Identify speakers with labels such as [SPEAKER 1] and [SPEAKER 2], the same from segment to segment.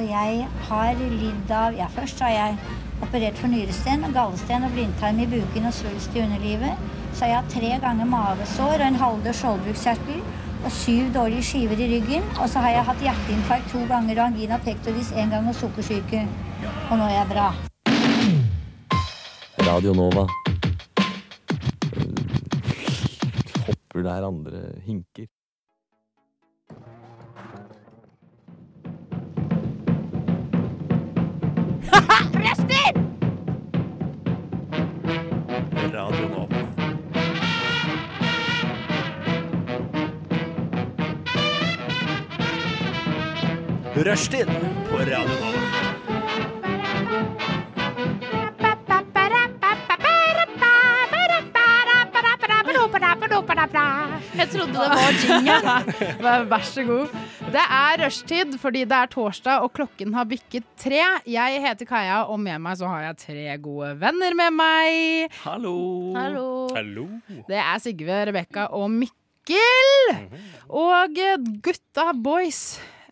[SPEAKER 1] jeg har lidd av Ja, først har jeg operert for nyresten, gallesten og blindtarm i buken og svulst i underlivet. Så har jeg hatt tre ganger mavesår og en halvdød skjoldbruskkjertel og syv dårlige skiver i ryggen. Og så har jeg hatt hjerteinfarkt to ganger og angina pectoris én gang og sukkersyke. Og nå er jeg bra.
[SPEAKER 2] Radio Nova. Eh, Hopper der andre hinker.
[SPEAKER 3] Radio Nova. Rushtid på Radio Nova.
[SPEAKER 4] Jeg trodde det var jingle. Vær- Vær så god. Det er rushtid fordi det er torsdag og klokken har bikket tre. Jeg heter Kaja, og med meg så har jeg tre gode venner med meg.
[SPEAKER 3] Hallo. Hallo.
[SPEAKER 4] Det er Sigve, Rebekka og Mikkel.
[SPEAKER 3] Mhm.
[SPEAKER 4] Og eh, gutta boys.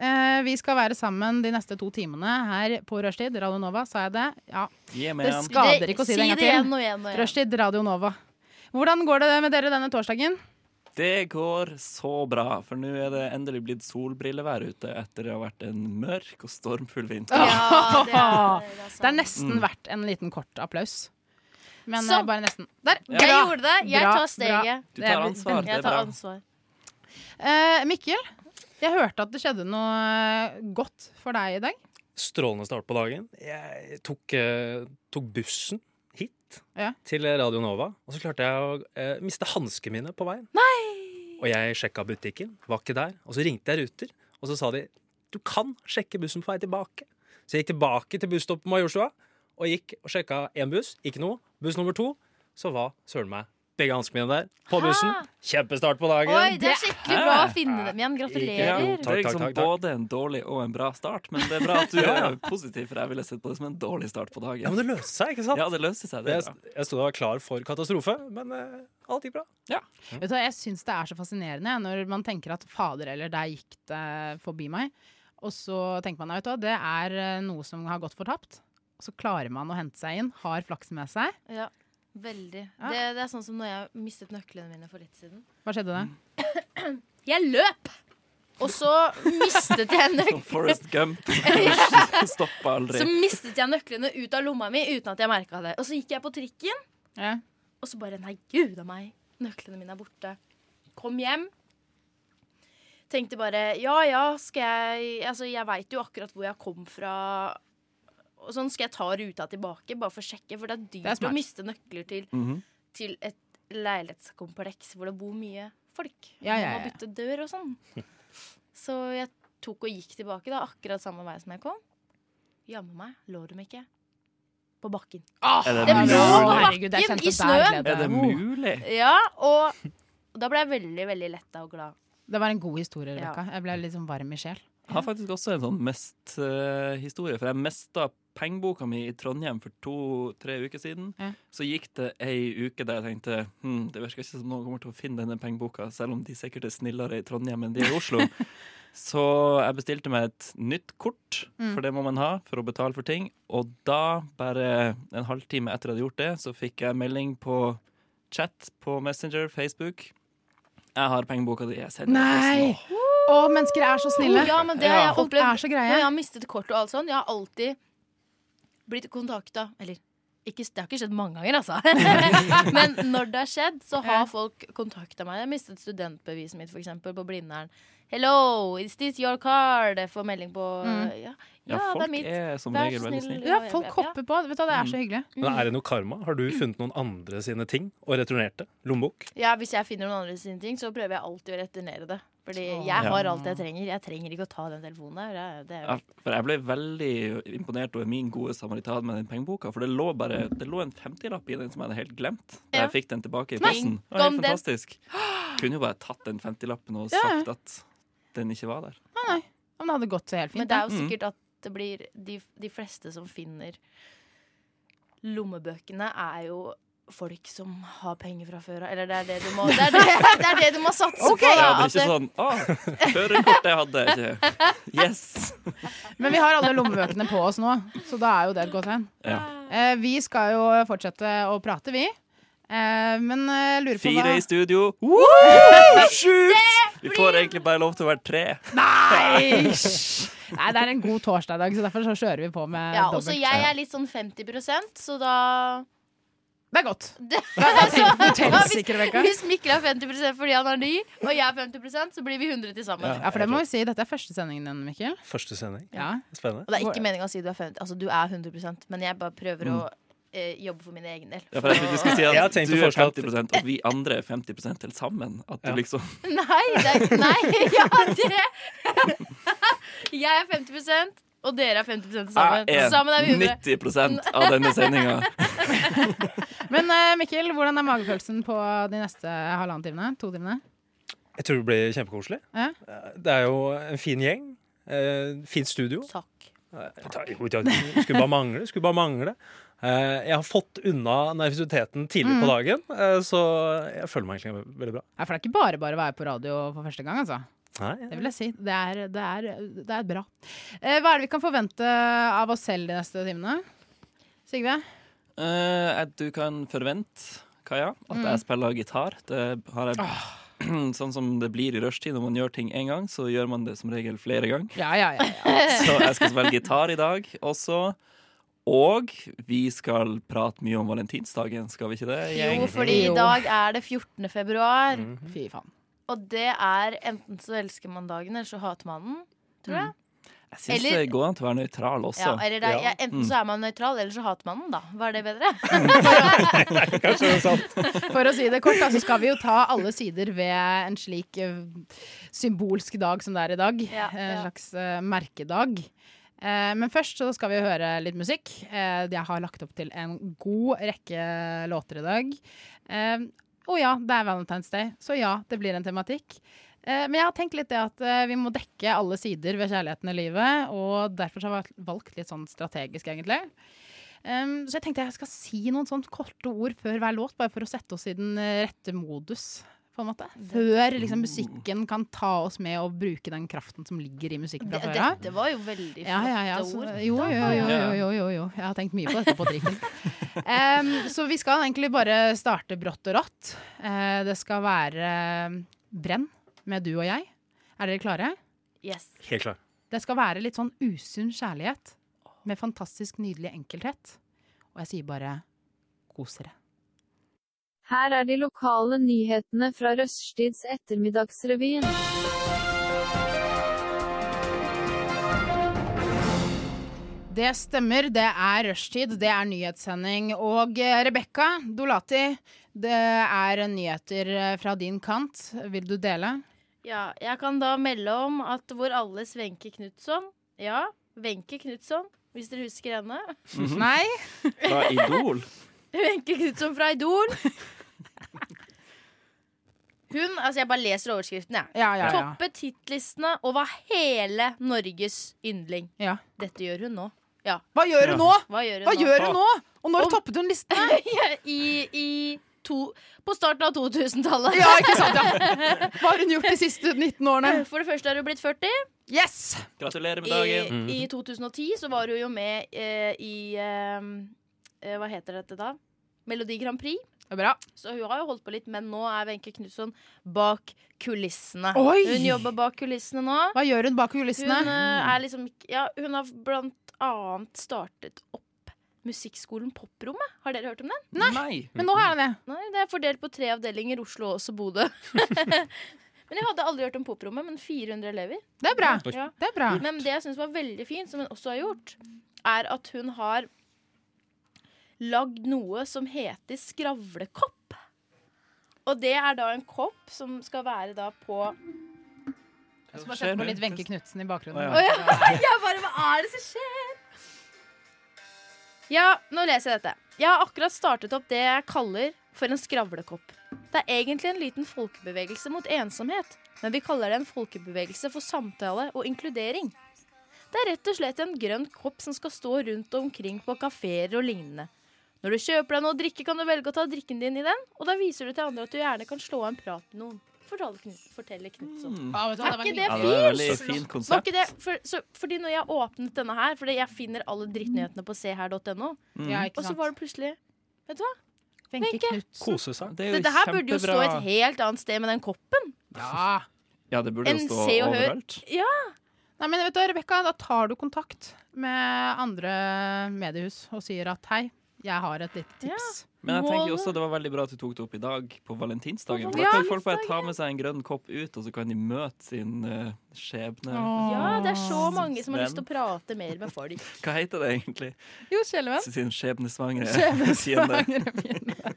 [SPEAKER 4] Eh, vi skal være sammen de neste to timene her på rushtid. Radio Nova, sa jeg det? Ja.
[SPEAKER 3] Yeah,
[SPEAKER 4] Det
[SPEAKER 3] man.
[SPEAKER 4] skader ikke å si det en gang til.
[SPEAKER 5] igjen og igjen og igjen.
[SPEAKER 4] Rushtid, Radio Nova. Hvordan går det med dere denne torsdagen?
[SPEAKER 3] Det går så bra, for nå er det endelig blitt solbrillevær ute etter det har vært en mørk og stormfull vinter.
[SPEAKER 5] Ja, det er, det er
[SPEAKER 4] Det er
[SPEAKER 5] sant.
[SPEAKER 3] Mm.
[SPEAKER 4] nesten verdt en liten kort applaus. Men
[SPEAKER 5] Så.
[SPEAKER 4] eh, bare nesten. Der!
[SPEAKER 5] Jeg gjorde det. Jeg
[SPEAKER 4] Bra,
[SPEAKER 5] tar steget.
[SPEAKER 3] Du
[SPEAKER 4] Det er
[SPEAKER 3] tar
[SPEAKER 4] bra.
[SPEAKER 3] ansvar. Det
[SPEAKER 5] Jeg
[SPEAKER 3] er
[SPEAKER 5] tar
[SPEAKER 3] bra.
[SPEAKER 5] ansvar.
[SPEAKER 4] Eh, Mikkel, jeg hørte at det skjedde noe eh, godt for deg i dag.
[SPEAKER 6] Strålende start på dagen. Jeg tok, eh, tok bussen hit
[SPEAKER 4] Ja.
[SPEAKER 6] til Radio Nova, og så klarte jeg å eh, miste hanskene mine på veien. Og jeg sjekka butikken, var ikke der. Og så ringte jeg Ruter, og så sa de du kan sjekke bussen på vei tilbake. Så jeg gikk tilbake til busstoppet på Majorstua og gikk og sjekka én buss, ikke noe. Buss nummer to, så var søren meg begge hanskene mine der på bussen. Kjempestart på dagen.
[SPEAKER 5] Oi, det er skikkelig bra å finne dem igjen.
[SPEAKER 3] Ja,
[SPEAKER 5] Gratulerer.
[SPEAKER 6] Ikke-
[SPEAKER 3] det
[SPEAKER 6] Takk,
[SPEAKER 3] er
[SPEAKER 6] takk,
[SPEAKER 3] liksom
[SPEAKER 6] takk, takk.
[SPEAKER 3] både en dårlig og en bra start, men det er bra at du er positiv, for jeg ville sett på det som en dårlig start på
[SPEAKER 6] Ja,
[SPEAKER 3] dagen.
[SPEAKER 6] men det løste seg, ikke sant?
[SPEAKER 3] Ja, det løser seg. Det er bra.
[SPEAKER 6] Jeg, jeg sto da klar for katastrofe, men eh, alt gikk bra.
[SPEAKER 4] Vet du, hva, jeg syns det er så fascinerende når man tenker at fader eller der gikk det forbi meg. Og så tenker man at det er eh, noe som har gått fortapt. Og så klarer man å hente seg inn, har flaksen med seg.
[SPEAKER 5] Ja, veldig.
[SPEAKER 4] Ja.
[SPEAKER 5] Det, det er sånn som når jeg mistet nøklene mine for litt siden.
[SPEAKER 4] Hva skjedde
[SPEAKER 3] Mm.
[SPEAKER 4] det?
[SPEAKER 5] Jeg løp! Og så mistet jeg
[SPEAKER 3] Som
[SPEAKER 5] nøklene
[SPEAKER 3] Forrest Gump. Stoppa aldri.
[SPEAKER 5] Så mistet jeg nøklene ut av lomma mi uten at jeg merka det. Og så gikk jeg på trikken,
[SPEAKER 4] Ja.
[SPEAKER 5] og så bare Nei, gud a meg. Nøklene mine er borte. Kom hjem. Tenkte bare Ja ja, skal jeg Altså, jeg veit jo akkurat hvor jeg kom fra. Og sånn skal jeg ta ruta tilbake, bare for å sjekke, for det er dyrt
[SPEAKER 4] Det er smart.
[SPEAKER 5] å miste nøkler til,
[SPEAKER 3] Mhm.
[SPEAKER 5] til et leilighetskompleks hvor det bor mye folk.
[SPEAKER 4] Ja, ja, ja.
[SPEAKER 5] Man må bytte dør og sånn. Så jeg tok og gikk tilbake, da, akkurat samme vei som jeg kom. Jammen meg lå de ikke på bakken.
[SPEAKER 3] Er det
[SPEAKER 5] det
[SPEAKER 3] mulig?
[SPEAKER 5] lå på
[SPEAKER 4] Herregud, jeg
[SPEAKER 5] bakken
[SPEAKER 4] kjente
[SPEAKER 5] i
[SPEAKER 4] der
[SPEAKER 5] snøen.
[SPEAKER 4] glede.
[SPEAKER 3] Er det
[SPEAKER 4] Oh,
[SPEAKER 3] mulig?
[SPEAKER 5] Ja, og da ble jeg veldig, veldig letta og glad.
[SPEAKER 4] det var en god historie, Rebekka.
[SPEAKER 3] Mm.
[SPEAKER 4] Jeg ble litt sånn varm i sjel.
[SPEAKER 3] Jeg har faktisk også en sånn mest-historie. for jeg mista pengeboka mi i Trondheim for to-tre uker siden.
[SPEAKER 4] Ja.
[SPEAKER 3] Så gikk det ei uke der jeg tenkte hm, det virker ikke som noen kommer til å finne denne pengeboka, selv om de sikkert er snillere i Trondheim enn de er i Oslo. Så jeg bestilte meg et nytt kort,
[SPEAKER 4] Mm.
[SPEAKER 3] for det må man ha for å betale for ting. Og da, bare en halvtime etter jeg hadde gjort det, så fikk jeg melding på chat på Messenger, Facebook. Jeg har pengeboka di. Jeg sender
[SPEAKER 4] Nei!
[SPEAKER 3] deg posten.
[SPEAKER 4] Å, mennesker er så snille.
[SPEAKER 5] Ja, men det har
[SPEAKER 3] Ja.
[SPEAKER 5] jeg
[SPEAKER 4] Folk
[SPEAKER 5] opplevd.
[SPEAKER 4] er så
[SPEAKER 5] Når jeg
[SPEAKER 4] greie.
[SPEAKER 5] har mistet kort og alt sånn, jeg har alltid blitt kontakta Eller ikke, det har ikke skjedd mange ganger, altså. Men når det har skjedd, så
[SPEAKER 4] Ja.
[SPEAKER 5] har folk kontakta meg. Jeg har mistet studentbeviset mitt, f.eks., på Blindern. Hello, is this your card? Jeg får melding på
[SPEAKER 4] Mm.
[SPEAKER 5] Ja,
[SPEAKER 3] Ja,
[SPEAKER 5] ja det
[SPEAKER 3] folk
[SPEAKER 5] er mitt.
[SPEAKER 3] er som
[SPEAKER 5] Vær
[SPEAKER 3] regel
[SPEAKER 5] så
[SPEAKER 3] veldig
[SPEAKER 5] snill.
[SPEAKER 3] snille.
[SPEAKER 4] Ja, folk hopper på. Vet du, hva, det er
[SPEAKER 3] Mm.
[SPEAKER 4] så hyggelig.
[SPEAKER 6] Men
[SPEAKER 5] Mm.
[SPEAKER 6] er det noe karma? Har du funnet noen andre sine ting og returnert det? Lommebok?
[SPEAKER 5] Ja, Hvis jeg finner noen andre sine ting, så prøver jeg alltid å returnere det. Fordi
[SPEAKER 4] Åh.
[SPEAKER 5] jeg har alt jeg trenger. Jeg trenger ikke å ta den telefonen der. Det er- Det er
[SPEAKER 3] Ja, for jeg ble veldig imponert over min gode samaritan med den pengeboka. For det lå bare Det lå en 50-lapp i den som jeg hadde helt glemt. Da
[SPEAKER 5] Ja.
[SPEAKER 3] jeg fikk den tilbake i
[SPEAKER 5] Nei,
[SPEAKER 3] posten. Det var
[SPEAKER 5] kom
[SPEAKER 3] helt
[SPEAKER 5] den.
[SPEAKER 3] fantastisk. Kunne jo bare tatt den 50-lappen og
[SPEAKER 4] Ja, ja.
[SPEAKER 3] sagt at den ikke var der.
[SPEAKER 4] Om det hadde gått helt
[SPEAKER 5] Men
[SPEAKER 4] fint.
[SPEAKER 5] det Mm.
[SPEAKER 4] da.
[SPEAKER 5] er jo sikkert at det blir de, de fleste som finner lommebøkene, er jo folk som har penger fra før av. Eller det er det du må, det er det, det er det du må satse på.
[SPEAKER 3] Ja,
[SPEAKER 5] Da,
[SPEAKER 3] det er
[SPEAKER 5] at det,
[SPEAKER 3] ikke sånn Å, førerkortet hadde jeg ikke. Yes!
[SPEAKER 4] Men vi har alle lommebøkene på oss nå, så da er jo det et godt tegn.
[SPEAKER 3] Ja.
[SPEAKER 4] Eh, vi skal jo fortsette å prate, vi. Eh, men eh, lurer på
[SPEAKER 3] Fire
[SPEAKER 4] hva
[SPEAKER 3] i studio. Woo! Sjukt! Vi får egentlig bare lov til å være tre.
[SPEAKER 4] Nei! hysj! Nei, det er en god torsdag i dag, så derfor så kjører vi på med
[SPEAKER 5] ja,
[SPEAKER 4] dobbelt.
[SPEAKER 5] også jeg er litt sånn 50 så da
[SPEAKER 4] Det er godt.
[SPEAKER 5] det,
[SPEAKER 4] Helsike, Rebekka.
[SPEAKER 5] Hvis Mikkel er 50 fordi han er ny, og jeg er 50 så blir vi 100 til sammen.
[SPEAKER 4] Ja, for det må vi si. Dette er første sendingen din, Mikkel.
[SPEAKER 6] Første sending.
[SPEAKER 4] Ja.
[SPEAKER 6] Spennende.
[SPEAKER 5] Og det er ikke meninga å si du er 50 Altså, du er 100 men jeg bare prøver å eh, jobbe for min egen del.
[SPEAKER 3] Mm. Ja, for jeg trodde du skulle si
[SPEAKER 6] Jeg har
[SPEAKER 3] at
[SPEAKER 6] tenkt
[SPEAKER 3] du
[SPEAKER 6] å
[SPEAKER 3] er
[SPEAKER 6] foreslå at-
[SPEAKER 3] 50 og vi andre er 50 til sammen. At
[SPEAKER 6] Ja.
[SPEAKER 3] du liksom
[SPEAKER 5] Nei, det er, nei, ja, dere Jeg er 50 og dere er 50 sammen.
[SPEAKER 3] Jeg
[SPEAKER 5] Sammen er vi
[SPEAKER 3] er
[SPEAKER 5] 100.
[SPEAKER 3] 90 av denne sendinga.
[SPEAKER 4] Men eh, Mikkel, hvordan er magefølelsen på de neste halvannen timene? To timene?
[SPEAKER 6] Jeg tror det blir kjempekoselig. Eh,
[SPEAKER 4] Ja.
[SPEAKER 6] Det er jo en fin gjeng. eh, Fint studio.
[SPEAKER 5] Takk.
[SPEAKER 6] Eh, ta- jo, ta- Skulle bare mangle. Skulle bare mangle. Eh, Jeg har fått unna nervøsiteten tidlig
[SPEAKER 4] Mm.
[SPEAKER 6] på dagen, eh, så jeg føler meg egentlig ve- veldig bra.
[SPEAKER 4] Ja, for det er ikke bare bare å være på radio for første gang, altså.
[SPEAKER 6] Nei,
[SPEAKER 4] Det vil jeg si. Det er, det er, det er bra. Eh, hva er det vi kan forvente av oss selv de neste timene? Sigve?
[SPEAKER 3] Eh, at du kan forvente, Kaja, at
[SPEAKER 5] Mm.
[SPEAKER 3] jeg spiller gitar. Det har jeg
[SPEAKER 5] Ah.
[SPEAKER 3] Sånn som det blir i rushtid når man gjør ting én gang, så gjør man det som regel flere ganger.
[SPEAKER 4] Ja, ja, ja. ja.
[SPEAKER 3] Så jeg skal spille gitar i dag også. Og vi skal prate mye om valentinsdagen, skal vi ikke det?
[SPEAKER 5] Jo,
[SPEAKER 3] Gjeng?
[SPEAKER 5] fordi i
[SPEAKER 4] Jo.
[SPEAKER 5] dag er det 14. februar,
[SPEAKER 4] Fy faen.
[SPEAKER 5] og det er enten så elsker man dagen, eller så hater man den. Tror jeg.
[SPEAKER 3] Jeg syns
[SPEAKER 5] eller-
[SPEAKER 3] det går an til å være nøytral også.
[SPEAKER 5] Ja, eller det, er-
[SPEAKER 6] Ja.
[SPEAKER 5] ja, enten så er man nøytral, eller så hater man den, da. Var det bedre?
[SPEAKER 6] kanskje det er sant.
[SPEAKER 4] For å si det kort, da, så skal vi jo ta alle sider ved en slik eh, symbolsk dag som det er i dag.
[SPEAKER 5] Ja,
[SPEAKER 4] Eh, En
[SPEAKER 5] ja.
[SPEAKER 4] slags eh, merkedag. Eh, men først så skal vi høre litt musikk. Eh, jeg har lagt opp til en god rekke låter i dag. Eh, og ja, det er Valentine's Day, så ja, det blir en tematikk. Eh, men jeg har tenkt litt det at eh, vi må dekke alle sider ved kjærligheten i livet, og derfor så har jeg valgt litt sånn strategisk, egentlig. Um, så jeg tenkte jeg skal si noen sånn korte ord før hver låt, bare for å sette oss i den eh, rette modus. På en måte. Før liksom, musikken kan ta oss med og bruke den kraften som ligger i musikken fra før av.
[SPEAKER 5] Dette var jo veldig flotte
[SPEAKER 4] Ja, ja, ja, så,
[SPEAKER 5] ord.
[SPEAKER 4] jo, jo, jo, jo, jo, jo, jo. Jeg har tenkt mye på dette på trikken. Um, så vi skal egentlig bare starte brått og rått. Eh, det skal være eh, Brenn med du og jeg. Er dere klare?
[SPEAKER 5] Yes.
[SPEAKER 6] Helt klar.
[SPEAKER 4] Det skal være litt sånn usunn kjærlighet med fantastisk nydelig enkelthet. Og jeg sier bare kos dere.
[SPEAKER 7] Her er de lokale nyhetene fra Røststids ettermiddagsrevyen.
[SPEAKER 4] Det stemmer, det er rushtid, det er nyhetssending. Og eh, Rebekka Dolati, det er nyheter eh, fra din kant. Vil du dele?
[SPEAKER 5] Ja, jeg kan da melde om at vår alles Wenche Knutson Ja, Wenche Knutson, hvis dere husker henne.
[SPEAKER 4] Nei?
[SPEAKER 3] Fra Idol.
[SPEAKER 5] Wenche Knutson fra Idol. Hun Altså, jeg bare leser overskriften, jeg.
[SPEAKER 4] Ja, ja, ja.
[SPEAKER 5] Toppet hitlistene og var hele Norges yndling.
[SPEAKER 4] ja.
[SPEAKER 5] Dette gjør hun nå.
[SPEAKER 4] Hva gjør hun nå?
[SPEAKER 5] Hva gjør hun
[SPEAKER 4] Hva
[SPEAKER 5] nå?
[SPEAKER 4] gjør hun nå? Og når
[SPEAKER 5] Om-
[SPEAKER 4] toppet hun listen?
[SPEAKER 5] I, i to, på starten av 2000-tallet.
[SPEAKER 4] Ja, ikke sant? Ja. Hva har hun gjort de siste 19 årene?
[SPEAKER 5] For det første har hun blitt 40.
[SPEAKER 4] Yes!
[SPEAKER 3] Gratulerer med
[SPEAKER 5] I,
[SPEAKER 3] dagen. Mm.
[SPEAKER 5] I 2010 så var hun jo med eh, i eh, eh, Hva heter dette da? Melodi Grand Prix.
[SPEAKER 4] Det er bra.
[SPEAKER 5] Så hun har jo holdt på litt, men nå er Wenche Knutson bak kulissene.
[SPEAKER 4] Oi!
[SPEAKER 5] Hun jobber bak kulissene nå.
[SPEAKER 4] Hva gjør hun bak
[SPEAKER 5] Hun,
[SPEAKER 4] kulissene? Mm.
[SPEAKER 5] eh, er liksom, ikke- ja, hun har blant annet startet opp Musikkskolen Poprommet. Har dere hørt om den?
[SPEAKER 3] Nei!
[SPEAKER 4] Men nå er hun det.
[SPEAKER 5] Nei, Det er fordelt på tre avdelinger, Oslo og også Bodø. men jeg hadde aldri hørt om Poprommet, men 400 elever.
[SPEAKER 4] Det er bra.
[SPEAKER 5] Ja.
[SPEAKER 4] Det er bra.
[SPEAKER 5] Men det jeg syns var veldig fint, som hun også har gjort, er at hun har lagd noe som heter skravlekopp. Og det er da en kopp som skal være da på Å
[SPEAKER 4] Så bare sett på litt Wenche Knutsen i bakgrunnen.
[SPEAKER 3] Å,
[SPEAKER 5] ja! Jeg bare Hva er det som skjer? Ja, nå leser jeg dette. Jeg har akkurat startet opp det jeg kaller for en skravlekopp. Det er egentlig en liten folkebevegelse mot ensomhet, men vi kaller det en folkebevegelse for samtale og inkludering. Det er rett og slett en grønn kopp som skal stå rundt omkring på kafeer og lignende. Når du kjøper deg noe å drikke, kan du velge å ta drikken din i den, og da viser du til andre at du gjerne kan slå av en prat med noen. Fortalte Knut, forteller Knutson.
[SPEAKER 3] Mm.
[SPEAKER 4] Å, vet du hva,
[SPEAKER 5] Er
[SPEAKER 4] var
[SPEAKER 5] ikke
[SPEAKER 4] nydelig.
[SPEAKER 3] Ja, det er et
[SPEAKER 5] det fint?
[SPEAKER 3] veldig fint
[SPEAKER 5] Var ikke
[SPEAKER 3] konsept.
[SPEAKER 5] det, for, så, fordi når jeg åpnet denne her, fordi jeg finner alle drittnyhetene på seher.no,
[SPEAKER 3] Mm.
[SPEAKER 4] Ja, ikke
[SPEAKER 5] og så
[SPEAKER 4] sant.
[SPEAKER 5] var det plutselig
[SPEAKER 4] Wenche
[SPEAKER 5] Wenche.
[SPEAKER 4] Knutsen.
[SPEAKER 6] Kose seg.
[SPEAKER 3] Det er jo
[SPEAKER 5] Dette her burde jo stå
[SPEAKER 3] kjempebra.
[SPEAKER 5] et helt annet sted med den koppen.
[SPEAKER 4] Ja.
[SPEAKER 3] Ja, det burde
[SPEAKER 5] En
[SPEAKER 3] jo stå
[SPEAKER 5] Se og Hør.
[SPEAKER 3] overalt.
[SPEAKER 4] Nei, men vet du, Rebekka, da tar du kontakt med andre mediehus og sier at hei, jeg har et lite tips.
[SPEAKER 3] Men jeg tenker jo
[SPEAKER 5] Målet.
[SPEAKER 3] også det var veldig bra at du tok det opp i dag, på valentinsdagen.
[SPEAKER 5] På
[SPEAKER 3] For da kan folk bare ta med seg en grønn kopp ut, og så kan de møte sin eh, skjebne.
[SPEAKER 4] Åh.
[SPEAKER 5] Ja, det er så mange som har
[SPEAKER 3] Den.
[SPEAKER 5] lyst til å prate mer med folk.
[SPEAKER 3] Hva heter det egentlig?
[SPEAKER 4] Jo, Skjelven.
[SPEAKER 3] Sin skjebnesvangre fiende.
[SPEAKER 4] Skjebnesvangre fiende.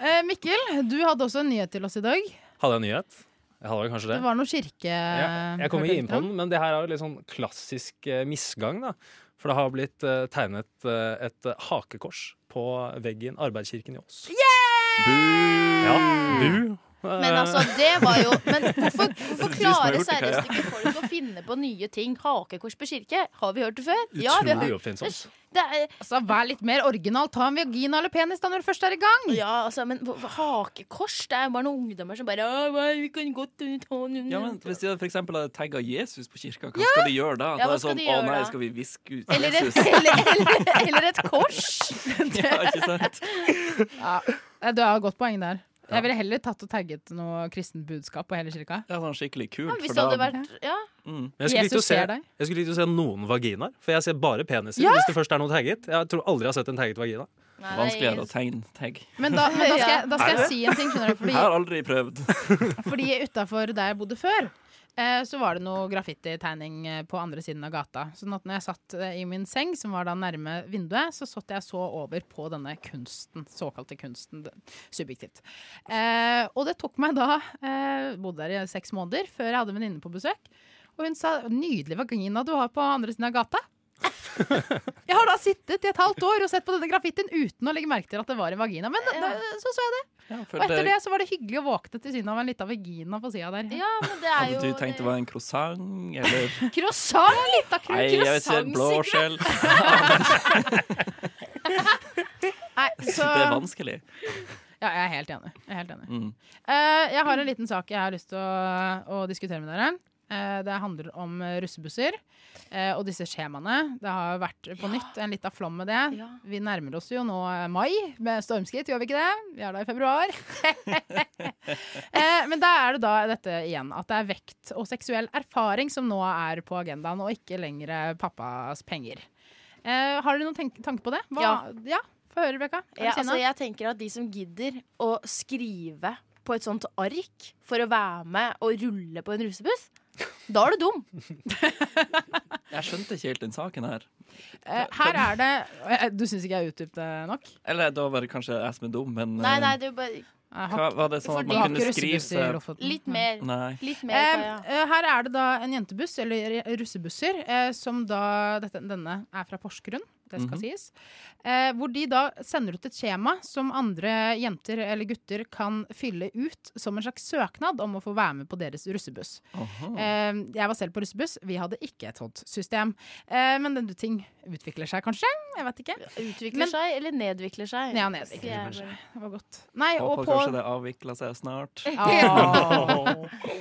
[SPEAKER 4] Eh, Mikkel, du hadde også en nyhet til oss i dag.
[SPEAKER 6] Hadde jeg en nyhet? Jeg hadde vel kanskje
[SPEAKER 4] Det
[SPEAKER 6] det.
[SPEAKER 4] var noe kirke...
[SPEAKER 6] Ja,
[SPEAKER 4] Eh,
[SPEAKER 6] jeg kom ikke inn på
[SPEAKER 4] hørte
[SPEAKER 6] den, men det her er jo litt sånn klassisk eh, misgang, da. For det har blitt eh, tegnet eh, et eh, hakekors på veggen arbeidskirken i Ås. Ja, bu. Eh,
[SPEAKER 5] Men altså, det var jo Men hvorfor, hvorfor
[SPEAKER 3] du som har
[SPEAKER 5] klarer
[SPEAKER 3] gjort det,
[SPEAKER 5] seriøst ikke folk å finne på nye ting? Hakekors på kirke, har vi hørt det før? Ja, vi har
[SPEAKER 6] Utrolig
[SPEAKER 5] hørt
[SPEAKER 6] oppfinnsomt.
[SPEAKER 5] det. Er,
[SPEAKER 4] om. Altså, vær litt mer original. Ta en vagina eller penis da når du først er i gang.
[SPEAKER 5] ja, altså, men hva- hva- hakekors? Det er jo bare noen ungdommer som bare «Å, hva, vi kan godt uh, ta noen-
[SPEAKER 3] Ja, men Hvis de for eksempel hadde tagga Jesus på kirka, hva skal de gjøre da?
[SPEAKER 5] Ja,
[SPEAKER 3] da er
[SPEAKER 5] hva
[SPEAKER 3] det
[SPEAKER 5] skal
[SPEAKER 3] sånn,
[SPEAKER 5] de
[SPEAKER 3] Å
[SPEAKER 5] gjøre
[SPEAKER 3] nei,
[SPEAKER 5] da?»
[SPEAKER 3] skal vi viske ut
[SPEAKER 5] eller,
[SPEAKER 3] Jesus?
[SPEAKER 5] et, eller, eller, eller et kors.
[SPEAKER 3] ja, ikke sant?
[SPEAKER 4] Ja. Eh, Du har et godt poeng der. Jeg ville heller tatt og tagget noe kristent budskap på hele kirka.
[SPEAKER 3] Det er sånn skikkelig
[SPEAKER 5] Ja,
[SPEAKER 3] kult.
[SPEAKER 5] hvis
[SPEAKER 3] For
[SPEAKER 5] det hadde
[SPEAKER 3] da,
[SPEAKER 5] vært Ja.
[SPEAKER 3] mm,
[SPEAKER 6] Men jeg skulle, likt å
[SPEAKER 4] Jesus
[SPEAKER 6] se,
[SPEAKER 4] ser deg.
[SPEAKER 6] jeg skulle likt å se noen vaginaer, for jeg ser bare peniser.
[SPEAKER 4] Ja!
[SPEAKER 6] Hvis det først er noe tagget. Jeg tror aldri jeg har sett en tagget vagina.
[SPEAKER 5] Nei,
[SPEAKER 3] vanskeligere å tegne tagg.
[SPEAKER 4] Men da, men da, skal, jeg, da skal jeg si en ting, skjønner du.
[SPEAKER 3] Jeg
[SPEAKER 4] Fordi,
[SPEAKER 3] har aldri prøvd.
[SPEAKER 4] fordi utafor der jeg bodde før, eh, så var det noe graffititegning eh, på andre siden av gata. Sånn at når jeg satt eh, i min seng, som var da nærme vinduet, så satt jeg så over på denne kunsten. Såkalte kunsten. det- Subjektivt. Eh, og det tok meg da eh, Bodde der i seks måneder før jeg hadde en venninne på besøk. Og hun sa 'nydelig vagina du har på andre siden av gata'. Jeg har da sittet i et halvt år og sett på denne graffitien uten å legge merke til at det var en vagina. Men da, så så jeg det.
[SPEAKER 3] For
[SPEAKER 4] Og etter
[SPEAKER 3] det,
[SPEAKER 4] det så var det hyggelig å våkne til synet av en lita vagina på sida der.
[SPEAKER 5] Ja, men det er jo
[SPEAKER 3] hadde du tenkt det var en croissant, eller
[SPEAKER 5] Croissant!
[SPEAKER 4] Lita kru-
[SPEAKER 3] Nei, jeg vet ikke.
[SPEAKER 5] croissant,
[SPEAKER 3] Blåskjell.
[SPEAKER 4] Nei,
[SPEAKER 3] Det
[SPEAKER 4] så,
[SPEAKER 3] er vanskelig.
[SPEAKER 4] ja, jeg er helt enig. Jeg, er helt enig.
[SPEAKER 3] Mm.
[SPEAKER 4] Eh, jeg har en liten sak jeg har lyst til å, å diskutere med dere. Eh, det handler om eh, russebusser eh, og disse skjemaene. Det har jo vært på nytt en lita flom med det.
[SPEAKER 5] Ja.
[SPEAKER 4] Vi nærmer oss jo nå eh, mai med stormskritt, gjør vi ikke det? Vi er da i februar. eh, men da er det da dette igjen, at det er vekt og seksuell erfaring som nå er på agendaen, og ikke lenger eh, pappas penger. Eh, har dere noen tenk tanke på det? Hva?
[SPEAKER 5] Ja.
[SPEAKER 4] ja. Få høre, Rebekka. Er du
[SPEAKER 5] Ja, altså,
[SPEAKER 4] sinna?
[SPEAKER 5] jeg tenker at de som gidder å skrive på et sånt ark for å være med og rulle på en russebuss, da er du dum.
[SPEAKER 3] Jeg skjønte ikke helt den saken her.
[SPEAKER 4] Eh, her er det eh, Du syns ikke jeg utdypet det nok?
[SPEAKER 3] Eller da var det kanskje jeg som er dum, men
[SPEAKER 5] Nei,
[SPEAKER 3] eh,
[SPEAKER 5] nei, det er bare
[SPEAKER 4] Jeg har
[SPEAKER 3] hva, var det sånn at
[SPEAKER 5] Fordi-
[SPEAKER 3] man
[SPEAKER 4] har ikke
[SPEAKER 3] kunne skrive
[SPEAKER 4] russebuss i
[SPEAKER 3] seg
[SPEAKER 4] Lofoten.
[SPEAKER 5] litt mer.
[SPEAKER 3] Nei.
[SPEAKER 5] Litt mer
[SPEAKER 4] Mm-hmm. Eh,
[SPEAKER 5] Kaja.
[SPEAKER 4] eh, her er det da en jentebuss, eller russebusser, eh, som da dette, Denne er fra Porsgrunn, det skal
[SPEAKER 3] Mhm.
[SPEAKER 4] sies. Eh, hvor de da sender ut et skjema som andre jenter eller gutter kan fylle ut som en slags søknad om å få være med på deres russebuss.
[SPEAKER 3] Aha.
[SPEAKER 4] Eh, jeg var selv på russebuss, vi hadde ikke et sånt system. Eh, men den ting utvikler seg kanskje, jeg vet ikke.
[SPEAKER 5] Utvikler
[SPEAKER 4] men-
[SPEAKER 5] seg eller nedvikler seg?
[SPEAKER 4] Ja, nedvikler
[SPEAKER 5] Sier jeg
[SPEAKER 4] kanskje.
[SPEAKER 5] bare.
[SPEAKER 4] Det var godt. Nei, og
[SPEAKER 3] Håper
[SPEAKER 4] på
[SPEAKER 3] kanskje det avvikler seg snart.
[SPEAKER 4] Ah.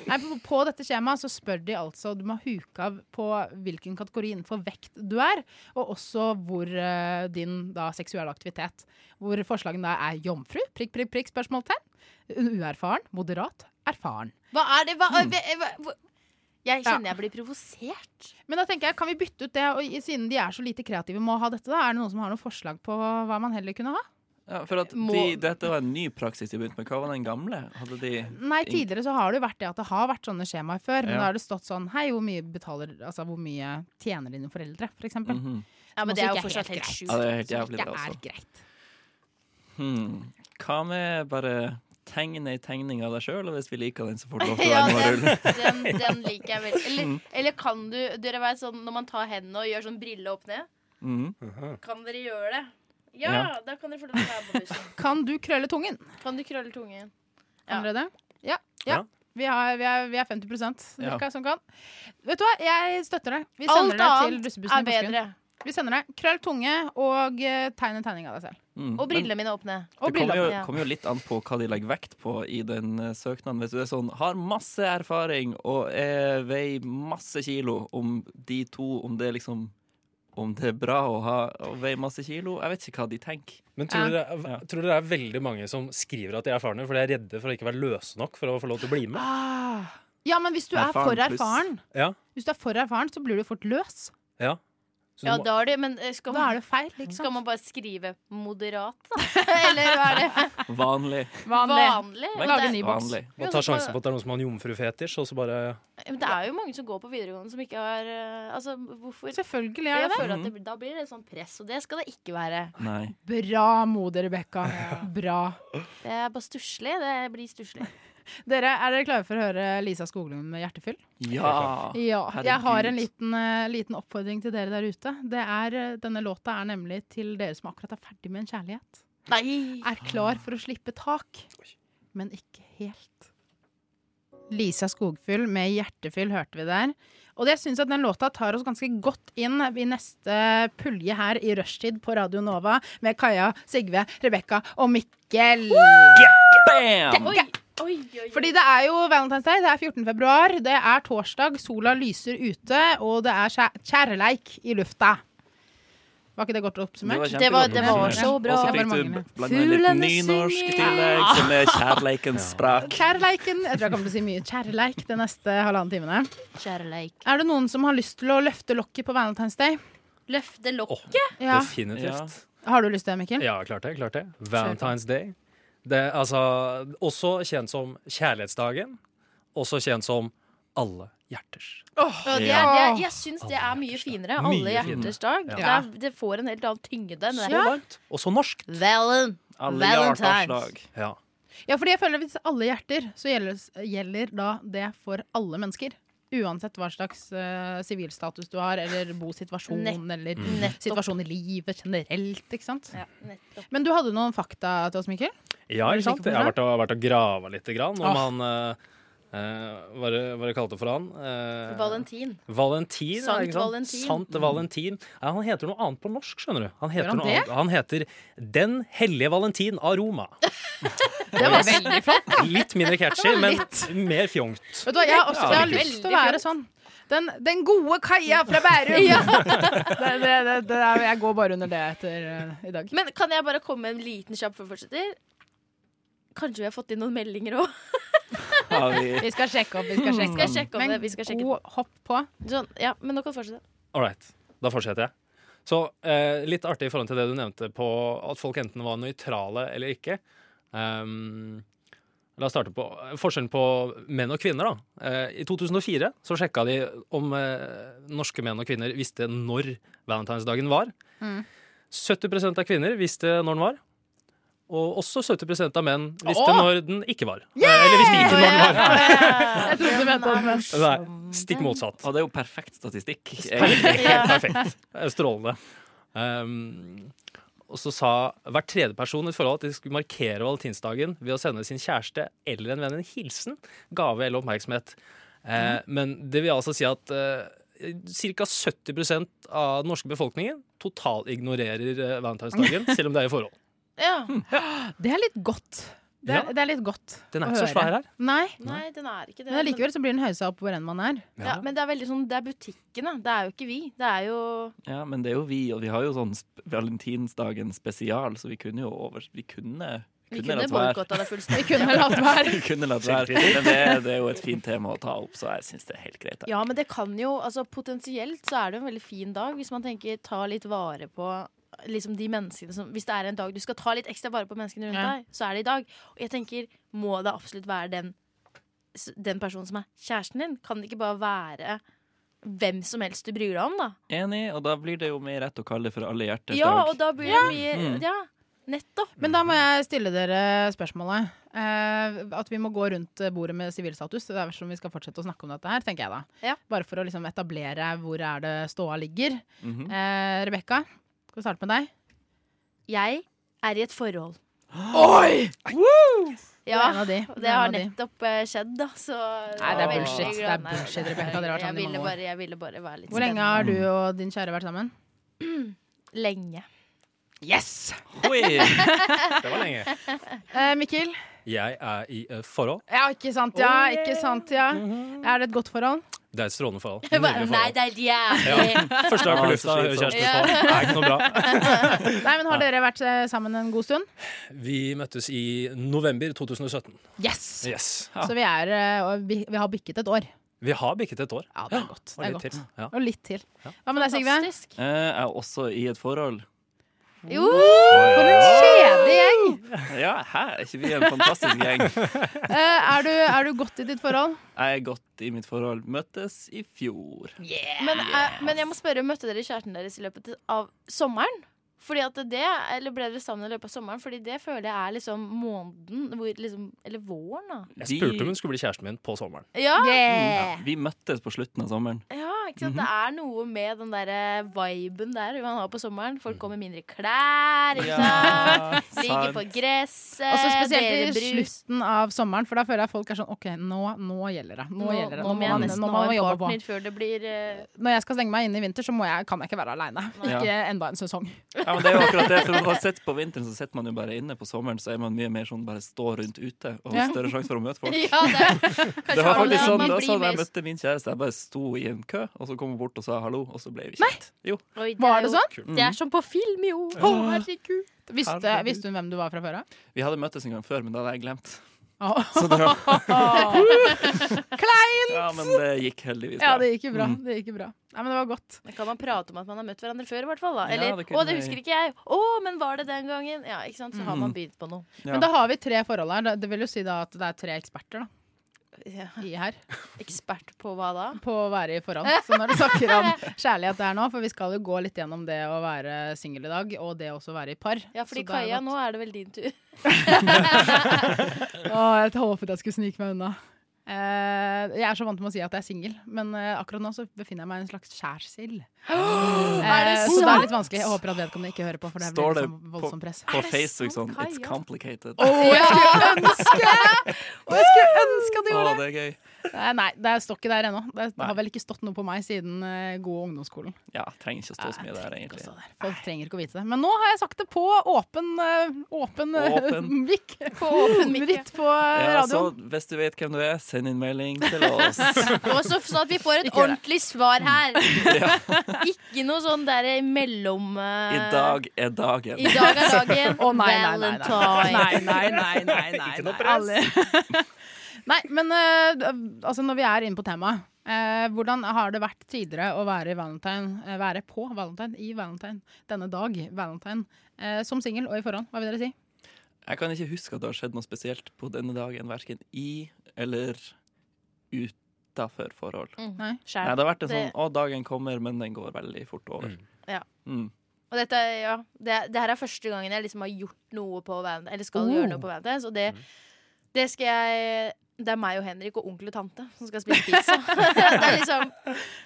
[SPEAKER 4] Nei, på, på dette skjemaet så spør de altså Du må huke av på hvilken kategori innenfor vekt du er, og også hvor eh, din da, seksuelle aktivitet. Hvor forslagene da er jomfru, prikk, prikk, prikk, spørsmålstegn. Uerfaren, moderat, erfaren.
[SPEAKER 5] Hva er det? Hva,
[SPEAKER 3] Mm.
[SPEAKER 5] hva- hva, hva? Jeg kjenner jeg blir provosert.
[SPEAKER 4] Men da tenker jeg, kan vi bytte ut det, og i- siden de er så lite kreative med å ha dette, da, er det noen som har noen forslag på hva man heller kunne ha?
[SPEAKER 3] Ja, for at
[SPEAKER 5] Må-
[SPEAKER 3] de, dette var en ny praksis de begynte med. Hva var den gamle? Hadde de
[SPEAKER 4] Nei, tidligere så har det jo vært det at det har vært sånne skjemaer før, men
[SPEAKER 3] Ja.
[SPEAKER 4] da har det stått sånn Hei, hvor mye betaler Altså, hvor mye tjener dine foreldre, for eksempel?
[SPEAKER 3] Mhm.
[SPEAKER 5] Ja,
[SPEAKER 4] Som
[SPEAKER 5] men det er
[SPEAKER 4] også
[SPEAKER 5] jo
[SPEAKER 4] ikke er
[SPEAKER 5] fortsatt helt
[SPEAKER 4] helt
[SPEAKER 5] sjukt.
[SPEAKER 3] Ja, det er helt
[SPEAKER 4] Som
[SPEAKER 3] jævlig, altså. det
[SPEAKER 4] ikke er
[SPEAKER 3] også.
[SPEAKER 4] greit.
[SPEAKER 3] Hmm. Hva med bare tegne ei tegning av deg sjøl, og hvis vi liker den, så får du lov til å
[SPEAKER 5] Ja,
[SPEAKER 3] være med og
[SPEAKER 5] den,
[SPEAKER 3] rulle?
[SPEAKER 5] den, den liker jeg veldig. Eller, eller kan du Dere vet sånn når man tar hendene og gjør sånn brille opp ned?
[SPEAKER 3] Mhm.
[SPEAKER 5] Kan dere gjøre det? Ja,
[SPEAKER 3] Ja.
[SPEAKER 5] da kan dere få lov til å være med på bussen.
[SPEAKER 4] Kan du krølle tungen?
[SPEAKER 5] Kan du krølle tungen?
[SPEAKER 4] Kan
[SPEAKER 5] Ja.
[SPEAKER 4] dere det? Ja. ja.
[SPEAKER 6] Ja.
[SPEAKER 4] Vi, har, vi, er, vi er 50 Det er
[SPEAKER 3] Ja.
[SPEAKER 4] ikke som kan. Vet du hva, jeg støtter det. Vi
[SPEAKER 5] Alt
[SPEAKER 4] sender det til
[SPEAKER 5] annet
[SPEAKER 4] russebussen i
[SPEAKER 5] Er
[SPEAKER 4] Porsgrunn.
[SPEAKER 5] bedre.
[SPEAKER 4] Vi sender det. Krøll tunge og eh, tegn en tegning av deg selv.
[SPEAKER 3] Mm.
[SPEAKER 5] Og brillene mine er åpne.
[SPEAKER 3] Men Det kommer jo,
[SPEAKER 5] ja.
[SPEAKER 3] kommer jo litt an på hva de legger vekt på i den eh, søknaden. Hvis du er sånn, har masse erfaring og er, veier masse kilo, om de to Om det liksom Om det er bra å, ha, å veie masse kilo? Jeg vet ikke hva de tenker.
[SPEAKER 6] Men tror dere,
[SPEAKER 3] Ja.
[SPEAKER 6] tror dere det er veldig mange som skriver at de er erfarne, for de er redde for å ikke være løse nok for å få lov til å bli med?
[SPEAKER 4] Ja, men hvis du er
[SPEAKER 3] Erfaren
[SPEAKER 4] for
[SPEAKER 3] pluss.
[SPEAKER 4] erfaren,
[SPEAKER 6] Ja,
[SPEAKER 4] hvis du er for erfaren, så blir du fort løs.
[SPEAKER 6] ja. Så du
[SPEAKER 5] ja,
[SPEAKER 6] må-
[SPEAKER 5] da er det Men eh, skal
[SPEAKER 4] Da er
[SPEAKER 5] man,
[SPEAKER 4] det feil, ikke
[SPEAKER 5] skal
[SPEAKER 4] sant?
[SPEAKER 5] man bare skrive moderat, da? Eller hva er det?
[SPEAKER 3] Vanlig.
[SPEAKER 4] Vanlig.
[SPEAKER 5] Vanlig?
[SPEAKER 3] Vanlig.
[SPEAKER 5] Og
[SPEAKER 4] Lage
[SPEAKER 5] det, sånn
[SPEAKER 4] ny boks.
[SPEAKER 3] Vanlig.
[SPEAKER 6] Man tar sjansen på at det er noen som har en jomfrufetisj, og så bare
[SPEAKER 5] men det er jo mange som går på videregående som ikke har eh, Altså, hvorfor
[SPEAKER 4] Selvfølgelig er
[SPEAKER 5] Jeg
[SPEAKER 4] det det.
[SPEAKER 5] føler at det, Da blir det sånn press, og det skal det ikke være.
[SPEAKER 3] Nei.
[SPEAKER 4] Bra, moder Rebekka. Bra.
[SPEAKER 5] Det er bare stusslig. Det blir stusslig.
[SPEAKER 4] Dere, er dere klare for å høre Lisa Skoglund med hjertefyll?
[SPEAKER 3] Ja.
[SPEAKER 4] Ja. Jeg
[SPEAKER 3] herregud.
[SPEAKER 4] har en liten, eh, liten oppfordring til dere der ute. Det er, eh, denne låta er nemlig til dere som akkurat er ferdig med en kjærlighet.
[SPEAKER 5] Nei!
[SPEAKER 4] Er klar for å slippe tak, men ikke helt. Lisa Skogfyll med 'Hjertefyll' hørte vi der. Og jeg syns at den låta tar oss ganske godt inn i neste pulje her i rushtid på Radio Nova med Kaja, Sigve, Rebekka og Mikkel.
[SPEAKER 3] Bam!
[SPEAKER 5] Oi, oi, oi.
[SPEAKER 4] Fordi det er jo Valentine's Day, det er 14. februar, det er torsdag, sola lyser ute, og det er kjæ- kjærleik i lufta. Var ikke det godt oppsummert?
[SPEAKER 5] Det var- det var
[SPEAKER 3] kjempegodt.
[SPEAKER 5] så bra.
[SPEAKER 3] Og så
[SPEAKER 4] Det var
[SPEAKER 3] fikk du
[SPEAKER 4] mange.
[SPEAKER 3] blanda inn litt
[SPEAKER 5] Fuglene
[SPEAKER 3] nynorsk i
[SPEAKER 5] synger. Ah.
[SPEAKER 3] tillegg, som er kjærleikens språk.
[SPEAKER 4] Kjærleiken. Jeg tror jeg kommer til å si mye kjærleik de neste halvannen timene.
[SPEAKER 5] Kjærleik.
[SPEAKER 4] Er det noen som har lyst til å løfte lokket på Valentine's Day?
[SPEAKER 5] Løfte lokk.
[SPEAKER 4] Ja.
[SPEAKER 6] Definitivt.
[SPEAKER 4] Har du lyst til det, Mikkel?
[SPEAKER 6] Ja, klart det. klart det Valentine's Day. Det er altså også kjent som kjærlighetsdagen. Også kjent som alle hjerters.
[SPEAKER 5] Og det er,
[SPEAKER 4] Ja.
[SPEAKER 5] det, jeg syns det er mye finere. Alle
[SPEAKER 6] Mye
[SPEAKER 5] hjerters dag. Det,
[SPEAKER 4] Ja.
[SPEAKER 5] er, det får en helt annen tyngde. enn det
[SPEAKER 6] Så
[SPEAKER 5] der.
[SPEAKER 6] langt. Også norsk.
[SPEAKER 5] Valen.
[SPEAKER 3] Alle hjerters
[SPEAKER 5] Valentine's.
[SPEAKER 3] dag.
[SPEAKER 6] Ja.
[SPEAKER 4] Ja, fordi jeg føler at hvis alle hjerter, så gjelder, gjelder da det for alle mennesker. Uansett hva slags eh, sivilstatus du har, eller bosituasjon,
[SPEAKER 5] Nett-
[SPEAKER 4] eller
[SPEAKER 5] nettopp.
[SPEAKER 4] situasjon i livet generelt. ikke sant?
[SPEAKER 5] Ja, nettopp.
[SPEAKER 4] Men du hadde noen fakta til oss, Mikkel?
[SPEAKER 6] Ja,
[SPEAKER 4] Er du
[SPEAKER 6] ikke sant?
[SPEAKER 4] sikker på
[SPEAKER 6] Jeg har
[SPEAKER 4] det?
[SPEAKER 6] vært og, vært og grava litt grann, om
[SPEAKER 4] Ah.
[SPEAKER 6] han eh, eh, Hva det- hva det kalte for han? Eh,
[SPEAKER 5] Valentin.
[SPEAKER 6] Valentin. ja,
[SPEAKER 5] Sant
[SPEAKER 6] ikke sant?
[SPEAKER 5] Valentin.
[SPEAKER 6] Sant Valentin. Ja, han heter noe annet på norsk, skjønner du. Han heter,
[SPEAKER 4] han
[SPEAKER 6] noe
[SPEAKER 4] det?
[SPEAKER 6] annet. han heter Den hellige Valentin av Roma.
[SPEAKER 4] Det var veldig flott.
[SPEAKER 6] Litt mindre catchy, men mer fjongt.
[SPEAKER 4] Vet du hva, Jeg har, også, jeg har lyst til å være sånn. Den, den gode Kaja fra Bærum! Det, det, det, det er, jeg går bare under det etter eh, i dag.
[SPEAKER 5] Men kan jeg bare komme med en liten kjapp før vi fortsetter? Kanskje vi har fått inn noen meldinger òg?
[SPEAKER 3] Har vi
[SPEAKER 4] Vi skal sjekke opp. vi skal sjekke
[SPEAKER 5] Skal sjekke om
[SPEAKER 4] Mm. Men
[SPEAKER 5] det. Vi skal sjekke.
[SPEAKER 4] god hopp på.
[SPEAKER 5] Sånn, ja, men nå kan du fortsette.
[SPEAKER 6] Alright, da fortsetter jeg. Så eh, litt artig i forhold til det du nevnte på at folk enten var nøytrale eller ikke. Ehm, la oss starte på eh, forskjellen på menn og kvinner. da. Eh, I 2004 så sjekka de om eh, norske menn og kvinner visste når valentinsdagen var. 70 av kvinner visste når den var. Og også 70 av menn visste
[SPEAKER 4] Åh!
[SPEAKER 6] når den ikke var. Eh, Eller visste ikke når den var.
[SPEAKER 4] Jeg trodde du mente om men-
[SPEAKER 6] Nei, stikk motsatt.
[SPEAKER 3] Og det er jo perfekt statistikk. egentlig.
[SPEAKER 6] Perfekt. Eh, Strålende. Um, og så sa hver tredje person i et forhold at de skulle markere valentinsdagen ved å sende sin kjæreste eller en venn en hilsen, gave eller oppmerksomhet. Eh, Men det vil altså si at uh, ca. 70 av den norske befolkningen totalignorerer eh, valentinsdagen, selv om det er i forhold.
[SPEAKER 5] Ja.
[SPEAKER 4] Hmm. Det er litt godt. Det er,
[SPEAKER 6] Ja.
[SPEAKER 4] det er litt godt
[SPEAKER 6] Den er
[SPEAKER 4] å
[SPEAKER 6] ikke så
[SPEAKER 4] høre.
[SPEAKER 6] svær her.
[SPEAKER 4] Nei,
[SPEAKER 5] Nei, den er ikke det.
[SPEAKER 4] men allikevel så blir den hausa opp hvor enn man er.
[SPEAKER 5] men, ja, men det er veldig sånn Det er butikkene. Det er jo ikke vi. Det er jo
[SPEAKER 3] Ja, men det er jo vi, og vi har jo sånn sp- valentinsdagen spesial, så vi kunne jo over... Vi kunne,
[SPEAKER 5] Vi
[SPEAKER 3] kunne
[SPEAKER 5] kunne
[SPEAKER 3] latt være.
[SPEAKER 5] boikotta det
[SPEAKER 4] Vi
[SPEAKER 5] fullstendig.
[SPEAKER 4] kunne latt være.
[SPEAKER 3] Vi kunne latt være. Men det, det er jo et fint tema å ta opp, så jeg syns det er helt greit. jeg.
[SPEAKER 5] Ja, men det kan jo altså Potensielt så er det jo en veldig fin dag hvis man tenker ta litt vare på liksom de menneskene som Hvis det er en dag du skal ta litt ekstra vare på menneskene rundt
[SPEAKER 4] Ja.
[SPEAKER 5] deg, så er det i dag. Og jeg tenker, må det absolutt være den, s- den personen som er kjæresten din? Kan det ikke bare være hvem som helst du bryr deg om, da?
[SPEAKER 3] Enig, og da blir det jo mer rett å kalle det for alle hjerters
[SPEAKER 5] Ja, og
[SPEAKER 3] dag.
[SPEAKER 5] da blir det mye
[SPEAKER 3] Mm.
[SPEAKER 5] Ja, nettopp.
[SPEAKER 4] Men da må jeg stille dere spørsmålet. Eh, at vi må gå rundt bordet med sivilstatus. Det er som vi skal fortsette å snakke om dette her, tenker jeg da.
[SPEAKER 5] Ja.
[SPEAKER 4] Bare for å liksom etablere hvor er det ståa ligger.
[SPEAKER 3] Mhm.
[SPEAKER 4] Eh, Rebekka, skal vi starte med deg?
[SPEAKER 5] Jeg er i et forhold.
[SPEAKER 4] Oi!
[SPEAKER 5] Ja,
[SPEAKER 4] en av de. Du er
[SPEAKER 5] det har
[SPEAKER 4] en av de.
[SPEAKER 5] nettopp eh, skjedd, da, så
[SPEAKER 4] Nei, det er
[SPEAKER 5] Veldig
[SPEAKER 4] bullshit. Det er
[SPEAKER 5] glad- Nei,
[SPEAKER 4] bullshit,
[SPEAKER 5] nei, nei,
[SPEAKER 4] Rebecca. Dere har vært
[SPEAKER 5] jeg
[SPEAKER 4] sammen i
[SPEAKER 5] ville
[SPEAKER 4] mange år.
[SPEAKER 5] bare- Jeg ville bare være litt
[SPEAKER 4] Hvor lenge
[SPEAKER 5] spennende.
[SPEAKER 4] har du og din kjære vært sammen?
[SPEAKER 5] Lenge.
[SPEAKER 4] Yes!
[SPEAKER 3] Oi!
[SPEAKER 6] Det var lenge.
[SPEAKER 4] Eh, Mikkel?
[SPEAKER 6] Jeg er i et forhold.
[SPEAKER 4] Ja, ikke sant, ja. Ikke sant, ja. Er det et godt forhold?
[SPEAKER 6] Det er et strålende forhold.
[SPEAKER 5] Jeg bare,
[SPEAKER 6] Nydelig
[SPEAKER 5] Nei,
[SPEAKER 6] forhold.
[SPEAKER 5] det er jævlig.
[SPEAKER 6] Ja. Første dag på
[SPEAKER 3] Ah,
[SPEAKER 6] lufta
[SPEAKER 3] så
[SPEAKER 6] hører
[SPEAKER 3] slitsomt.
[SPEAKER 6] kjæresten på. Det er ikke noe bra.
[SPEAKER 4] Nei, men Har dere vært eh, sammen en god stund?
[SPEAKER 6] Vi møttes i november 2017.
[SPEAKER 4] Yes!
[SPEAKER 6] Yes.
[SPEAKER 4] Så vi, er, eh, og vi, vi har bikket et år.
[SPEAKER 6] Vi har bikket et år.
[SPEAKER 4] Ja, det er godt. Det
[SPEAKER 6] Og
[SPEAKER 4] er
[SPEAKER 6] litt
[SPEAKER 4] godt.
[SPEAKER 6] til. Ja.
[SPEAKER 4] Og litt til.
[SPEAKER 6] Ja.
[SPEAKER 4] Hva med deg, Sigve?
[SPEAKER 5] Fantastisk.
[SPEAKER 3] Eh, Jeg er også i et forhold.
[SPEAKER 5] Jo!
[SPEAKER 4] For en kjedelig gjeng!
[SPEAKER 3] Ja, hæ? Er ikke vi en fantastisk gjeng?
[SPEAKER 4] Eh, er, du, er du godt i ditt forhold?
[SPEAKER 3] Jeg er godt i mitt forhold. Møttes i fjor.
[SPEAKER 5] Men, eh, men jeg må spørre, møtte dere kjæresten deres i løpet av sommeren? Fordi at det, eller Ble dere sammen i løpet av sommeren? Fordi det føler jeg er liksom måneden hvor, liksom, Eller våren, da.
[SPEAKER 6] Jeg spurte om hun skulle bli kjæresten min på sommeren.
[SPEAKER 5] Ja, Eh.
[SPEAKER 3] Ja, Vi møttes på slutten av sommeren.
[SPEAKER 5] ja ikke sant? Det er noe med den derre viben der man har på sommeren. Folk går med mindre klær, ikke sant. Ligger på gresset,
[SPEAKER 4] Også Altså, spesielt
[SPEAKER 5] deler
[SPEAKER 4] i
[SPEAKER 5] brus.
[SPEAKER 4] slutten av sommeren, for da føler jeg folk er sånn OK, nå, nå gjelder det. Nå, gjelder det. Nå,
[SPEAKER 5] må
[SPEAKER 4] må
[SPEAKER 5] jeg
[SPEAKER 4] man,
[SPEAKER 5] nesten
[SPEAKER 4] nå må
[SPEAKER 5] ha
[SPEAKER 4] man
[SPEAKER 5] en
[SPEAKER 4] jobbe på.
[SPEAKER 5] partner før det blir eh,
[SPEAKER 4] Når jeg skal stenge meg inne i vinter, så må jeg, kan jeg ikke være aleine.
[SPEAKER 3] Ja.
[SPEAKER 4] Ikke enda en sesong.
[SPEAKER 3] Ja, men det er jo akkurat det. For når man sitter på vinteren, så sitter man jo bare inne. På sommeren så er man mye mer sånn bare stå rundt ute, og
[SPEAKER 4] Ja.
[SPEAKER 3] større sjanse for å møte folk.
[SPEAKER 5] Ja, det,
[SPEAKER 3] Det var
[SPEAKER 5] Kanskje
[SPEAKER 3] faktisk sånn
[SPEAKER 5] man
[SPEAKER 3] da
[SPEAKER 5] blir
[SPEAKER 3] sånn jeg
[SPEAKER 5] mer-
[SPEAKER 3] møtte min kjæreste. Jeg bare sto i en kø, og så kom hun bort og sa hallo, og så ble vi kjent. Jo.
[SPEAKER 5] Oi, det
[SPEAKER 4] Var
[SPEAKER 5] er
[SPEAKER 4] det
[SPEAKER 5] jo-
[SPEAKER 4] sånn?
[SPEAKER 5] Det er som på film, jo.
[SPEAKER 4] Å,
[SPEAKER 5] herregud.
[SPEAKER 4] Visste,
[SPEAKER 3] Herregud.
[SPEAKER 4] visste hun hvem du var fra før av?
[SPEAKER 3] Vi hadde møttes en gang før, men da hadde jeg glemt.
[SPEAKER 4] Åh.
[SPEAKER 3] Så det, var-
[SPEAKER 4] Klein!
[SPEAKER 3] ja, men det gikk heldigvis
[SPEAKER 4] Ja,
[SPEAKER 3] bra.
[SPEAKER 4] det gikk jo bra. Det gikk jo bra. Nei, men det var godt.
[SPEAKER 5] Da kan man prate om at man har møtt hverandre før, i hvert fall. Da.
[SPEAKER 3] Ja,
[SPEAKER 5] Eller
[SPEAKER 3] det
[SPEAKER 5] 'Å,
[SPEAKER 3] kunne
[SPEAKER 5] det
[SPEAKER 3] jeg-
[SPEAKER 5] husker ikke jeg'. 'Å, men var det den gangen?' Ja, ikke sant? Så har man
[SPEAKER 4] Mhm.
[SPEAKER 5] begynt på noe.
[SPEAKER 3] Ja.
[SPEAKER 4] Men da har vi tre forhold her. Det- Det vil jo si da at det er tre eksperter da,
[SPEAKER 5] Ja.
[SPEAKER 4] i her
[SPEAKER 5] Ekspert på hva da?
[SPEAKER 4] på å være i forhold. Så når du snakker om kjærlighet der nå, for vi skal jo gå litt gjennom det å være singel i dag, og det også å være i par.
[SPEAKER 5] Ja,
[SPEAKER 4] Så Eh,
[SPEAKER 5] fordi
[SPEAKER 4] det er
[SPEAKER 5] Kaja,
[SPEAKER 4] godt.
[SPEAKER 5] nå er det vel din tur.
[SPEAKER 4] Å, jeg håpet jeg skulle snike meg unna. Eh, jeg er så vant med å si at jeg er singel, men eh, akkurat nå så befinner jeg meg i en slags skjærsild. Eh, så det er litt vanskelig. Jeg håper at vedkommende ikke hører på, for det blir
[SPEAKER 3] Står det
[SPEAKER 4] liksom voldsomt press.
[SPEAKER 3] På Facebook sånn
[SPEAKER 5] Kaja?
[SPEAKER 3] It's complicated.
[SPEAKER 4] Å, jeg skulle ønske Å, jeg skulle ønske at du gjorde
[SPEAKER 3] Å,
[SPEAKER 4] det!
[SPEAKER 3] det er gøy.
[SPEAKER 4] Eh, Nei, det står ikke der ennå. Det
[SPEAKER 3] Nei.
[SPEAKER 4] har vel ikke stått noe på meg siden eh, god ungdomsskolen.
[SPEAKER 3] Ja, trenger ikke å stå så mye
[SPEAKER 4] Nei,
[SPEAKER 3] der,
[SPEAKER 4] ikke
[SPEAKER 3] egentlig.
[SPEAKER 4] stå der. Folk trenger ikke å vite det. Men nå har jeg sagt det på åpen eh, Åpen, eh,
[SPEAKER 3] Åpen.
[SPEAKER 4] mikk.
[SPEAKER 5] På åpen mic.
[SPEAKER 4] Mitt på eh,
[SPEAKER 3] Ja, så
[SPEAKER 4] radioen.
[SPEAKER 3] hvis du vet hvem du er, send inn melding til oss.
[SPEAKER 5] Og så sånn at vi får et
[SPEAKER 4] Ikke gjør det.
[SPEAKER 5] ordentlig svar her. Ikke noe sånn der mellom eh,
[SPEAKER 3] I dag er dagen.
[SPEAKER 5] I dag er dagen.
[SPEAKER 4] Å nei, nei, nei, nei.
[SPEAKER 5] Valentine.
[SPEAKER 4] nei, nei, nei, nei, nei,
[SPEAKER 6] Ikke
[SPEAKER 4] nei.
[SPEAKER 6] noe press.
[SPEAKER 4] Alle- nei, men eh, altså når vi er inne på temaet eh, Hvordan har det vært tidligere å være i valentine, eh, være på valentine, i valentine, denne dag, valentine, eh, som singel og i forhånd? Hva vil dere si?
[SPEAKER 3] Jeg kan ikke huske at det har skjedd noe spesielt på denne dagen, verken i eller utafor forhold. Nei,
[SPEAKER 5] Skjær.
[SPEAKER 3] det har vært en
[SPEAKER 5] Det-
[SPEAKER 3] sånn 'Å, dagen kommer, men den går veldig fort over'.
[SPEAKER 6] Mm.
[SPEAKER 5] Ja.
[SPEAKER 3] Mm.
[SPEAKER 5] Og dette, er- ja, det, det her er første gangen jeg liksom har gjort noe på Valentine, eller skal gjøre noe på Valentine's, og det, det skal jeg Det er meg og Henrik og onkel og tante som skal spise pizza. det er liksom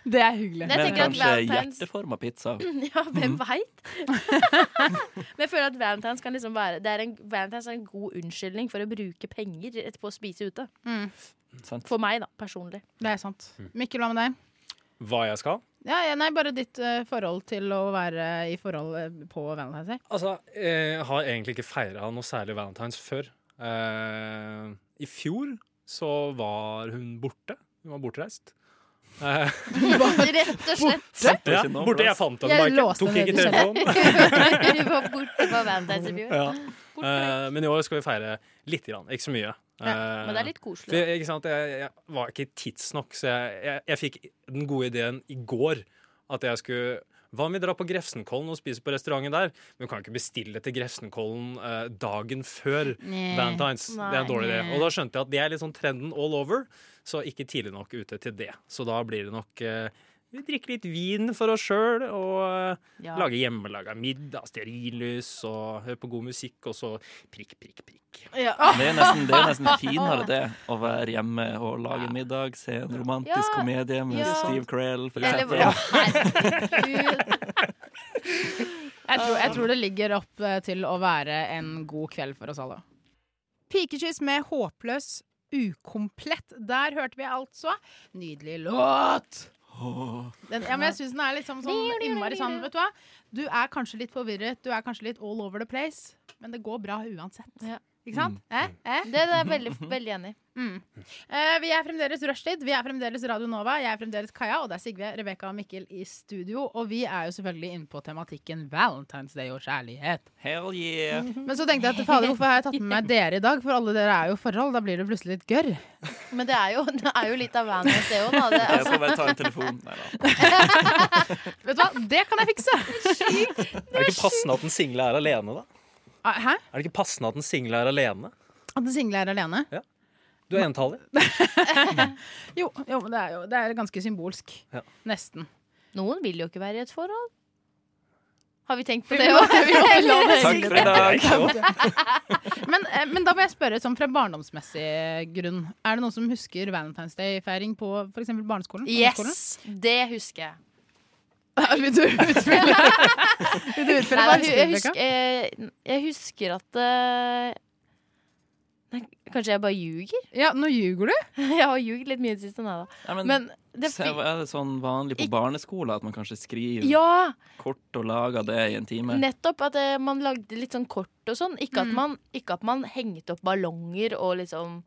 [SPEAKER 4] Det er hyggelig.
[SPEAKER 5] Jeg
[SPEAKER 3] Men
[SPEAKER 5] tenker at
[SPEAKER 3] kanskje
[SPEAKER 5] Valentine's-
[SPEAKER 3] hjerteforma pizza.
[SPEAKER 5] Ja, hvem veit? Men jeg føler at Valentine's kan liksom være Det er en, Valentine's er en god unnskyldning for å bruke penger etterpå å spise ute.
[SPEAKER 4] Mm,
[SPEAKER 3] Sant?
[SPEAKER 5] For meg, da, personlig.
[SPEAKER 4] det er sant.
[SPEAKER 3] Mm.
[SPEAKER 4] Mikkel, hva med deg?
[SPEAKER 6] Hva jeg skal?
[SPEAKER 4] Ja, ja, nei, bare ditt eh, forhold til å være i forhold eh, på Valentine's Day.
[SPEAKER 6] Altså, jeg har egentlig ikke feira noe særlig valentines før. Eh, I fjor så var hun borte. Hun var bortreist. Eh,
[SPEAKER 5] Rett og slett.
[SPEAKER 3] Sant, det er
[SPEAKER 6] ja,
[SPEAKER 3] ikke noe
[SPEAKER 6] borte.
[SPEAKER 3] plass.
[SPEAKER 6] Jeg fant
[SPEAKER 4] Jeg
[SPEAKER 6] henne bare ikke.
[SPEAKER 4] låste
[SPEAKER 6] Tok
[SPEAKER 4] henne
[SPEAKER 6] ikke
[SPEAKER 4] ned i kjelleren.
[SPEAKER 6] telefonen.
[SPEAKER 5] Du var borte på Valentine's i fjor.
[SPEAKER 6] Ja.
[SPEAKER 5] Bortreist.
[SPEAKER 6] Eh, men i år skal vi feire litt, grann, ikke så mye. Eh,
[SPEAKER 5] Men det er litt
[SPEAKER 6] for
[SPEAKER 5] koselig.
[SPEAKER 6] jeg, ikke sant? Jeg, jeg var ikke tidsnok, så jeg, jeg, jeg fikk den gode ideen i går. At jeg skulle Hva om vi drar på Grefsenkollen og spiser på restauranten der? Men vi kan ikke bestille til Grefsenkollen eh, dagen før
[SPEAKER 4] Eh,
[SPEAKER 6] Valentine's. Det er en dårlig idé. Og da skjønte jeg at det er litt sånn trenden all over, så ikke tidlig nok ute til det. Så da blir det nok eh, vi drikker litt vin for oss sjøl, og eh,
[SPEAKER 5] Ja.
[SPEAKER 6] lager hjemmelaga middag, stearinlys, og hører på god musikk, og så prikk, prikk, prikk.
[SPEAKER 5] Ja.
[SPEAKER 3] Det er, nesten, det er nesten finere det å være hjemme og lage middag, se en romantisk
[SPEAKER 5] Ja,
[SPEAKER 3] komedie med
[SPEAKER 5] ja.
[SPEAKER 3] Steve Carell, for
[SPEAKER 5] Eller
[SPEAKER 3] eksempel.
[SPEAKER 5] hva? Herregud.
[SPEAKER 4] Jeg tror, jeg tror det ligger opp eh, til å være en god kveld for oss alle. Pikekyss med håpløs ukomplett. Der hørte vi altså nydelig låt! Den, ja, men jeg syns den er litt sånn, sånn innmari sånn, vet du hva. Du er kanskje litt forvirret, du er kanskje litt all over the place, men det går bra uansett.
[SPEAKER 5] Ja.
[SPEAKER 4] Ikke sant? Eh? Eh?
[SPEAKER 5] Det, det er jeg veldig, veldig enig i.
[SPEAKER 4] Mm. Eh, vi er fremdeles Rushtid, vi er fremdeles Radio Nova, jeg er fremdeles Kaja, og det er Sigve, Rebekka og Mikkel i studio. Og vi er jo selvfølgelig inne på tematikken Valentine's Day og kjærlighet.
[SPEAKER 3] Hell yeah!
[SPEAKER 5] Mm.
[SPEAKER 4] Men så tenkte jeg at fader, hvorfor har jeg tatt med meg dere i dag? For alle dere er jo i forhold, da blir det plutselig litt gørr.
[SPEAKER 5] Men det er jo, det er jo litt av Vanias, det òg, da. Det,
[SPEAKER 3] Jeg
[SPEAKER 5] altså,
[SPEAKER 3] får bare ta en telefon. Nei da.
[SPEAKER 4] Vet du hva, det kan jeg fikse!
[SPEAKER 6] Er det ikke passende at den single er alene, da?
[SPEAKER 4] Ah, Hæ?
[SPEAKER 6] Er det ikke passende at den single er alene?
[SPEAKER 4] At den single er alene?
[SPEAKER 6] Du er entallig.
[SPEAKER 4] Jo, jo men det er jo det er ganske symbolsk.
[SPEAKER 6] Ja.
[SPEAKER 4] Nesten.
[SPEAKER 5] noen vil jo ikke være i et forhold. Har vi tenkt på
[SPEAKER 4] Vi
[SPEAKER 5] det
[SPEAKER 4] må-
[SPEAKER 5] òg?
[SPEAKER 4] vi må la det
[SPEAKER 3] Takk for i dag.
[SPEAKER 4] Men, eh, men da må jeg spørre sånn fra barndomsmessig grunn. Er det noen som husker Valentine's Day-feiring på f.eks. barneskolen? ungdomsskolen?
[SPEAKER 5] Yes! Det husker jeg.
[SPEAKER 4] Vil du utfylle Vil du utfylle
[SPEAKER 5] Nei, jeg,
[SPEAKER 4] barneskolen,
[SPEAKER 5] jeg,
[SPEAKER 4] Rebecca?
[SPEAKER 5] husker, jeg, jeg husker at eh, Nei, kanskje jeg bare ljuger?
[SPEAKER 4] Ja, nå ljuger du.
[SPEAKER 5] Jeg har ljugd litt mye i det siste, nei da.
[SPEAKER 3] Nei, men,
[SPEAKER 5] Men det
[SPEAKER 3] så
[SPEAKER 5] fi-
[SPEAKER 3] er det sånn vanlig på
[SPEAKER 5] Ik-
[SPEAKER 3] barneskolen at man kanskje skriver
[SPEAKER 5] Ja!
[SPEAKER 3] kort og lager det i en time?
[SPEAKER 5] Nettopp at eh, man lagde litt sånn kort og sånn. Ikke at,
[SPEAKER 4] Mm.
[SPEAKER 5] man, ikke at man hengte opp ballonger og liksom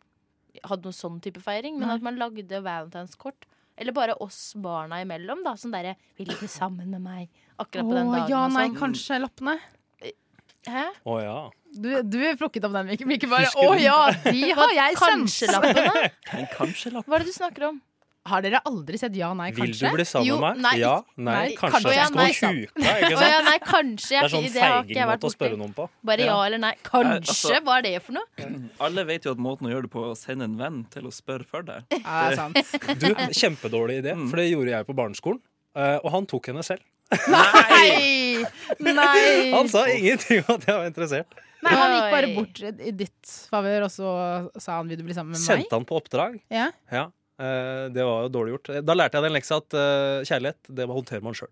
[SPEAKER 5] hadde noen sånn type feiring, men
[SPEAKER 4] Nei.
[SPEAKER 5] at man lagde valentineskort. Eller bare oss barna imellom, da. Sånn derre 'Vil du ikke sammen med meg?' Akkurat på
[SPEAKER 4] Å,
[SPEAKER 5] den dagen.
[SPEAKER 4] ja,
[SPEAKER 5] og
[SPEAKER 4] nei,
[SPEAKER 5] sånn.
[SPEAKER 4] kanskje lappene.
[SPEAKER 5] Hæ?
[SPEAKER 6] Å ja.
[SPEAKER 4] Du, du plukket opp den, Mikkel. Mikkel bare
[SPEAKER 6] Husker
[SPEAKER 4] Å
[SPEAKER 6] du?
[SPEAKER 4] ja, de har jeg sendt!
[SPEAKER 5] Kanskje-lappene?
[SPEAKER 3] Men kanskje lapp.
[SPEAKER 5] Hva er det du snakker om?
[SPEAKER 4] Har dere aldri sett ja, nei,
[SPEAKER 6] Vil du
[SPEAKER 4] kanskje?
[SPEAKER 6] bli sammen
[SPEAKER 5] Jo,
[SPEAKER 6] med meg?
[SPEAKER 5] nei,
[SPEAKER 6] ja?
[SPEAKER 5] ikke-
[SPEAKER 6] Nei,
[SPEAKER 4] nei,
[SPEAKER 6] kanskje.
[SPEAKER 5] kanskje.
[SPEAKER 6] Skal man tjuka,
[SPEAKER 5] Å
[SPEAKER 6] ikke sant?
[SPEAKER 5] ja, nei, kanskje.
[SPEAKER 6] Det
[SPEAKER 5] Jeg,
[SPEAKER 6] er sånn
[SPEAKER 5] det har ikke jeg vært
[SPEAKER 6] feigingmåte å
[SPEAKER 5] borti.
[SPEAKER 6] spørre noen på.
[SPEAKER 5] Bare ja
[SPEAKER 3] Ja.
[SPEAKER 5] eller nei. Kanskje?
[SPEAKER 3] Nei, altså-
[SPEAKER 5] Hva er det for noe?
[SPEAKER 3] Alle vet jo at måten å gjøre det på er å sende en venn til å spørre for deg.
[SPEAKER 4] Ja, det er sant.
[SPEAKER 6] Du, Kjempedårlig idé,
[SPEAKER 5] Mm.
[SPEAKER 6] for det gjorde jeg på barneskolen. eh, Og han tok henne selv.
[SPEAKER 4] Nei! Nei!
[SPEAKER 6] Han sa ingenting om at jeg var interessert.
[SPEAKER 4] Nei, han gikk bare
[SPEAKER 5] Oi.
[SPEAKER 4] bort i, i ditt favør, og så sa han 'vil du bli sammen med meg'?
[SPEAKER 6] Sendte han på oppdrag.
[SPEAKER 4] Ja.
[SPEAKER 6] Ja, eh, Det var jo dårlig gjort. Da lærte jeg den leksa at eh, kjærlighet, det håndterer man sjøl.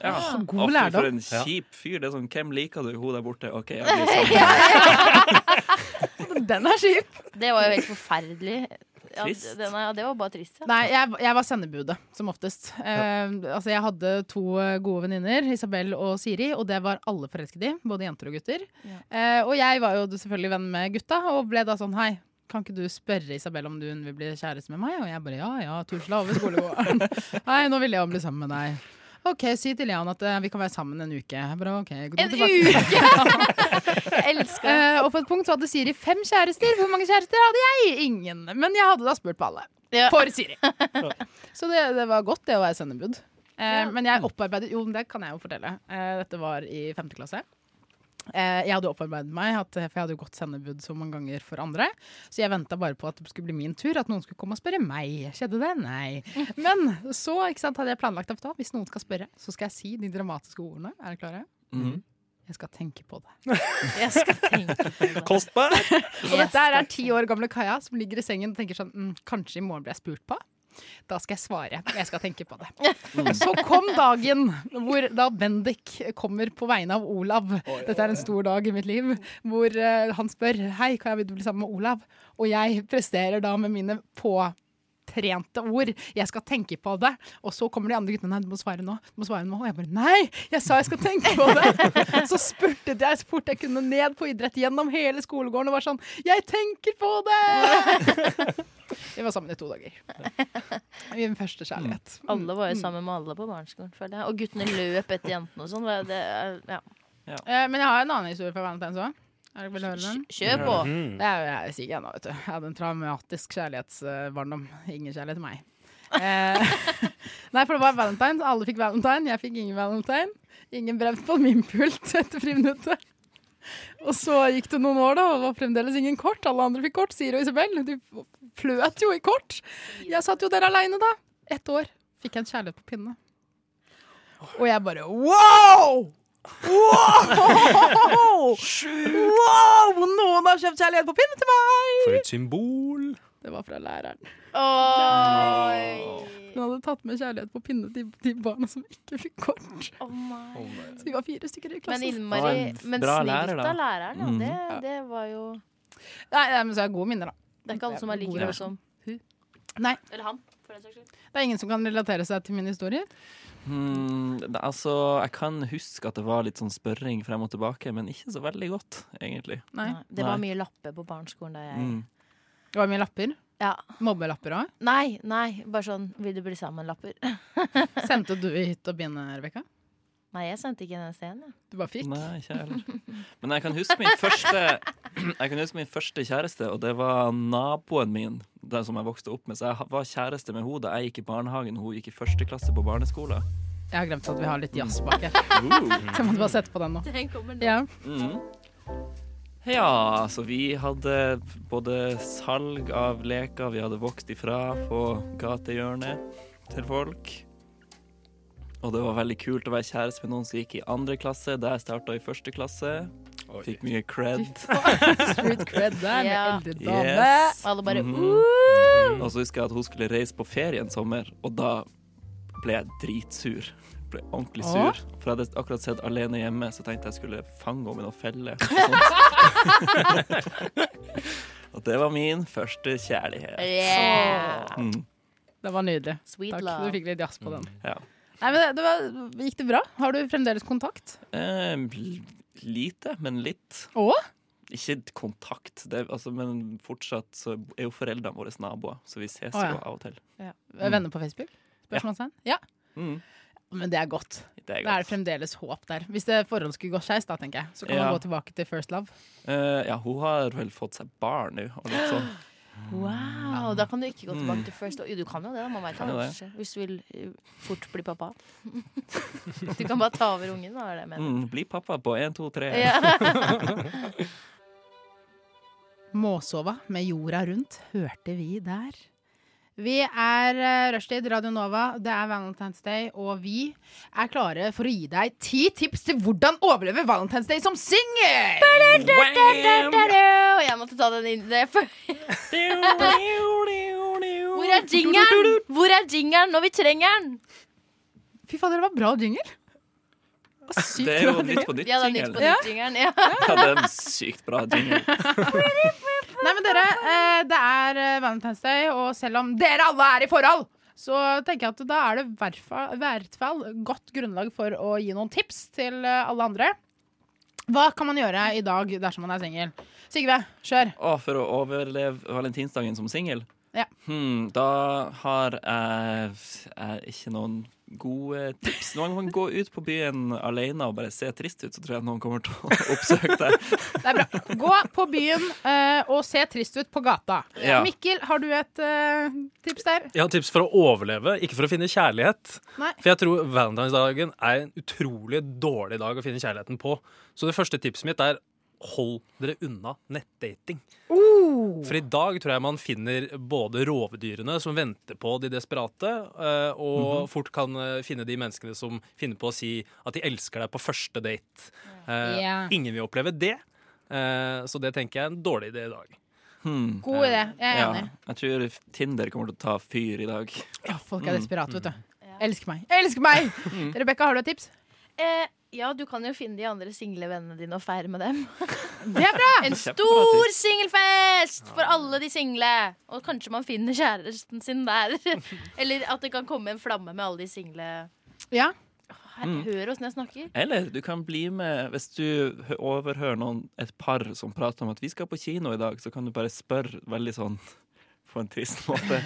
[SPEAKER 3] Ja.
[SPEAKER 4] Så god
[SPEAKER 3] Å, fy,
[SPEAKER 4] lærdom.
[SPEAKER 3] For en
[SPEAKER 6] Ja.
[SPEAKER 3] kjip fyr. Det er sånn, Hvem liker du? Hun der borte. OK, jeg blir sammen.
[SPEAKER 4] Den er kjip!
[SPEAKER 5] Det var jo helt forferdelig. Ja,
[SPEAKER 3] Trist.
[SPEAKER 5] det, nei, ja, det var bare trist. Ja.
[SPEAKER 4] Nei, jeg, jeg var sendebudet, som oftest. Eh, altså, jeg hadde to eh, gode venninner, Isabel og Siri, og det var alle forelsket i. Både jenter og gutter. Eh, og jeg var jo selvfølgelig venn med gutta, og ble da sånn hei. Kan ikke du spørre Isabel om du vil bli kjæreste med meg? Og jeg bare ja ja, tusla over skolegården. Nei, nå vil jeg bli sammen med deg. OK, si til Jan at eh, vi kan være sammen en uke. Jeg bare, ok, gå
[SPEAKER 5] En
[SPEAKER 4] tilbake.
[SPEAKER 5] Jeg elsker det.
[SPEAKER 4] Eh, og på et punkt så hadde Siri fem kjærester. Hvor mange kjærester hadde jeg? Ingen. Men jeg hadde da spurt på alle.
[SPEAKER 5] Ja.
[SPEAKER 4] For Siri. så det, det var godt, det å være sendebud. Eh,
[SPEAKER 5] Ja.
[SPEAKER 4] Men jeg opparbeidet Jo, men det kan jeg jo fortelle. Eh, dette var i femte klasse. Eh, jeg hadde opparbeidet meg, at, for jeg hadde jo gått sendebud så mange ganger for andre. Så jeg venta bare på at det skulle bli min tur, at noen skulle komme og spørre meg. Skjedde det? Nei. Men så ikke sant, hadde jeg planlagt at da, hvis noen skal spørre, så skal jeg si de dramatiske ordene. Er dere klare?
[SPEAKER 3] Mhm.
[SPEAKER 4] Jeg skal tenke på det.
[SPEAKER 5] Jeg skal tenke på det.
[SPEAKER 6] Kost meg!
[SPEAKER 4] Og dette her er ti år gamle Kaja som ligger i sengen og tenker sånn mm, Kanskje i morgen blir jeg spurt på? Da skal jeg svare. og Jeg skal tenke på det. Så kom dagen hvor da Bendik kommer på vegne av Olav. Dette er en stor dag i mitt liv. Hvor eh, han spør Hei, Kaja, vil du bli sammen med Olav? Og jeg presterer da med mine påtrente ord. Jeg skal tenke på det. Og så kommer de andre guttene. Nei, du må svare nå. Du må svare nå. Og jeg bare nei! Jeg sa jeg skal tenke på det. Så spurtet jeg så fort jeg kunne ned på idrett gjennom hele skolegården og var sånn Jeg tenker på det! Vi var sammen i to dager. Min første kjærlighet.
[SPEAKER 5] Alle
[SPEAKER 4] Mm,
[SPEAKER 5] var jo sammen med alle på barneskolen, føler jeg. Og guttene løp etter jentene og sånn. Det- det er- Ja.
[SPEAKER 4] Eh, Men jeg har en annen historie fra Valentine's òg. Er dere vil høre den?
[SPEAKER 5] Kj- Kjør på!
[SPEAKER 6] Mhm.
[SPEAKER 4] Det er jo jeg sikker ennå, vet du. Jeg hadde en traumatisk kjærlighetsbarndom. Ingen kjærlighet til meg. Eh, nei, for det var valentine. Alle fikk valentine. Jeg fikk ingen valentine. Ingen brev på min pult etter friminuttet. Og så gikk det noen år, da, og det var fremdeles ingen kort. Alle andre fikk kort. Siri og Isabel de fløt jo i kort. Jeg satt jo der aleine, da. Ett år. Fikk jeg en kjærlighet på pinne. Og jeg bare wow! Wow! wow! Noen har kjøpt kjærlighet på pinne til meg!
[SPEAKER 6] For et symbol.
[SPEAKER 4] Det var fra læreren.
[SPEAKER 5] Oi!
[SPEAKER 4] Hun hadde tatt med kjærlighet på pinne til de barna som ikke fikk kort.
[SPEAKER 5] Å, nei.
[SPEAKER 4] Så vi var fire stykker i
[SPEAKER 5] Men
[SPEAKER 4] klassen.
[SPEAKER 3] Det var
[SPEAKER 5] innmari
[SPEAKER 3] en
[SPEAKER 5] Men
[SPEAKER 3] bra
[SPEAKER 5] snilt
[SPEAKER 3] lærer, da.
[SPEAKER 5] av læreren, ja.
[SPEAKER 3] Mhm.
[SPEAKER 5] Det, det var jo
[SPEAKER 4] Nei, nei, men så er det gode minner, da.
[SPEAKER 5] Det er ikke alle som er like
[SPEAKER 4] God
[SPEAKER 5] gode
[SPEAKER 4] lærer.
[SPEAKER 5] som hun.
[SPEAKER 4] Nei.
[SPEAKER 5] Eller han. føler
[SPEAKER 8] for den saks skyld?
[SPEAKER 4] Det er ingen som kan relatere seg til mine historier.
[SPEAKER 3] Hmm, det- altså, jeg kan huske at det var litt sånn spørring frem og tilbake, men ikke så veldig godt, egentlig.
[SPEAKER 4] Nei.
[SPEAKER 5] Nei, Det var
[SPEAKER 3] Nei.
[SPEAKER 5] mye lapper på barneskolen da jeg
[SPEAKER 3] Mm.
[SPEAKER 4] Det var mye lapper.
[SPEAKER 5] Ja.
[SPEAKER 4] Mobbelapper òg.
[SPEAKER 5] Nei, nei, bare sånn 'vil du bli sammen'-lapper.
[SPEAKER 4] Sendte du i hytt og binde, Rebekka?
[SPEAKER 5] Nei, jeg sendte ikke en eneste en. jeg.
[SPEAKER 4] Du bare fikk?
[SPEAKER 3] Nei, ikke jeg heller. Men jeg kan huske min første Jeg kan huske min første kjæreste, og det var naboen min. Den som jeg vokste opp med Så jeg var kjæreste med henne da jeg gikk i barnehagen. Hun gikk i første klasse på barneskolen.
[SPEAKER 4] Jeg har glemt at vi har litt jazz bak her. Så jeg måtte bare sette på den nå.
[SPEAKER 8] Den kommer nå.
[SPEAKER 4] Ja.
[SPEAKER 3] Mhm. Ja, så vi hadde både salg av leker vi hadde vokst ifra på gatehjørnet til folk. Og det var veldig kult å være kjæreste med noen som gikk i andre klasse, der jeg starta i første klasse. Fikk mye cred.
[SPEAKER 4] Street cred der med
[SPEAKER 5] Ja.
[SPEAKER 4] eldre dame.
[SPEAKER 3] Yes.
[SPEAKER 5] Og alle bare
[SPEAKER 3] Mhm. Og så husker jeg at hun skulle reise på ferie en sommer, og da ble jeg dritsur. Ble ordentlig sur.
[SPEAKER 4] Åh?
[SPEAKER 3] For jeg hadde akkurat sett Alene hjemme, så tenkte jeg skulle fange henne med noen feller. og sånt. Og det var min første kjærlighet.
[SPEAKER 5] Yeah.
[SPEAKER 3] Mm.
[SPEAKER 4] Det var nydelig.
[SPEAKER 5] Sweet
[SPEAKER 4] Takk. Du
[SPEAKER 5] love.
[SPEAKER 4] fikk litt jazz på den.
[SPEAKER 3] Ja.
[SPEAKER 4] Nei, men det, det var, Gikk det bra? Har du fremdeles kontakt?
[SPEAKER 3] Eh, l- lite, men litt.
[SPEAKER 4] Å?
[SPEAKER 3] Ikke kontakt, det, altså, men fortsatt så er jo foreldrene våre naboer, så vi ses
[SPEAKER 4] Å, ja.
[SPEAKER 3] jo av og til.
[SPEAKER 4] Venner på Facebook? Spørsmålstegn? Ja.
[SPEAKER 3] Mm.
[SPEAKER 4] Men det er godt.
[SPEAKER 3] Det er
[SPEAKER 4] Da er det
[SPEAKER 3] godt.
[SPEAKER 4] fremdeles håp der. Hvis det forholdet skulle gå skeis, da, tenker jeg, så kan
[SPEAKER 3] Ja.
[SPEAKER 4] man gå tilbake til first love.
[SPEAKER 3] Eh, ja, hun har vel fått seg barn nå, og litt sånn.
[SPEAKER 5] Wow, da kan du ikke gå tilbake
[SPEAKER 3] Mm.
[SPEAKER 5] til first love. Jo, du kan jo det, da. Man vet
[SPEAKER 3] Kan jo
[SPEAKER 5] aldri. Hvis du vil eh, fort bli pappa. Du kan bare ta over ungen, da er det jeg mener.
[SPEAKER 3] Mm, bli pappa på én, to, tre.
[SPEAKER 5] Ja.
[SPEAKER 4] Måsova med jorda rundt hørte vi der. Vi er eh, Rushtid, Radio Nova, det er Valentine's Day, og vi er klare for å gi deg ti tips til hvordan overleve Valentine's Day som singel!
[SPEAKER 5] Og jeg måtte ta den inn det før. Hvor er jingeren? Hvor er jingeren når vi trenger den?
[SPEAKER 4] Fy fader, det var bra jingle. Det var Sykt
[SPEAKER 3] Det er jo
[SPEAKER 4] bra jingle.
[SPEAKER 3] Nytt på nytt
[SPEAKER 5] Ja, det er nytt på
[SPEAKER 3] jingle.
[SPEAKER 5] nytt-jingeren. Ja.
[SPEAKER 3] Ja, det er en sykt bra jingle.
[SPEAKER 4] Nei, men dere, eh, det er eh, Valentine's Day, og selv om dere alle er i forhold, så tenker jeg at da er det i hvert fall- hvert fall godt grunnlag for å gi noen tips til eh, alle andre. Hva kan man gjøre i dag dersom man er singel? Sigve, kjør.
[SPEAKER 3] Å, for å overleve valentinsdagen som singel?
[SPEAKER 4] Ja.
[SPEAKER 3] Hmm, da har jeg, jeg ikke noen gode tips. Noen kan gå ut på byen alene og bare se trist ut, så tror jeg noen kommer til å oppsøke deg.
[SPEAKER 4] Det er bra. Gå på byen eh, og se trist ut på gata.
[SPEAKER 3] Ja.
[SPEAKER 4] Mikkel, har du et eh, tips der?
[SPEAKER 6] Jeg har tips for å overleve, ikke for å finne kjærlighet.
[SPEAKER 4] Nei.
[SPEAKER 6] For jeg tror valentinsdagen er en utrolig dårlig dag å finne kjærligheten på. Så det første tipset mitt er hold dere unna nettdating.
[SPEAKER 3] Oh!
[SPEAKER 6] For i dag tror jeg man finner både rovdyrene som venter på de desperate, eh, og fort kan eh, finne de menneskene som finner på å si at de elsker deg på første date. Eh,
[SPEAKER 4] Ja.
[SPEAKER 6] Ingen vil oppleve det, eh, så det tenker jeg er en dårlig idé i dag.
[SPEAKER 3] Hmm.
[SPEAKER 4] God idé. Jeg er
[SPEAKER 3] Ja,
[SPEAKER 4] enig.
[SPEAKER 3] jeg tror Tinder kommer til å ta fyr i dag.
[SPEAKER 4] Ja, folk
[SPEAKER 3] Mm.
[SPEAKER 4] er desperate, vet du. Elsk meg. Elsk meg! Rebekka, har du et tips?
[SPEAKER 5] Eh, ja, du kan jo finne de andre single vennene dine og feire med dem.
[SPEAKER 4] Det er bra!
[SPEAKER 5] En
[SPEAKER 3] Kjempebra
[SPEAKER 5] stor
[SPEAKER 3] tips. Ah.
[SPEAKER 5] singelfest for alle de single! Og kanskje man finner kjæresten sin der. Eller at det kan komme en flamme med alle de single.
[SPEAKER 4] Ja.
[SPEAKER 5] Her,
[SPEAKER 3] Mm.
[SPEAKER 5] Hør oss når jeg snakker.
[SPEAKER 3] Eller du kan bli med hvis du hø- overhører noen, et par som prater om at vi skal på kino i dag, så kan du bare spørre veldig sånn på en trist måte.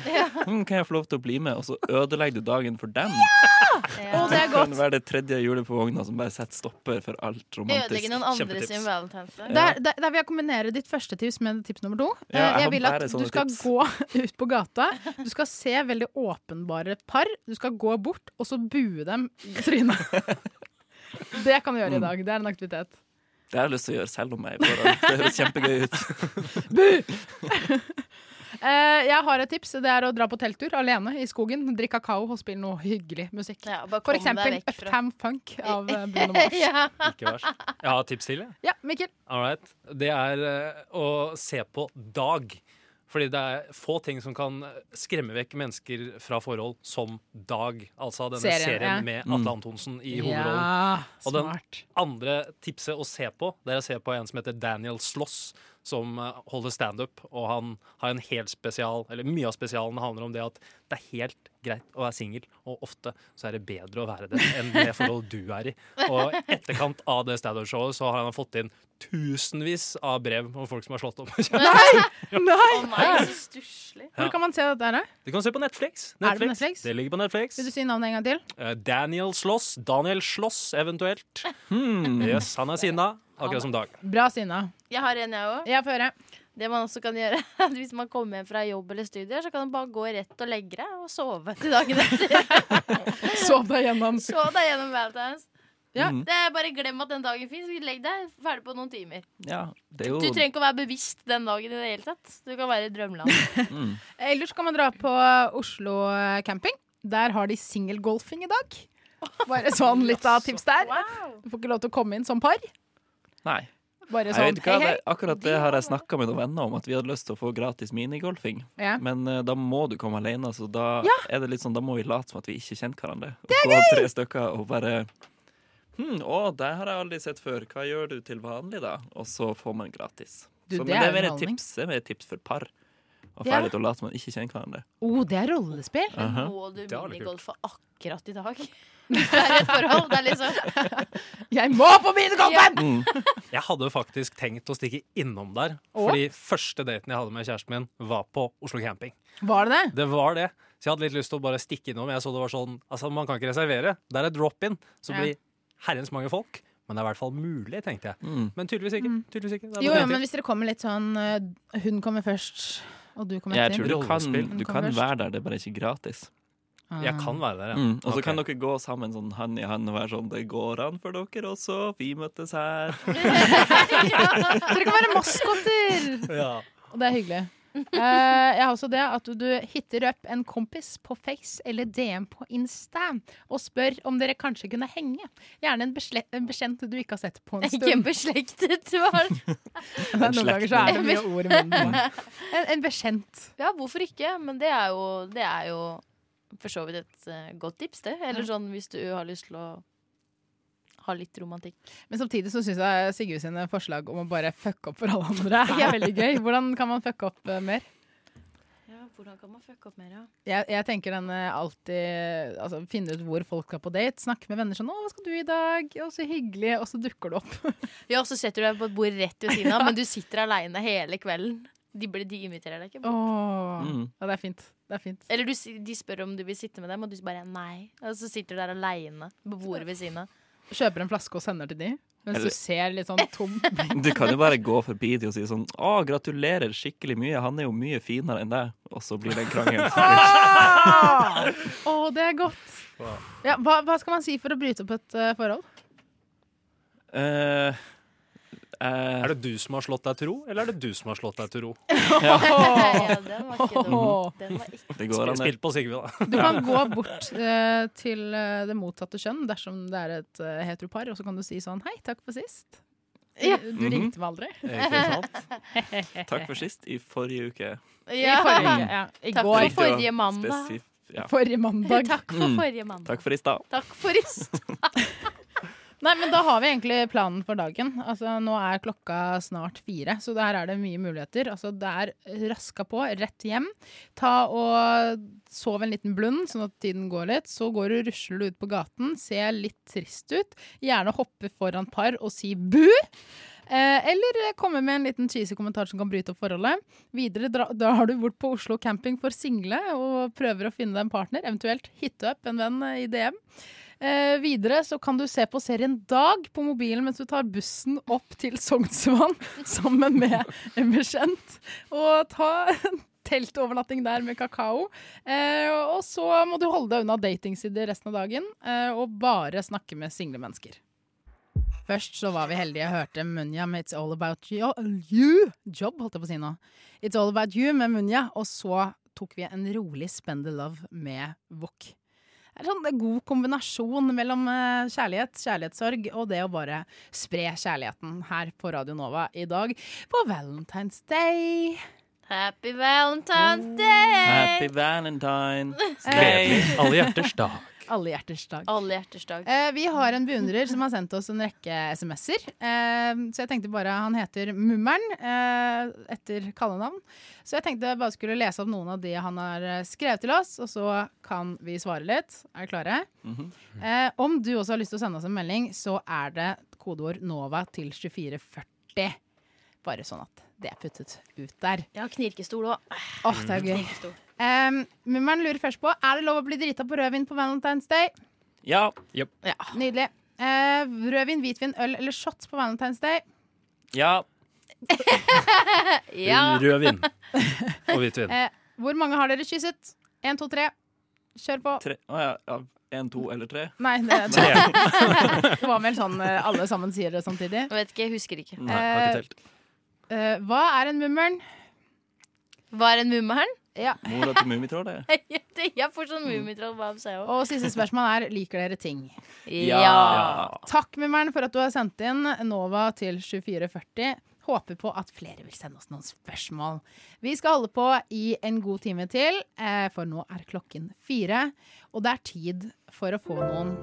[SPEAKER 3] Hm, kan jeg få lov til å bli med? Og så ødelegger du dagen for dem.
[SPEAKER 5] Ja.
[SPEAKER 4] Å, det er
[SPEAKER 3] Kan
[SPEAKER 4] godt.
[SPEAKER 3] det være det tredje hjulet på vogna som bare setter stopper for alt
[SPEAKER 5] Ødelegge
[SPEAKER 3] romantisk?
[SPEAKER 5] noen andre
[SPEAKER 6] Kjempetips.
[SPEAKER 5] sin valentines day.
[SPEAKER 4] Der, der, der vil jeg kombinere ditt første tips med tips nummer to.
[SPEAKER 3] Ja, jeg
[SPEAKER 4] Eh,
[SPEAKER 3] har
[SPEAKER 4] jeg vil at
[SPEAKER 3] bare
[SPEAKER 4] du
[SPEAKER 3] sånne
[SPEAKER 4] skal
[SPEAKER 3] tips.
[SPEAKER 4] gå ut på gata. Du skal se veldig åpenbare par. Du skal gå bort, og så bue dem i trynet. Det kan du gjøre i dag. Det er en aktivitet.
[SPEAKER 3] Det har jeg lyst til å gjøre selv om jeg er i forhold. Det høres kjempegøy ut.
[SPEAKER 4] Eh, jeg har et tips. Det er å dra på telttur alene i skogen. Drikke kakao og spille noe hyggelig musikk.
[SPEAKER 5] Ja, bare
[SPEAKER 4] For
[SPEAKER 5] kom deg
[SPEAKER 4] eksempel
[SPEAKER 5] vekk fra-
[SPEAKER 4] Uptown Funk av eh, Bruno Mars.
[SPEAKER 5] Ja.
[SPEAKER 6] Ikke verst. Jeg har et tips til, jeg.
[SPEAKER 4] Ja, Mikkel.
[SPEAKER 6] All right. Det er eh, å se på dag. Fordi det er få ting som kan eh, skremme vekk mennesker fra forhold som dag. Altså denne
[SPEAKER 4] Serien,
[SPEAKER 6] serien,
[SPEAKER 4] ja.
[SPEAKER 6] med Atle Antonsen i hovedrollen.
[SPEAKER 4] Ja,
[SPEAKER 6] Og den-
[SPEAKER 4] smart.
[SPEAKER 6] Andre tipset å se på, det er å se på en som heter Daniel Sloss, som eh, holder standup, og han har en helt spesial, eller mye av spesialen handler om det at det er helt greit å være singel, og ofte så er det bedre å være det enn det forholdet du er i. Og i etterkant av det standup-showet så har han fått inn tusenvis av brev om folk som har slått opp.
[SPEAKER 4] Nei!
[SPEAKER 5] Å nei, så stusslig.
[SPEAKER 4] Hvor kan man se dette her, da?
[SPEAKER 6] Du kan se på Netflix.
[SPEAKER 4] Er det på Netflix?
[SPEAKER 6] Det ligger på Netflix.
[SPEAKER 4] Vil du si navnet en gang til?
[SPEAKER 6] Eh, Daniel Slåss. Daniel Slåss, eventuelt.
[SPEAKER 4] Hmm.
[SPEAKER 6] Yes, han er sinna, akkurat som Dag.
[SPEAKER 4] Bra, Sina.
[SPEAKER 5] Jeg har en, jeg òg.
[SPEAKER 4] Jeg får høre.
[SPEAKER 5] Det man også kan gjøre, er at hvis man kommer hjem fra jobb eller studier, så kan man bare gå rett og legge deg og sove til dagen etter.
[SPEAKER 4] Sov deg gjennom.
[SPEAKER 5] Så deg gjennom Valentine's.
[SPEAKER 4] Ja.
[SPEAKER 5] Det er Bare glem at den dagen fins. Legg deg ferdig på noen timer.
[SPEAKER 3] Ja, det er jo
[SPEAKER 5] Du trenger ikke å være bevisst den dagen i det hele tatt. Du kan være i drømmeland.
[SPEAKER 3] mm.
[SPEAKER 4] Ellers kan man dra på Oslo eh, camping. Der har de singelgolfing i dag. Bare sånn litt av tips der.
[SPEAKER 5] Wow.
[SPEAKER 4] Du får ikke lov til å komme inn som par.
[SPEAKER 3] Nei.
[SPEAKER 4] Bare
[SPEAKER 3] Jeg
[SPEAKER 4] sånn
[SPEAKER 3] vet ikke
[SPEAKER 4] hei,
[SPEAKER 3] hva,
[SPEAKER 4] hei.
[SPEAKER 3] det, akkurat det har jeg snakka med noen venner om, at vi hadde lyst til å få gratis minigolfing.
[SPEAKER 4] Ja.
[SPEAKER 3] Men eh, da må du komme alene, så da er det litt sånn Da må vi late som at vi ikke kjenner hverandre. Og gå tre stykker og bare Hm, å, det har jeg aldri sett før. Hva gjør du til vanlig, da? Og så får man gratis.
[SPEAKER 4] Du,
[SPEAKER 3] så,
[SPEAKER 4] det
[SPEAKER 3] men det
[SPEAKER 4] er
[SPEAKER 3] er mer et
[SPEAKER 4] underholdning.
[SPEAKER 3] tips, det er mer et tips for par. Og
[SPEAKER 4] Ja.
[SPEAKER 3] ferdig til å late som man ikke kjenner hverandre.
[SPEAKER 4] Oh, det er rollespill.
[SPEAKER 3] Aha.
[SPEAKER 5] Må du
[SPEAKER 6] Det var litt
[SPEAKER 5] minigolfe akkurat i dag? Det er et forhold. Det er liksom
[SPEAKER 4] Jeg må på minigolfen!
[SPEAKER 3] Mm.
[SPEAKER 6] Jeg hadde faktisk tenkt å stikke innom der.
[SPEAKER 4] Og?
[SPEAKER 6] Fordi første daten jeg hadde med kjæresten min, var på Oslo camping.
[SPEAKER 4] Var det det?
[SPEAKER 6] Det var det. Så jeg hadde litt lyst til å bare stikke innom. Jeg så det var sånn, altså Man kan ikke reservere. Det er et drop-in. Så
[SPEAKER 4] Ja.
[SPEAKER 6] blir herrens mange folk. Men det er i hvert fall mulig, tenkte jeg.
[SPEAKER 3] Mm.
[SPEAKER 6] Men tydeligvis ikke. tydeligvis ikke. Det er
[SPEAKER 4] Jo,
[SPEAKER 6] bare
[SPEAKER 4] jo,
[SPEAKER 6] en
[SPEAKER 4] men
[SPEAKER 6] ting.
[SPEAKER 4] hvis dere kommer litt sånn eh, Hun kommer først, og du kommer
[SPEAKER 3] Jeg
[SPEAKER 4] etter.
[SPEAKER 3] tror du kan,
[SPEAKER 6] Rollespill.
[SPEAKER 3] du kan være der, det er bare ikke gratis.
[SPEAKER 4] Ah.
[SPEAKER 6] Jeg kan være der, ja.
[SPEAKER 3] Mm. Og så
[SPEAKER 6] Ok.
[SPEAKER 3] kan dere gå sammen sånn hand i hand og være sånn Det går an for dere også, vi møttes her.
[SPEAKER 4] Dere kan være maskotter!
[SPEAKER 6] ja.
[SPEAKER 4] Og det er hyggelig. Eh, jeg har også det at du hitter opp en kompis på Face eller DM på Insta og spør om dere kanskje kunne henge. Gjerne en, besle- en bekjent du ikke har sett på en
[SPEAKER 5] ikke en
[SPEAKER 4] stund.
[SPEAKER 5] beslektet barn.
[SPEAKER 4] Noen ganger så er det mye ord i munnen. En, en bekjent.
[SPEAKER 5] Ja, hvorfor ikke? Men det er jo, det er jo for så vidt et eh, godt tips, det. Eller sånn hvis du har lyst til å ha litt romantikk.
[SPEAKER 4] Men samtidig så syns jeg Sigurd sine forslag om å bare fucke opp for alle andre er veldig gøy. Hvordan kan man fucke opp eh, mer?
[SPEAKER 5] Ja, hvordan kan man fucke opp mer, ja?
[SPEAKER 4] Jeg, jeg tenker den eh, alltid altså, Finne ut hvor folk skal på date, snakke med venner sånn 'Å, hva skal du i dag?' Å, så hyggelig. Og så dukker det opp.
[SPEAKER 5] Ja, så setter du deg på et bord rett ved siden av, men du sitter aleine hele kvelden. De, blir- de inviterer deg ikke. bort.
[SPEAKER 4] Åh.
[SPEAKER 3] Mm.
[SPEAKER 4] Ja, det er fint. Det er fint.
[SPEAKER 5] Eller du, si- de spør om du vil sitte med dem, og du bare nei. Og så sitter du der aleine på bordet ved siden av.
[SPEAKER 4] Kjøper en flaske og sender til de. Mens
[SPEAKER 3] Eller-
[SPEAKER 4] du ser litt sånn tom
[SPEAKER 3] Du kan jo bare gå forbi dem og si sånn Å, gratulerer skikkelig mye, han er jo mye finere enn deg. Og så blir det en krangel.
[SPEAKER 4] Åh, det er godt. Ja, hva, hva skal man si for å bryte opp et eh, forhold?
[SPEAKER 3] Eh, eh,
[SPEAKER 6] Er det du som har slått deg til ro, eller er det du som har slått deg til ro?
[SPEAKER 5] Ja, den var ikke dum.
[SPEAKER 4] Åh.
[SPEAKER 5] Den var ikke.
[SPEAKER 3] det går an.
[SPEAKER 6] Spill på Sigve, da.
[SPEAKER 4] Du kan gå bort eh, til eh, det mottatte kjønn dersom det er et uh, heteropar, og så kan du si sånn Hei, takk for sist.
[SPEAKER 5] Ja.
[SPEAKER 4] Du, du
[SPEAKER 3] Mhm.
[SPEAKER 4] ringte meg aldri.
[SPEAKER 6] Ikke sant?
[SPEAKER 3] Takk for sist i forrige uke.
[SPEAKER 4] I forrige
[SPEAKER 5] Ja.
[SPEAKER 4] uke. Ja. I
[SPEAKER 5] Takk
[SPEAKER 4] går.
[SPEAKER 5] for forrige mandag.
[SPEAKER 3] Spesif ja.
[SPEAKER 4] Forrige mandag.
[SPEAKER 5] Takk for
[SPEAKER 3] Mm.
[SPEAKER 5] forrige mandag.
[SPEAKER 3] Takk for i stad.
[SPEAKER 5] Takk for i stad.
[SPEAKER 4] Nei, men da har vi egentlig planen for dagen. Altså, nå er klokka snart fire, så der er det mye muligheter. Altså, det er raska på, rett hjem. Ta og Sov en liten blund, sånn at tiden går litt. Så går du rusler du ut på gaten, ser litt trist ut. Gjerne hoppe foran par og si bu. Eh, eller komme med en liten cheesy kommentar som kan bryte opp forholdet. Videre dra- drar du bort på Oslo camping for single og prøver å finne deg en partner, eventuelt hitte opp en venn eh, i DM. Eh, videre så kan du se på serien Dag på mobilen mens du tar bussen opp til Sognsvann sammen med en bekjent. Og ta en teltovernatting der med kakao. Eh, og så må du holde deg unna datingsider resten av dagen, eh, og bare snakke med single mennesker. Først så var vi heldige og hørte Munja med It's All About Jo- You. Job, holdt jeg på å si nå. It's All About You med Munja. Og så tok vi en rolig Spend the Love med Wok. Det er sånn en god kombinasjon mellom eh, kjærlighet, kjærlighetssorg og det å bare spre kjærligheten her på Radio Nova i dag på Valentine's Day.
[SPEAKER 5] Happy Valentine's Day!
[SPEAKER 3] Happy valentine.
[SPEAKER 6] Gledelig. Alle hjerters dag.
[SPEAKER 4] Eh, Alle hjerters dag.
[SPEAKER 5] Alle hjerters dag.
[SPEAKER 4] Eh, vi har en beundrer som har sendt oss en rekke SMS-er. Eh, så jeg tenkte bare Han heter Mummeren eh, etter kallenavn. Så jeg tenkte jeg bare skulle lese opp noen av de han har eh, skrevet til oss, og så kan vi svare litt. Er dere klare?
[SPEAKER 3] Mhm.
[SPEAKER 4] Eh, om du også har lyst til å sende oss en melding, så er det kodeord NOVA til 2440. Bare sånn at det er puttet ut der.
[SPEAKER 8] Jeg har knirkestol òg.
[SPEAKER 4] Åh, det er gøy.
[SPEAKER 5] Mm.
[SPEAKER 8] Knirkestol.
[SPEAKER 4] Um, Mummeren lurer først på Er det lov å bli drita på rødvin på Valentine's Day.
[SPEAKER 3] Ja.
[SPEAKER 4] Nydelig. Eh, rødvin, hvitvin, øl eller shots på Valentine's Day?
[SPEAKER 3] Ja.
[SPEAKER 5] Ja.
[SPEAKER 6] Rødvin og hvitvin.
[SPEAKER 4] Hvor mange har dere kysset? Én, to, tre. Kjør på.
[SPEAKER 3] Tre. Å ja. ja. En, to eller tre?
[SPEAKER 4] Nei, det, det, var vel sånn eh, alle sammen sier det samtidig.
[SPEAKER 5] Jeg vet ikke, jeg husker ikke.
[SPEAKER 3] Nei.
[SPEAKER 6] Har
[SPEAKER 4] Eh,
[SPEAKER 6] ikke telt.
[SPEAKER 4] eh, hva er en mummeren?
[SPEAKER 5] Hva er en mummeren?
[SPEAKER 4] Ja.
[SPEAKER 3] Mora til Mummitrollet?
[SPEAKER 5] Jeg får sånn
[SPEAKER 3] Mm.
[SPEAKER 5] mummitroll-babs, jeg òg.
[SPEAKER 4] Og siste spørsmål er liker dere ting.
[SPEAKER 5] Ja.
[SPEAKER 4] Takk, Mummeren, for at du har sendt inn Nova til 2440. Håper på at flere vil sende oss noen spørsmål. Vi skal holde på i en god time til, eh, for nå er klokken fire. Og det er tid for å få noen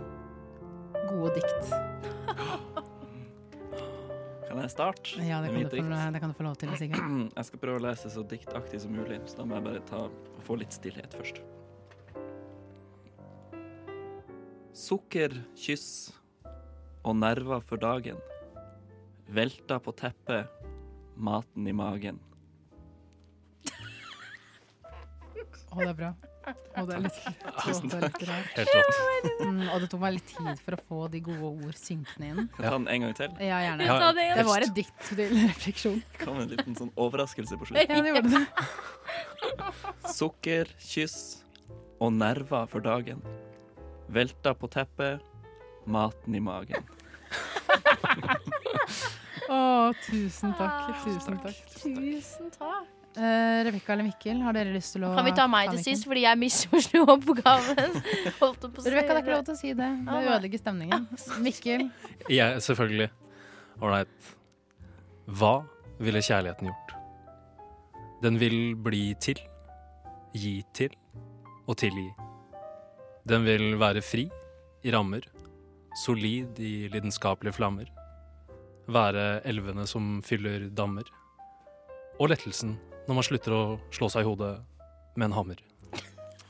[SPEAKER 4] gode dikt.
[SPEAKER 3] Kan jeg starte?
[SPEAKER 4] Ja, det kan,
[SPEAKER 3] Mitt
[SPEAKER 4] du få,
[SPEAKER 3] dikt.
[SPEAKER 4] det kan du få lov til, Sigurd.
[SPEAKER 3] Mm, Jeg skal prøve å lese så diktaktig som mulig, så da må jeg bare ta, få litt stillhet først. Sukker, kyss og nerver for dagen. Velta på teppet, maten i magen.
[SPEAKER 4] Å, det er bra. Å, det er litt, å, det er litt bra.
[SPEAKER 6] Helt rått.
[SPEAKER 4] Mm, og det tok meg litt tid for å få de gode ord synkende inn.
[SPEAKER 3] Kan jeg ta den en gang til?
[SPEAKER 4] Ja, gjerne.
[SPEAKER 6] Ja,
[SPEAKER 4] Det var et dikt til refleksjon.
[SPEAKER 3] Kom en liten sånn overraskelse på slutt.
[SPEAKER 4] Ja, det gjorde det.
[SPEAKER 3] Sukker, kyss og nerver for dagen. Velta på teppet, maten i magen.
[SPEAKER 4] Å, tusen takk.
[SPEAKER 5] Ah.
[SPEAKER 4] Tusen takk.
[SPEAKER 8] Tusen takk.
[SPEAKER 4] Eh, Rebekka eller Mikkel, har dere lyst til å
[SPEAKER 5] Kan vi ta meg til
[SPEAKER 4] Mikkel?
[SPEAKER 5] sist, fordi jeg misforsto oppgaven? Holdt på å
[SPEAKER 4] Rebekka,
[SPEAKER 5] si
[SPEAKER 4] det er
[SPEAKER 5] det.
[SPEAKER 4] ikke lov til å si det. Det
[SPEAKER 5] Ah, nei.
[SPEAKER 4] ødelegger stemningen. Mikkel.
[SPEAKER 6] Jeg, selvfølgelig. Ålreit. Hva ville kjærligheten gjort? Den vil bli til, gi til og tilgi. Den vil være fri i rammer, solid i lidenskapelige flammer. Være elvene som fyller dammer. Og lettelsen når man slutter å slå seg i hodet med en hammer.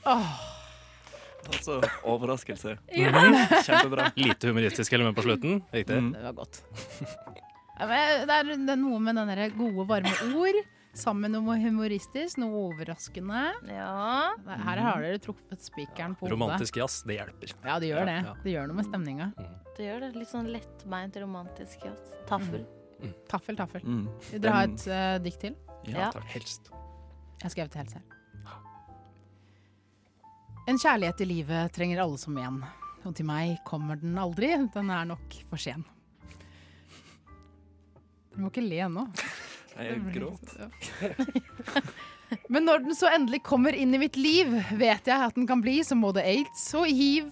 [SPEAKER 3] Altså overraskelse.
[SPEAKER 6] Mhm.
[SPEAKER 3] Kjempebra.
[SPEAKER 6] Lite humoristisk element på slutten. Riktig.
[SPEAKER 3] Mm.
[SPEAKER 4] Det var godt. Ja, men Det er, det er noe med den der gode, varme ord. Sammen med noe humoristisk, noe overraskende.
[SPEAKER 5] Ja.
[SPEAKER 4] Her har dere truffet spikeren på hodet.
[SPEAKER 6] Romantisk jazz, det hjelper.
[SPEAKER 4] Ja, det gjør det.
[SPEAKER 6] Ja, ja.
[SPEAKER 4] Det gjør noe med stemninga.
[SPEAKER 5] Det gjør det. Litt sånn lettbeint romantisk. ja. Taffel.
[SPEAKER 4] Taffel, taffel.
[SPEAKER 3] Mm.
[SPEAKER 4] Dere har et eh, dikt til?
[SPEAKER 3] Ja,
[SPEAKER 5] Ja.
[SPEAKER 3] takk.
[SPEAKER 6] Helst.
[SPEAKER 4] Jeg skrev det helt selv. En kjærlighet i livet trenger alle som en. Og til meg kommer den aldri, den er nok for sen. Du må ikke le nå.
[SPEAKER 3] Jeg gråt.
[SPEAKER 4] Men når den så endelig kommer inn i mitt liv, vet jeg at den kan bli som både aids og hiv.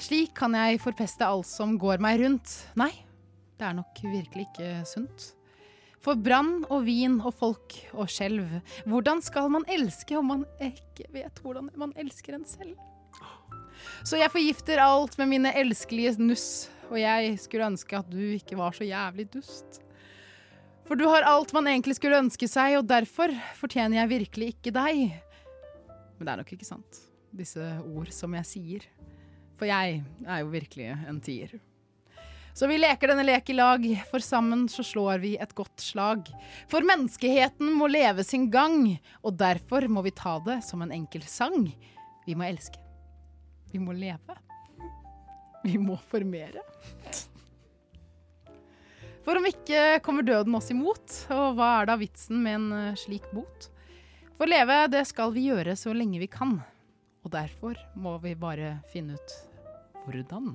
[SPEAKER 4] Slik kan jeg forpeste alt som går meg rundt. Nei, det er nok virkelig ikke sunt. For brann og vin og folk og skjelv, hvordan skal man elske om man ikke vet hvordan man elsker en selv? Så jeg forgifter alt med mine elskelige nuss, og jeg skulle ønske at du ikke var så jævlig dust. For du har alt man egentlig skulle ønske seg, og derfor fortjener jeg virkelig ikke deg. Men det er nok ikke sant, disse ord som jeg sier. For jeg er jo virkelig en tier. Så vi leker denne lek i lag, for sammen så slår vi et godt slag. For menneskeheten må leve sin gang, og derfor må vi ta det som en enkel sang. Vi må elske. Vi må leve. Vi må formere. For om ikke kommer døden oss imot, og hva er da vitsen med en eh, slik bot? For leve, det skal vi gjøre så lenge vi kan. Og derfor må vi bare finne ut hvordan.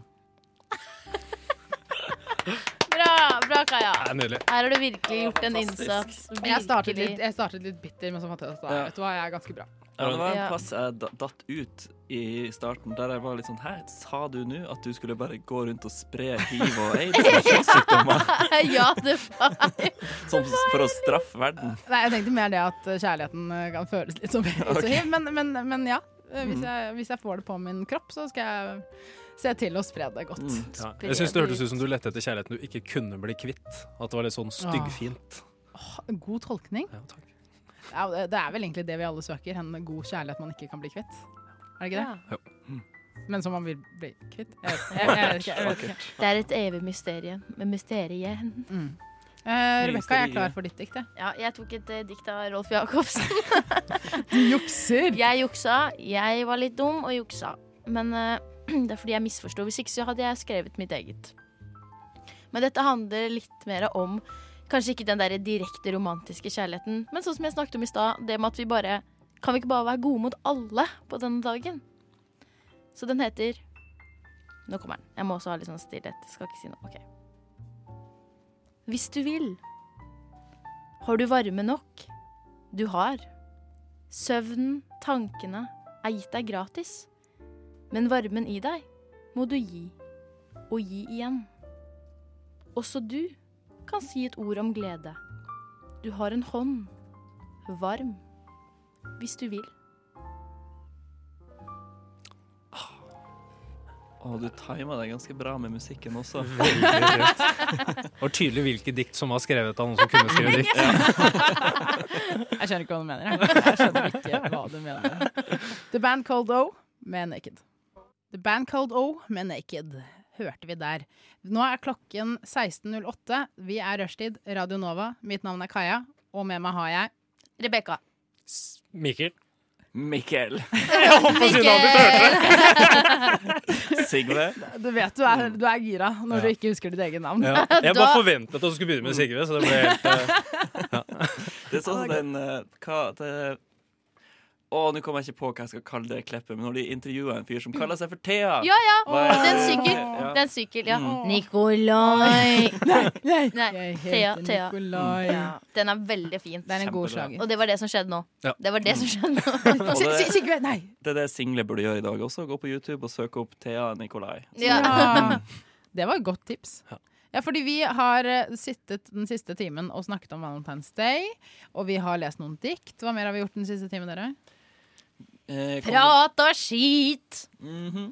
[SPEAKER 5] Bra, bra, Kaja.
[SPEAKER 6] Det er nydelig.
[SPEAKER 5] Her har du virkelig gjort en innsats.
[SPEAKER 4] Jeg startet
[SPEAKER 5] Virkelig.
[SPEAKER 4] litt, jeg startet litt bitter, men så fant jeg ut at
[SPEAKER 3] Ja.
[SPEAKER 4] vet du hva, jeg er ganske bra.
[SPEAKER 3] Ja, det var en
[SPEAKER 5] Ja.
[SPEAKER 3] plass jeg da- datt ut i starten, der jeg var litt sånn Hæ, sa du nå at du skulle bare gå rundt og spre hiv og aids og kjønnssykdommer
[SPEAKER 5] Ja, det var
[SPEAKER 3] som s- Sånn for å straffe verden?
[SPEAKER 4] Nei, jeg tenkte mer det at eh, kjærligheten eh, kan føles litt som aids og hiv, men, men, men ja. Eh,
[SPEAKER 3] Mm.
[SPEAKER 4] Hvis jeg, hvis jeg får det på min kropp, så skal jeg se til å spre det godt.
[SPEAKER 3] Mm.
[SPEAKER 6] Ja. Jeg syns det hørtes ut som du lette etter kjærligheten du ikke kunne bli kvitt. At det var litt sånn styggfint.
[SPEAKER 4] Åh, God tolkning.
[SPEAKER 6] Ja, takk.
[SPEAKER 4] Ja, det er vel egentlig det vi alle søker. En god kjærlighet man ikke kan bli kvitt. Er det ikke det?
[SPEAKER 6] Ja.
[SPEAKER 4] Men som man vil bli kvitt. Jeg vet, jeg, jeg vet ikke. Jeg vet ikke.
[SPEAKER 5] Det er et evig mysterium. Men mysteriet
[SPEAKER 4] Mm. Eh, Rebekka, jeg er
[SPEAKER 3] Mysteriet.
[SPEAKER 4] klar for ditt dikt. jeg.
[SPEAKER 5] Ja, jeg tok et eh, dikt av Rolf Jacobsen.
[SPEAKER 4] Du jukser!
[SPEAKER 5] Jeg juksa. Jeg var litt dum og juksa. Men eh, det er fordi jeg misforsto. Hvis ikke så hadde jeg skrevet mitt eget. Men dette handler litt mer om kanskje ikke den der direkte romantiske kjærligheten, men sånn som jeg snakket om i stad, det med at vi bare Kan vi ikke bare være gode mot alle på denne dagen? Så den heter Nå kommer den. Jeg må også ha litt sånn stillhet. Skal ikke si noe. OK. Hvis du vil. Har du varme nok? Du har. Søvnen, tankene, er gitt deg gratis. Men varmen i deg må du gi, og gi igjen. Også du kan si et ord om glede. Du har en hånd, varm, hvis du vil.
[SPEAKER 3] Og du tima deg ganske bra med musikken også.
[SPEAKER 6] Og tydelig hvilke dikt som var skrevet av noen som kunne skrive dikt.
[SPEAKER 4] Jeg skjønner ikke hva du mener. jeg. Jeg skjønner ikke hva du mener. The Band Called O med Naked. The Band Called O med Naked. Hørte vi der. Nå er klokken 16.08. Vi er Rushtid, Radio Nova. Mitt navn er Kaja, og med meg har jeg
[SPEAKER 5] Rebekka.
[SPEAKER 6] S- Mikkel.
[SPEAKER 3] Mikkel.
[SPEAKER 5] Mikkel!
[SPEAKER 3] Sigve.
[SPEAKER 4] Du vet du er, du er gira når du ikke husker ditt eget navn.
[SPEAKER 6] Ja. Jeg bare
[SPEAKER 5] Da-
[SPEAKER 6] forventet at du skulle begynne med Sigve, så det ble helt eh,
[SPEAKER 3] Det er sånn som den eh, Hva det, Å, nå kommer jeg ikke på hva jeg skal kalle det kleppet, men når de intervjuer en fyr som kaller seg for Thea
[SPEAKER 5] Ja, ja.
[SPEAKER 3] Hva er-
[SPEAKER 5] Den syker.
[SPEAKER 3] Ja.
[SPEAKER 5] Den syker, ja.
[SPEAKER 3] Mm.
[SPEAKER 5] Nikolai.
[SPEAKER 4] Nei,
[SPEAKER 5] Nei,
[SPEAKER 4] jeg heter
[SPEAKER 5] Thea, Thea.
[SPEAKER 4] Nikolai.
[SPEAKER 5] Ja. Den er veldig fin.
[SPEAKER 4] Det er en god
[SPEAKER 3] Kjempebra.
[SPEAKER 4] slager.
[SPEAKER 5] Og det var det som skjedde nå.
[SPEAKER 6] Ja.
[SPEAKER 5] Det var det som skjedde nå.
[SPEAKER 3] Og
[SPEAKER 4] Si- si-
[SPEAKER 3] det,
[SPEAKER 4] Sigve, nei!
[SPEAKER 3] det er det single burde gjøre i dag også. Gå på YouTube og søke opp Thea Nikolai.
[SPEAKER 5] Ja.
[SPEAKER 4] Ja. Det var et godt tips. Ja, fordi vi har eh, sittet den siste timen og snakket om Valentine's Day. Og vi har lest noen dikt. Hva mer har vi gjort den siste timen, dere?
[SPEAKER 3] Eh, kom-
[SPEAKER 5] Prat og skit!
[SPEAKER 3] Mhm.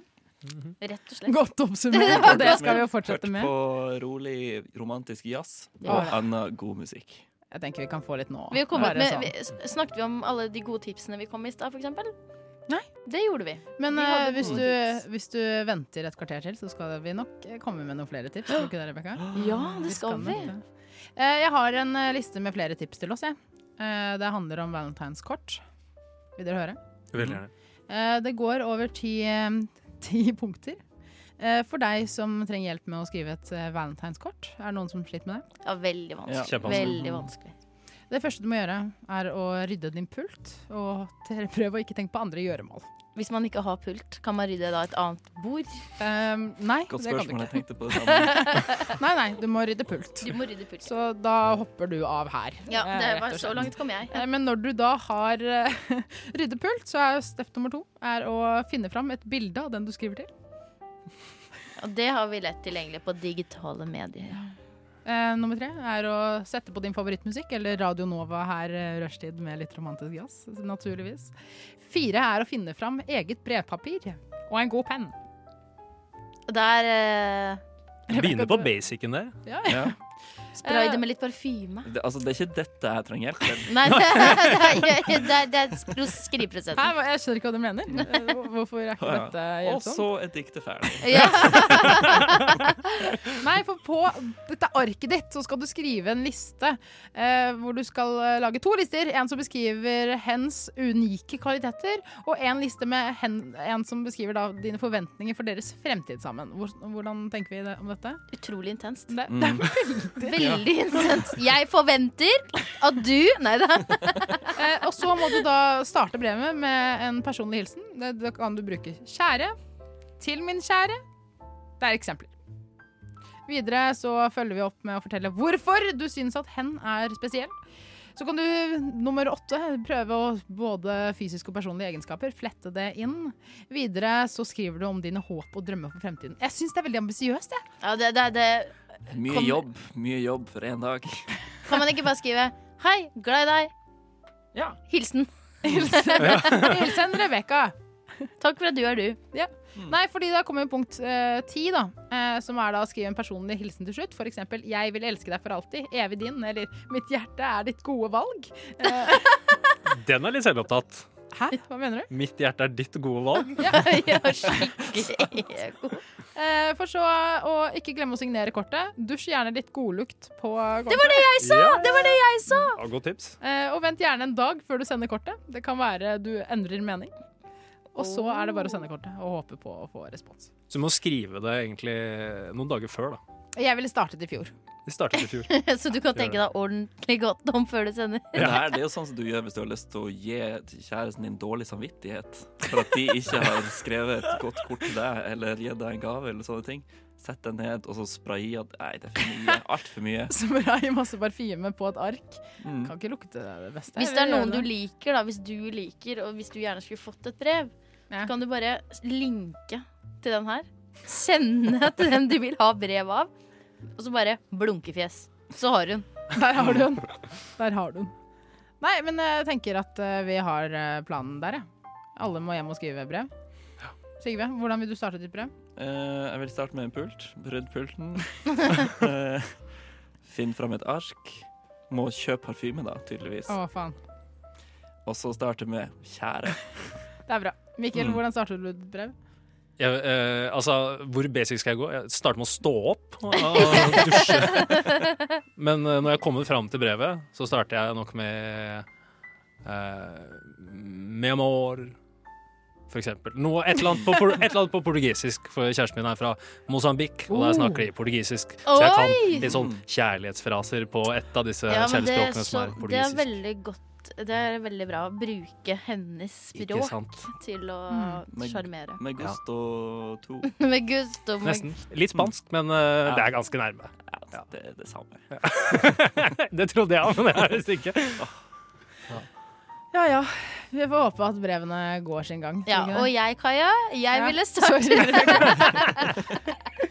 [SPEAKER 5] Rett og slett.
[SPEAKER 4] Godt oppsummert. Og det skal vi jo fortsette
[SPEAKER 3] Hørt
[SPEAKER 4] med.
[SPEAKER 3] på rolig romantisk jazz
[SPEAKER 5] Ja.
[SPEAKER 3] og annen god musikk.
[SPEAKER 4] Jeg tenker vi kan få litt nå.
[SPEAKER 5] Vi har kommet
[SPEAKER 4] Bare
[SPEAKER 5] med,
[SPEAKER 4] sånn.
[SPEAKER 5] vi, s- snakket vi om alle de gode tipsene vi kom med i stad, f.eks.?
[SPEAKER 4] Nei.
[SPEAKER 5] Det gjorde vi.
[SPEAKER 4] Men
[SPEAKER 5] vi
[SPEAKER 4] eh,
[SPEAKER 5] hadde
[SPEAKER 4] hvis,
[SPEAKER 5] gode
[SPEAKER 4] du, hvis du venter et kvarter til, så skal vi nok eh, komme med noen flere tips. Tror du ikke det, Rebekka?
[SPEAKER 5] Ja, Ah, det skal vi.
[SPEAKER 4] nok det. Eh, Jeg har en eh, liste med flere tips til oss, jeg. Eh, Det handler om valentineskort. Vil dere høre?
[SPEAKER 6] Veldig gjerne.
[SPEAKER 4] Eh, Det går over ti, eh, ti punkter. Eh, For deg som trenger hjelp med å skrive et eh, valentineskort. Er det noen som sliter med det?
[SPEAKER 5] Ja, veldig vanskelig.
[SPEAKER 6] Ja. Kjempevanskelig.
[SPEAKER 5] Veldig vanskelig.
[SPEAKER 4] Det første du må gjøre, er å rydde din pult. Og til- prøv å ikke tenke på andre gjøremål.
[SPEAKER 5] Hvis man ikke har pult, kan man rydde da et annet bord?
[SPEAKER 4] Eh, nei,
[SPEAKER 3] Godt
[SPEAKER 4] det kan du
[SPEAKER 3] spørsmål. Jeg
[SPEAKER 4] ikke.
[SPEAKER 3] tenkte på det samme.
[SPEAKER 4] Nei, nei, du må rydde pult.
[SPEAKER 5] Du må rydde pult.
[SPEAKER 4] Så da hopper du av her.
[SPEAKER 5] ja,
[SPEAKER 4] eh,
[SPEAKER 5] det
[SPEAKER 4] rett
[SPEAKER 5] var
[SPEAKER 4] og
[SPEAKER 5] så
[SPEAKER 4] slett.
[SPEAKER 5] langt kom jeg.
[SPEAKER 4] Eh, Men når du da har eh, ryddet pult, så er jo step nummer to er å finne fram et bilde av den du skriver til.
[SPEAKER 5] Og det har vi lett tilgjengelig på digitale medier.
[SPEAKER 4] Eh, nummer tre er å sette på din favorittmusikk, eller Radio Nova her, eh, rushtid med litt romantisk jazz, naturligvis. Fire er å finne fram eget brevpapir og en god penn.
[SPEAKER 5] Og der eh,
[SPEAKER 6] Begynner på basicen der.
[SPEAKER 4] Ja,
[SPEAKER 3] Ja.
[SPEAKER 5] spray det med litt parfyme.
[SPEAKER 3] Det, altså, det er ikke dette jeg trenger hjelp til.
[SPEAKER 5] Nei, det er, det er, det er, det er skros-
[SPEAKER 4] Hæ,
[SPEAKER 5] skriveprosessen.
[SPEAKER 4] hva- jeg skjønner ikke hva du mener. Eh, hvor- Hvorfor er ikke
[SPEAKER 3] Ja.
[SPEAKER 4] dette
[SPEAKER 3] Og
[SPEAKER 4] hjelpsomt?
[SPEAKER 3] så er diktet ferdig.
[SPEAKER 5] Ja.
[SPEAKER 4] Nei, for på dette arket ditt så skal du skrive en liste eh, hvor du skal eh, lage to lister. En som beskriver hens unike kvaliteter, og en liste med hen, en som beskriver da dine forventninger for deres fremtid sammen. Hvor, hvordan tenker vi det, om dette?
[SPEAKER 5] Utrolig intenst.
[SPEAKER 4] Det, det
[SPEAKER 3] Mm.
[SPEAKER 5] Veldig intenst. Jeg forventer at du Nei da.
[SPEAKER 4] Eh, og så må du da starte brevet med en personlig hilsen. Det- Da kan du bruke 'kjære', 'til min kjære'. Det er eksempler. Videre så følger vi opp med å fortelle hvorfor du syns at hen er spesiell. Så kan du nummer åtte prøve å både fysiske og personlige egenskaper. Flette det inn. Videre så skriver du om dine håp og drømmer for fremtiden. Jeg syns det er veldig ambisiøst, jeg.
[SPEAKER 5] Ja, det, det, det.
[SPEAKER 3] Mye
[SPEAKER 5] Kom-
[SPEAKER 3] jobb. Mye jobb for én dag.
[SPEAKER 5] Kan man ikke bare skrive 'Hei, glad i deg'.
[SPEAKER 3] Ja.
[SPEAKER 5] Hilsen.
[SPEAKER 4] Hilsen Rebekka.
[SPEAKER 5] Takk for at du er du.
[SPEAKER 4] Nei, fordi da kommer jo punkt eh, ti, da. eh, som er da å skrive en personlig hilsen til slutt. For eksempel 'Jeg vil elske deg for alltid', 'Evig din', eller 'Mitt hjerte er ditt gode valg'. Eh,
[SPEAKER 6] Den er litt selvopptatt.
[SPEAKER 4] hæ? Hva mener du?
[SPEAKER 6] Mitt hjerte er ditt gode valg.
[SPEAKER 5] Ja, skikkelig god.
[SPEAKER 4] Eh, for så å ikke glemme å signere kortet. Dusj gjerne litt godlukt på kortet. Det var det!
[SPEAKER 6] Jeg sa! Det var det jeg sa! Godt tips.
[SPEAKER 4] Eh, og vent gjerne en dag før du sender kortet. Det kan være du endrer mening. Og så er det bare å sende kortet og håpe på å få respons.
[SPEAKER 6] Så du må skrive det egentlig noen dager før, da.
[SPEAKER 4] Jeg ville startet i fjor.
[SPEAKER 6] Det startet i fjor.
[SPEAKER 5] Så du kan tenke deg ordentlig godt om før du sender.
[SPEAKER 3] Men Det, her, det er jo sånn som du gjør hvis du har lyst til å gi til kjæresten din dårlig samvittighet for at de ikke har skrevet et godt kort til deg eller gitt deg en gave eller sånne ting. Sett deg ned og så spraye at Nei, det er for mye. Altfor mye.
[SPEAKER 4] Som rai masse parfyme på et ark.
[SPEAKER 3] Mm.
[SPEAKER 4] Kan ikke lukte det beste.
[SPEAKER 5] Hvis det er noen du liker, da, hvis du liker, og hvis du gjerne skulle fått et brev,
[SPEAKER 4] Ja.
[SPEAKER 5] så kan du bare linke til den her. Sende til den du vil ha brev av, og så bare blunkefjes. Så har hun.
[SPEAKER 4] Der har du den. Der har du den. Nei, men jeg tenker at eh, vi har eh, planen der, jeg. Alle må hjem og skrive brev. Sigve, hvordan vil du starte ditt brev?
[SPEAKER 3] Eh, jeg vil starte med en pult. Rydd pulten. Eh, finn fram et ark. Må kjøpe parfyme, da, tydeligvis.
[SPEAKER 4] Å, faen.
[SPEAKER 3] Og så starte med 'kjære'.
[SPEAKER 4] Det er bra. Mikkel,
[SPEAKER 3] Mm.
[SPEAKER 4] hvordan starter du ditt brev?
[SPEAKER 6] Jeg, eh, altså, hvor basic skal jeg gå? Jeg starter med å stå opp og dusje. Men eh, når jeg kommer fram til brevet, så starter jeg nok med eh, Memor, for eksempel. Noe, et, eller annet på, por- et eller annet på portugisisk, for kjæresten min er fra Mosambik, og der snakker de portugisisk. Så jeg
[SPEAKER 5] Oh.
[SPEAKER 6] kan
[SPEAKER 5] Oi!
[SPEAKER 6] litt sånn kjærlighetsfraser på et av disse
[SPEAKER 5] Ja, men det, er
[SPEAKER 6] kjærlighetsspråkene
[SPEAKER 5] så,
[SPEAKER 6] som
[SPEAKER 5] det
[SPEAKER 6] er
[SPEAKER 5] er
[SPEAKER 6] portugisisk.
[SPEAKER 5] veldig godt Det er veldig bra å bruke hennes
[SPEAKER 6] Ikke
[SPEAKER 5] språk
[SPEAKER 6] sant? Mm.
[SPEAKER 5] til å
[SPEAKER 3] Men-
[SPEAKER 5] sjarmere.
[SPEAKER 3] Med gusto to.
[SPEAKER 5] Med gusto. med-
[SPEAKER 6] Nesten. Litt spansk, men eh, det er ganske nærme.
[SPEAKER 3] Ja, det er det samme.
[SPEAKER 6] Det trodde jeg, men det er visst ikke.
[SPEAKER 4] Ja ja. Vi får håpe at brevene går sin gang.
[SPEAKER 5] Ja,
[SPEAKER 4] Sigve.
[SPEAKER 5] og jeg, Kaja, jeg
[SPEAKER 4] Ja.
[SPEAKER 5] ville starte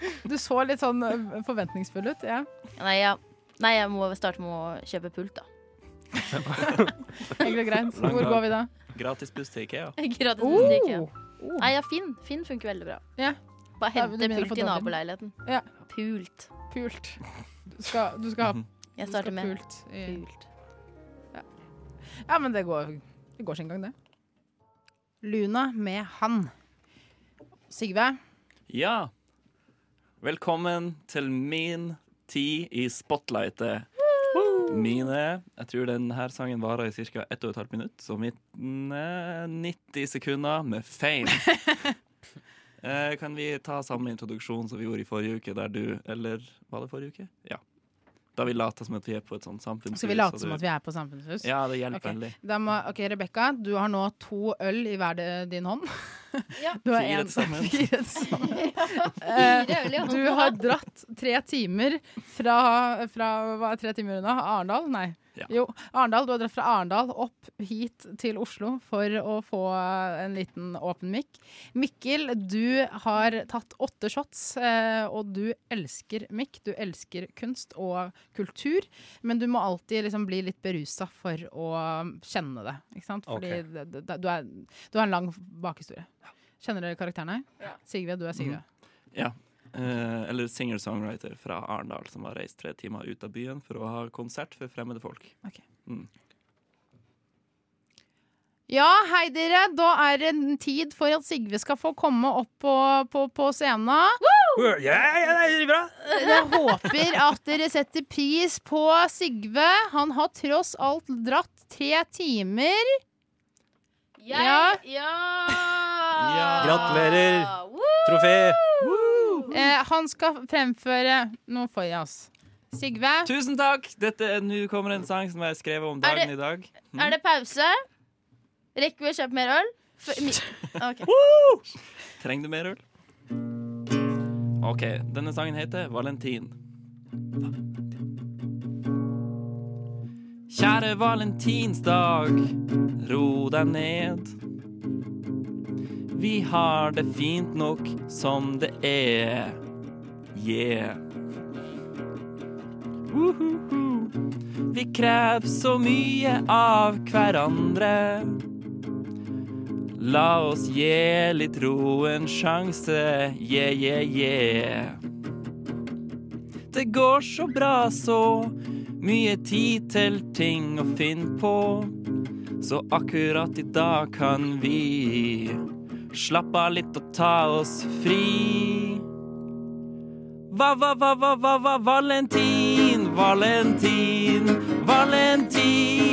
[SPEAKER 4] Du så litt sånn eh, forventningsfull ut. Ja.
[SPEAKER 5] Nei, ja. Nei, jeg må starte med å kjøpe pult, da.
[SPEAKER 4] Egentlig greit.
[SPEAKER 3] Lang
[SPEAKER 4] Hvor
[SPEAKER 3] dag.
[SPEAKER 4] går vi da?
[SPEAKER 3] Gratisbuss til Ikea.
[SPEAKER 5] Gratis
[SPEAKER 4] Oh!
[SPEAKER 5] musikk, ja. Nei, ja, Finn. Finn funker veldig bra.
[SPEAKER 4] Ja.
[SPEAKER 5] Bare
[SPEAKER 4] Ja,
[SPEAKER 5] hente
[SPEAKER 4] du mener
[SPEAKER 5] pult
[SPEAKER 4] for
[SPEAKER 5] i
[SPEAKER 4] dagen.
[SPEAKER 5] naboleiligheten.
[SPEAKER 4] Ja.
[SPEAKER 5] Pult.
[SPEAKER 4] Pult. Du skal, du skal ha
[SPEAKER 5] Jeg
[SPEAKER 4] du
[SPEAKER 5] starter
[SPEAKER 4] skal
[SPEAKER 5] med pult.
[SPEAKER 4] pult. i- Ja, men det går, det går sin gang, det. Luna med han. Sigve,
[SPEAKER 3] Ja. Velkommen til min tid i spotlightet. Mine Jeg tror denne sangen varer i ca. 1 12 minutt, så mitt eh, 90 sekunder med fame. Eh, Kan vi ta samme introduksjon som vi gjorde i forrige uke, der du Eller var det forrige uke? Ja. Da vi later som at vi er på et sånt samfunnshus.
[SPEAKER 4] skal vi late som at vi er på Samfunnshus?
[SPEAKER 3] Ja, det hjelper
[SPEAKER 4] Ok.
[SPEAKER 3] veldig.
[SPEAKER 4] Da må, ok, Rebekka, du har nå to øl i hver de- din hånd.
[SPEAKER 1] Ja.
[SPEAKER 4] Du har
[SPEAKER 3] Fire
[SPEAKER 4] en-
[SPEAKER 3] til sammen.
[SPEAKER 4] Fire til sammen. Eh, Du har dratt tre timer fra, fra hva er tre timer unna? Arendal? Nei.
[SPEAKER 3] Ja.
[SPEAKER 4] Jo, Arendal. Du har dratt fra Arendal opp hit til Oslo for å få en liten åpen mikk. Mikkel, du har tatt åtte shots, eh, og du elsker mikk. Du elsker kunst og kultur. Men du må alltid liksom bli litt berusa for å kjenne det. Ikke sant? Fordi
[SPEAKER 6] Ok.
[SPEAKER 4] det, det, det, du, er, du har en lang bakhistorie. Kjenner dere karakterene? Sigve, du er Sigve.
[SPEAKER 3] Ja. Eh, eller singer-songwriter fra Arendal som har reist tre timer ut av byen for å ha konsert for fremmede folk.
[SPEAKER 4] Ja, hei dere. Da er det en tid for at Sigve skal få komme opp på, på, på scenen.
[SPEAKER 6] Ja, ja, det er bra.
[SPEAKER 4] Jeg håper at dere setter pris på Sigve. Han har tross alt dratt tre timer.
[SPEAKER 8] Jeg-
[SPEAKER 4] Ja.
[SPEAKER 8] ja.
[SPEAKER 6] Gratulerer. Trofé.
[SPEAKER 4] Eh, han skal fremføre noe for oss. Sigve.
[SPEAKER 3] Tusen takk! Dette er Nå kommer en sang som jeg skrev om
[SPEAKER 5] Er
[SPEAKER 3] dagen
[SPEAKER 5] det-
[SPEAKER 3] i dag.
[SPEAKER 5] Er det pause? Rekker vi å kjøpe mer øl? For, mi, ok.
[SPEAKER 3] Trenger du mer øl? OK. Denne sangen heter Valentin. Kjære valentinsdag, ro deg ned. Vi har det fint nok som det er. Yeah. Uhuhu. Vi krever så mye av hverandre. La oss gi litt ro en sjanse, yeah, yeah, yeah. Det går så bra så, mye tid til ting å finne på. Så akkurat i dag kan vi slappe av litt og ta oss fri. Va, va, va, va, va, va, Valentin, Valentin, Valentin,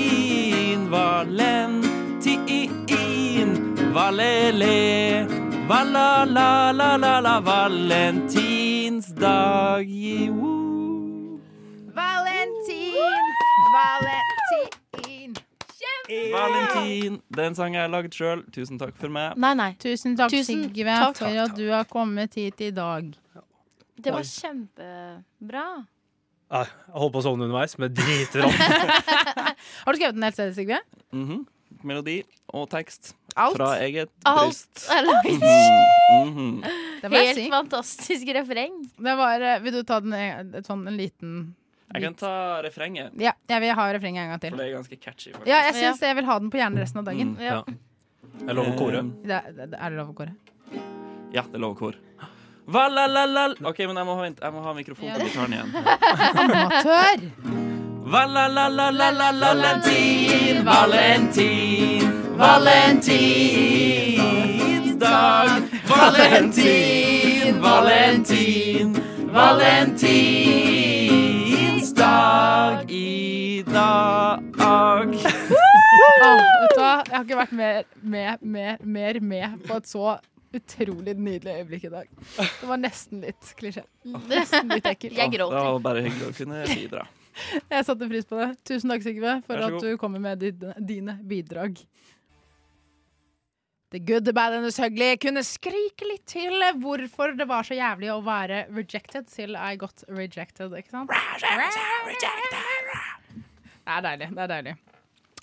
[SPEAKER 3] Valentin, Valele, Vala, la, la, la, la, Valentinsdag, jo.
[SPEAKER 4] Valentin! Valentin!
[SPEAKER 3] Valentin. Den sangen jeg har laget sjøl. Tusen takk for meg.
[SPEAKER 5] Nei, nei.
[SPEAKER 4] Tusen takk,
[SPEAKER 5] Tusen
[SPEAKER 4] Sigve,
[SPEAKER 5] takk.
[SPEAKER 4] for at du har kommet hit i dag.
[SPEAKER 5] Det var kjempebra.
[SPEAKER 6] Nei, Jeg holdt på å sovne underveis, men driter om.
[SPEAKER 4] Har du skrevet den helt selv, Sigve?
[SPEAKER 3] Mhm. Melodi og tekst
[SPEAKER 4] Alt?
[SPEAKER 3] fra eget
[SPEAKER 5] Alt
[SPEAKER 3] bryst.
[SPEAKER 5] er laget.
[SPEAKER 3] Mhm, mhm.
[SPEAKER 4] Det må jeg
[SPEAKER 5] Helt
[SPEAKER 4] si.
[SPEAKER 5] fantastisk refreng.
[SPEAKER 4] Det var, eh, vil du ta den, eh, et sånn en liten
[SPEAKER 3] Jeg kan ta refrenget,
[SPEAKER 4] Ja, jeg vil ha refrenget en gang
[SPEAKER 3] for
[SPEAKER 4] til.
[SPEAKER 3] det er ganske catchy. faktisk.
[SPEAKER 4] Ja, jeg syns jeg vil ha den på hjernen resten av dagen.
[SPEAKER 3] Mm.
[SPEAKER 5] Ja.
[SPEAKER 6] Jeg lover koret.
[SPEAKER 3] Eh,
[SPEAKER 4] Det, det, det, er det lov å kåre?
[SPEAKER 3] Ja, det lover kor. Valalala OK, men jeg må, ha- vent, jeg må ha mikrofonen på gitaren igjen.
[SPEAKER 4] Amatør!
[SPEAKER 3] Valentin, Valentin, Valentinsdag. Valentin, Valentin, Valentinsdag i dag.
[SPEAKER 4] Åh, vet du hva? Jeg har ikke vært mer, mer, mer, mer med på et så utrolig nydelig øyeblikk i dag. Det var nesten litt klisjé. Nesten litt ekkelt.
[SPEAKER 5] Jeg
[SPEAKER 3] Å,
[SPEAKER 5] gråter.
[SPEAKER 3] Det var bare hyggelig å kunne bidra.
[SPEAKER 4] Jeg satte pris på det. Tusen takk, Sigve, for
[SPEAKER 3] Vær så
[SPEAKER 4] at
[SPEAKER 3] god.
[SPEAKER 4] du kommer med dine, dine bidrag. The good, the bad and the ugly kunne skrike litt til hvorfor det var så jævlig å være rejected til I got rejected, ikke sant? Det er deilig. Det er deilig.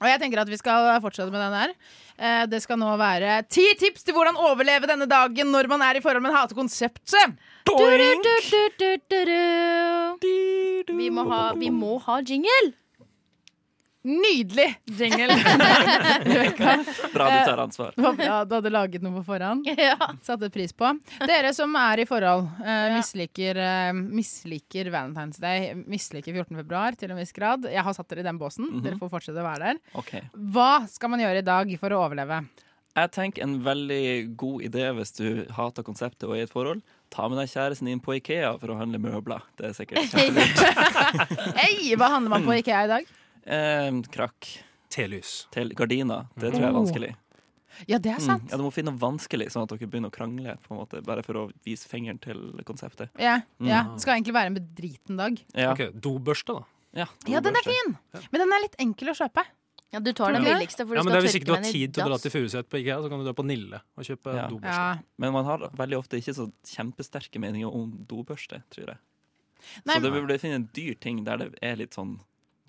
[SPEAKER 4] Og jeg tenker at vi skal fortsette med den her. Eh, Det skal nå være ti tips til hvordan overleve denne dagen når man er i forhold, men hater konseptet.
[SPEAKER 3] Doink!
[SPEAKER 5] Du, du, du, du, du. Vi må ha, vi må ha jingle.
[SPEAKER 4] Nydelig jingle. Rebecca,
[SPEAKER 3] Bra du tar ansvar.
[SPEAKER 4] det var bra du hadde laget noe på forhånd.
[SPEAKER 5] Ja.
[SPEAKER 4] Satte pris på. Dere som er i forhold, eh, misliker, eh, misliker Valentine's Day, misliker 14. februar til en viss grad. Jeg har satt dere i den båsen.
[SPEAKER 5] Mhm.
[SPEAKER 4] Dere får fortsette å være der.
[SPEAKER 3] OK.
[SPEAKER 4] Hva skal man gjøre i dag for å overleve?
[SPEAKER 3] Jeg tenker en veldig god idé hvis du hater konseptet og er i et forhold. Ta med deg kjæresten din på Ikea for å handle møbler. Det er sikkert kjempelurt.
[SPEAKER 4] Hei, hva handler man på IKEA i dag?
[SPEAKER 3] Eh, krakk
[SPEAKER 6] Telys.
[SPEAKER 3] til gardiner. Det tror jeg er vanskelig.
[SPEAKER 4] Ja, det er
[SPEAKER 3] Mm.
[SPEAKER 4] sant.
[SPEAKER 3] Ja, du må finne noe vanskelig, sånn at dere begynner å krangle. På en måte, bare for å vise fingeren til konseptet.
[SPEAKER 4] Ja, ja.
[SPEAKER 5] Mm.
[SPEAKER 4] Det skal egentlig være en bedriten dag.
[SPEAKER 3] Ja,
[SPEAKER 6] Ok, Dobørste, da.
[SPEAKER 3] ja,
[SPEAKER 4] Ja, den er
[SPEAKER 3] dobørste.
[SPEAKER 4] fin! Men den er litt enkel å kjøpe.
[SPEAKER 5] ja, du tar den
[SPEAKER 4] Ja.
[SPEAKER 5] billigste, for du
[SPEAKER 6] Ja, men det
[SPEAKER 5] skal
[SPEAKER 6] er Hvis
[SPEAKER 5] tørke
[SPEAKER 6] ikke du har
[SPEAKER 5] den i
[SPEAKER 6] tid til å dra
[SPEAKER 5] dass.
[SPEAKER 6] til Furuset på IKEA, så kan du dra på Nille og kjøpe
[SPEAKER 3] Ja.
[SPEAKER 6] dobørste.
[SPEAKER 4] Ja.
[SPEAKER 3] Men man har veldig ofte ikke så kjempesterke meninger om dobørste, tror jeg.
[SPEAKER 4] Nei,
[SPEAKER 3] så du burde finne en dyr ting der det er litt sånn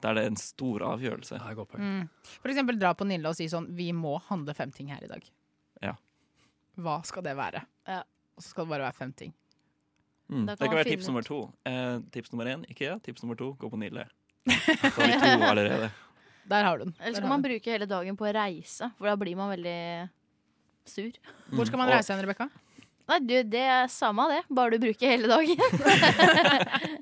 [SPEAKER 3] Der det er en stor avgjørelse.
[SPEAKER 6] Ja, det er et godt poeng.
[SPEAKER 4] Mm. For eksempel dra på Nille og si sånn Vi må handle fem ting her i dag.
[SPEAKER 3] Ja.
[SPEAKER 4] Hva skal det være?
[SPEAKER 5] Ja.
[SPEAKER 4] Og så skal det bare være fem ting.
[SPEAKER 3] Mm.
[SPEAKER 5] Da
[SPEAKER 3] Det
[SPEAKER 5] kan
[SPEAKER 3] kan være
[SPEAKER 5] man finne
[SPEAKER 3] tips
[SPEAKER 5] ut.
[SPEAKER 3] nummer to. Eh, tips nummer én Ikea. Tips nummer to gå på Nille. Da har vi to allerede.
[SPEAKER 4] Der har du den.
[SPEAKER 5] Eller
[SPEAKER 4] Der
[SPEAKER 5] skal
[SPEAKER 4] har
[SPEAKER 5] man
[SPEAKER 4] du den.
[SPEAKER 5] bruke hele dagen på å reise, for da blir man veldig sur.
[SPEAKER 4] Hvor skal man
[SPEAKER 5] Mm.
[SPEAKER 3] Og-
[SPEAKER 4] reise hen, Rebekka?
[SPEAKER 5] Nei, du, det er samme det, bare du bruker hele dagen.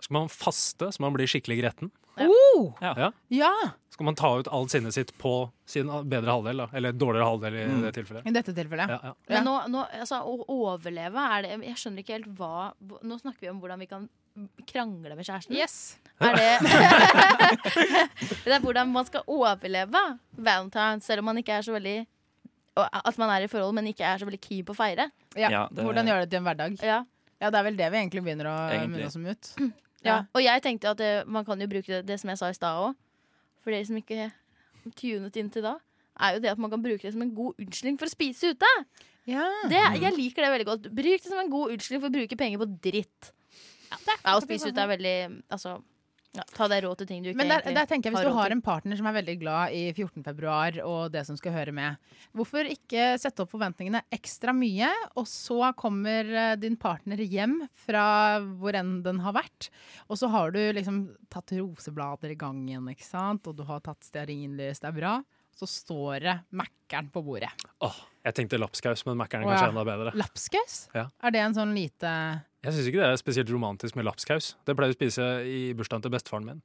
[SPEAKER 6] Skal man faste så man blir skikkelig gretten?
[SPEAKER 5] Ja.
[SPEAKER 4] Oh!
[SPEAKER 3] Ja.
[SPEAKER 6] Ja.
[SPEAKER 4] Ja!
[SPEAKER 6] Skal man ta ut all sinnet sitt på sin bedre halvdel, da? Eller dårligere halvdel i
[SPEAKER 3] Mm.
[SPEAKER 6] det tilfellet?
[SPEAKER 4] I dette tilfellet.
[SPEAKER 6] Ja, ja.
[SPEAKER 4] Ja.
[SPEAKER 5] Men nå, nå, altså, å overleve er det Jeg skjønner ikke helt hva Nå snakker vi om hvordan vi kan krangle med kjæresten.
[SPEAKER 4] Yes.
[SPEAKER 5] Er det Det er hvordan man skal overleve Valentine's, selv om man ikke er så veldig og At man er i forhold, men ikke er så veldig keen på å feire.
[SPEAKER 4] Ja.
[SPEAKER 3] Ja, det-
[SPEAKER 4] Hvordan gjøre det til en hverdag?
[SPEAKER 5] Ja.
[SPEAKER 4] Ja, det er vel det vi egentlig begynner å
[SPEAKER 3] Egentlig.
[SPEAKER 4] munne oss ut.
[SPEAKER 5] Ja.
[SPEAKER 4] Ja.
[SPEAKER 5] Og jeg tenkte at eh, man kan jo bruke det, det som jeg sa i stad òg, for dere som ikke tunet inn til da, er jo det at man kan bruke det som en god unnskyldning for å spise ute.
[SPEAKER 4] Ja.
[SPEAKER 5] Det, jeg liker det veldig godt. Bruk det som en god unnskyldning for å bruke penger på dritt. Ja, å spise ute er veldig Altså, ja, ta deg råd til ting du ikke
[SPEAKER 4] Men der,
[SPEAKER 5] egentlig
[SPEAKER 4] der tenker jeg,
[SPEAKER 5] har
[SPEAKER 4] Hvis du
[SPEAKER 5] råd
[SPEAKER 4] har
[SPEAKER 5] til.
[SPEAKER 4] en partner som er veldig glad i 14. februar og det som skal høre med, hvorfor ikke sette opp forventningene ekstra mye, og så kommer eh, din partner hjem fra hvor enn den har vært, og så har du liksom tatt roseblader i gangen, ikke sant, og du har tatt stearinlys, det er bra, så står det Mækkern på bordet.
[SPEAKER 6] Åh, jeg tenkte lapskaus, men Mækkern
[SPEAKER 4] Å,
[SPEAKER 6] er kanskje
[SPEAKER 4] ja.
[SPEAKER 6] enda bedre.
[SPEAKER 4] Lapskaus?
[SPEAKER 6] Ja.
[SPEAKER 4] Er det en sånn lite
[SPEAKER 6] Jeg syns ikke det er spesielt romantisk med lapskaus. Det pleier jeg å spise i bursdagen til bestefaren min.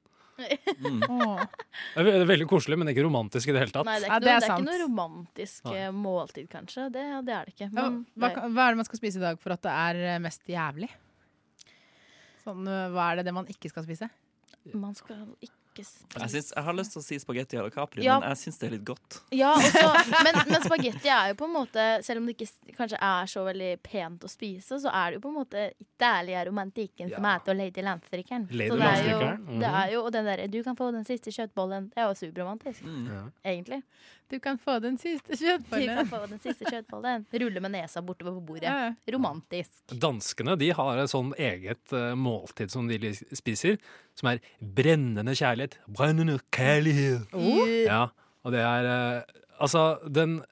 [SPEAKER 3] Mm.
[SPEAKER 4] Åh.
[SPEAKER 6] Det er ve- veldig koselig, men ikke romantisk i det hele tatt.
[SPEAKER 5] Nei, det er ikke,
[SPEAKER 4] Ja, det
[SPEAKER 5] noe, det
[SPEAKER 4] er
[SPEAKER 5] er ikke noe
[SPEAKER 4] sant.
[SPEAKER 5] romantisk eh, måltid, kanskje. Det, det er det ikke.
[SPEAKER 4] Ja,
[SPEAKER 5] Men
[SPEAKER 4] hva,
[SPEAKER 5] det,
[SPEAKER 4] kan- hva er det man skal spise i dag for at det er eh, mest jævlig? Sånn, eh, hva er det det man ikke skal spise?
[SPEAKER 5] man skal ikke s-
[SPEAKER 3] Jeg, syns, jeg har lyst til å si spagetti à la Capri,
[SPEAKER 5] Ja.
[SPEAKER 3] men jeg syns det er litt godt.
[SPEAKER 5] Ja, og så- men, men spagetti er jo på en måte Selv om det ikke s- kanskje er så veldig pent å spise, så er det jo på en måte Italia romantikken som
[SPEAKER 6] Ja.
[SPEAKER 5] er til Lady Landstrykeren.
[SPEAKER 6] Lady
[SPEAKER 5] Så det er jo-
[SPEAKER 6] Landstrykeren,
[SPEAKER 5] Det
[SPEAKER 6] mhm.
[SPEAKER 5] er jo, og den derre 'du kan få den siste kjøttbollen', det er jo superromantisk,
[SPEAKER 6] Mm.
[SPEAKER 5] egentlig.
[SPEAKER 4] Du kan få den siste
[SPEAKER 5] Du kan
[SPEAKER 4] kjøttbollen.
[SPEAKER 5] få den siste kjøttbollen. Rulle med nesa bortover på bordet.
[SPEAKER 4] Ja.
[SPEAKER 5] Romantisk.
[SPEAKER 6] Danskene de har et sånn eget eh, måltid som de li- spiser, som er brennende kjærlighet. Brennende kjærlighet.
[SPEAKER 4] Oh.
[SPEAKER 6] Ja, og det er eh, Altså, den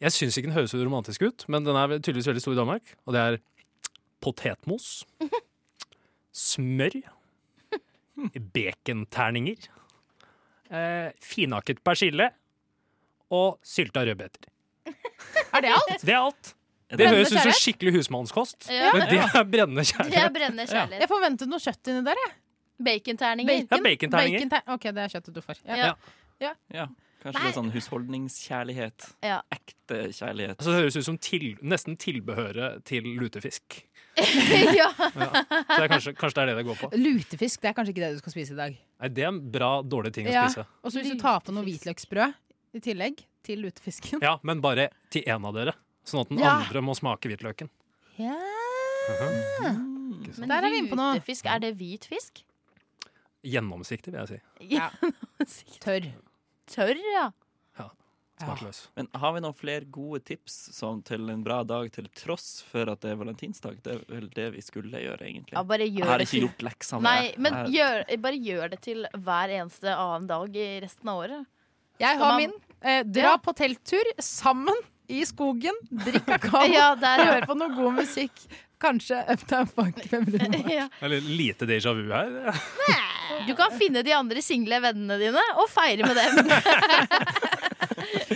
[SPEAKER 6] Jeg syns ikke den høres så romantisk ut, men den er vel tydeligvis veldig stor i Danmark. Og det er potetmos, smør, baconterninger, eh, finhakket persille og sylta rødbeter.
[SPEAKER 4] Er det alt?
[SPEAKER 6] Det er alt.
[SPEAKER 3] Er
[SPEAKER 6] Det
[SPEAKER 3] det-
[SPEAKER 6] høres ut som skikkelig husmannskost.
[SPEAKER 5] Ja.
[SPEAKER 6] Men det er brennende
[SPEAKER 5] Det er
[SPEAKER 6] kjærlighet.
[SPEAKER 5] brennende kjærlighet.
[SPEAKER 4] Jeg forventet noe kjøtt inni der. jeg.
[SPEAKER 5] Baconterninger.
[SPEAKER 6] Ja, baconterninger.
[SPEAKER 4] Baconter- OK, det er kjøttet du får. Ja.
[SPEAKER 5] Ja.
[SPEAKER 3] Ja, kanskje det er sånn husholdningskjærlighet.
[SPEAKER 5] Ja.
[SPEAKER 3] Ekte kjærlighet.
[SPEAKER 6] Altså, det høres ut som til, nesten tilbehøret til lutefisk.
[SPEAKER 5] ja.
[SPEAKER 6] Så det er kanskje, kanskje det er det det går på.
[SPEAKER 4] Lutefisk det er kanskje ikke det du skal spise i dag.
[SPEAKER 6] Nei, Det er en bra, dårlig ting å
[SPEAKER 4] Ja.
[SPEAKER 6] spise.
[SPEAKER 4] Og så hvis du tar på noe hvitløksbrød i tillegg til lutefisken
[SPEAKER 6] Ja, Men bare til én av dere. Sånn at den
[SPEAKER 4] Ja.
[SPEAKER 6] andre må smake hvitløken.
[SPEAKER 4] ja.
[SPEAKER 5] Men
[SPEAKER 6] Mhm.
[SPEAKER 4] Der er vi inne på noe.
[SPEAKER 5] lutefisk, er det hvit fisk?
[SPEAKER 6] Gjennomsiktig, vil jeg si.
[SPEAKER 4] Ja. Tørr.
[SPEAKER 5] Tørr, ja.
[SPEAKER 6] Smakløs.
[SPEAKER 3] Men har vi noen flere gode tips sånn, til en bra dag, til tross for at det er valentinsdag? Det er vel det vi skulle gjøre, egentlig.
[SPEAKER 5] ja bare gjør
[SPEAKER 3] Jeg har
[SPEAKER 5] det
[SPEAKER 3] ikke
[SPEAKER 5] til-
[SPEAKER 3] gjort leksene.
[SPEAKER 5] Nei,
[SPEAKER 3] jeg.
[SPEAKER 5] men
[SPEAKER 3] Jeg-
[SPEAKER 5] gjør, bare gjør det til hver eneste annen dag i resten av året.
[SPEAKER 4] Jeg
[SPEAKER 5] Skal
[SPEAKER 4] har
[SPEAKER 5] man-
[SPEAKER 4] min. Eh, dra på telttur sammen i skogen. Drikk kakao.
[SPEAKER 5] Ja, der
[SPEAKER 4] Hør på noe god musikk. Kanskje Uptown Funk med Bruno.
[SPEAKER 5] ja.
[SPEAKER 6] Eller lite déjà vu her.
[SPEAKER 5] Du kan finne de andre single vennene dine og feire med dem.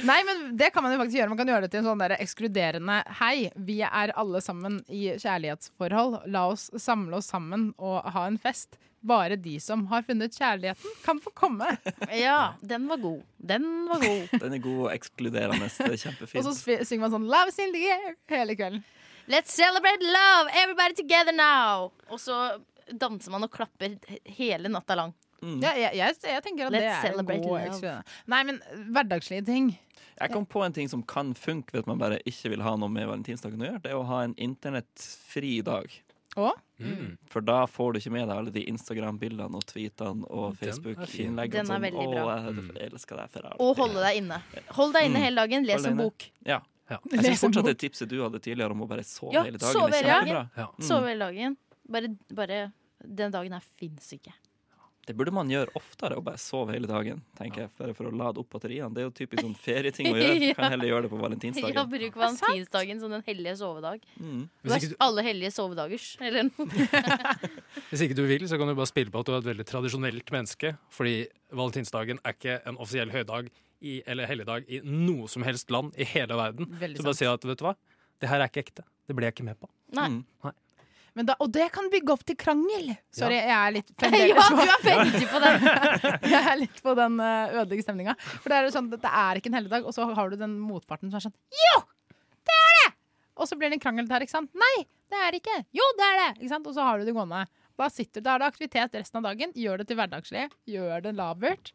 [SPEAKER 4] Nei, men det kan man jo faktisk gjøre. Man kan gjøre det til en sånn der ekskluderende Hei, vi er alle sammen i kjærlighetsforhold. La oss samle oss sammen og ha en fest. Bare de som har funnet kjærligheten, kan få komme.
[SPEAKER 5] Ja, den var god. Den var god.
[SPEAKER 3] Den er god og ekskluderende. Det er kjempefint.
[SPEAKER 4] Og så sp- synger man sånn Love is in the air hele kvelden.
[SPEAKER 5] Let's celebrate love! Everybody together now! Og så danser man og klapper hele natta lang.
[SPEAKER 3] Mm.
[SPEAKER 4] Ja, jeg, jeg, jeg tenker at
[SPEAKER 5] Let's
[SPEAKER 4] det er en
[SPEAKER 5] celebrate
[SPEAKER 4] god
[SPEAKER 5] love.
[SPEAKER 4] ekskluderende. Nei, men hverdagslige ting.
[SPEAKER 3] Jeg kom på en ting som kan funke ved at man bare ikke vil ha noe med valentinsdagen å gjøre. Det er å ha en internettfri dag.
[SPEAKER 4] Og
[SPEAKER 6] Mm.
[SPEAKER 3] For da får du ikke med deg alle de Instagram-bildene og tweetene og
[SPEAKER 6] Den er fin. Mm.
[SPEAKER 3] Facebook-innleggene.
[SPEAKER 5] Den er veldig bra.
[SPEAKER 3] Jeg elsker deg for alltid.
[SPEAKER 5] Og holde deg inne. Hold deg inne
[SPEAKER 3] Mm.
[SPEAKER 5] hele dagen, les
[SPEAKER 3] Hold deg
[SPEAKER 5] en
[SPEAKER 3] inne.
[SPEAKER 5] bok.
[SPEAKER 3] Ja. Jeg
[SPEAKER 4] Les
[SPEAKER 3] syns
[SPEAKER 4] en
[SPEAKER 3] fortsatt
[SPEAKER 4] bok.
[SPEAKER 3] det tipset du hadde tidligere om å bare sove
[SPEAKER 5] Ja,
[SPEAKER 3] hele dagen,
[SPEAKER 5] sove
[SPEAKER 3] er
[SPEAKER 5] hele dagen.
[SPEAKER 3] kjempebra.
[SPEAKER 6] Ja.
[SPEAKER 5] Sove hele dagen. Bare, bare Den dagen her fins ikke.
[SPEAKER 3] Det burde man gjøre oftere, å bare sove hele dagen, tenker jeg, bare for å lade opp batteriene. Det er jo typisk sånn ferieting å gjøre. Kan heller gjøre det på
[SPEAKER 5] Ja,
[SPEAKER 3] valentinsdagen.
[SPEAKER 5] bruk valentinsdagen som den hellige sovedag.
[SPEAKER 3] Mm.
[SPEAKER 6] Hvis ikke, du,
[SPEAKER 5] Alle hellige sovedagers, eller noe.
[SPEAKER 6] hvis ikke du vil, så kan du bare spille på at du er et veldig tradisjonelt menneske. Fordi valentinsdagen er ikke en offisiell høydag i, eller helligdag i noe som helst land i hele verden.
[SPEAKER 4] Veldig sånn.
[SPEAKER 6] Så bare si at vet du hva, det her er ikke ekte. Det ble jeg ikke med på.
[SPEAKER 5] Nei.
[SPEAKER 3] Mm.
[SPEAKER 4] Men da, og det kan bygge opp til krangel. Sorry, jeg er litt
[SPEAKER 5] Ja,
[SPEAKER 4] fremdeles
[SPEAKER 5] du er veldig på den!
[SPEAKER 4] Jeg er litt på den eh, ødelegge stemninga. For det er jo sånn, dette er ikke en helligdag, og så har du den motparten som er sånn Jo! Det er det! Og så blir det en krangel der, ikke sant? Nei, det er det ikke. Jo, det er det! Ikke sant? Og så har du det gående. Da sitter du der, det er aktivitet resten av dagen. Gjør det til hverdagslig. Gjør det labert.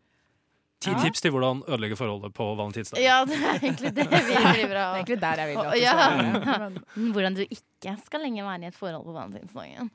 [SPEAKER 6] Ti
[SPEAKER 4] Ja.
[SPEAKER 6] tips til hvordan ødelegge forholdet på valentinsdagen.
[SPEAKER 5] Ja, det er egentlig det vi blir bra.
[SPEAKER 4] Det er egentlig der jeg vil at du
[SPEAKER 5] Ja.
[SPEAKER 4] skal være. Men,
[SPEAKER 5] Hvordan du ikke skal lenge være i et forhold på valentinsdagen.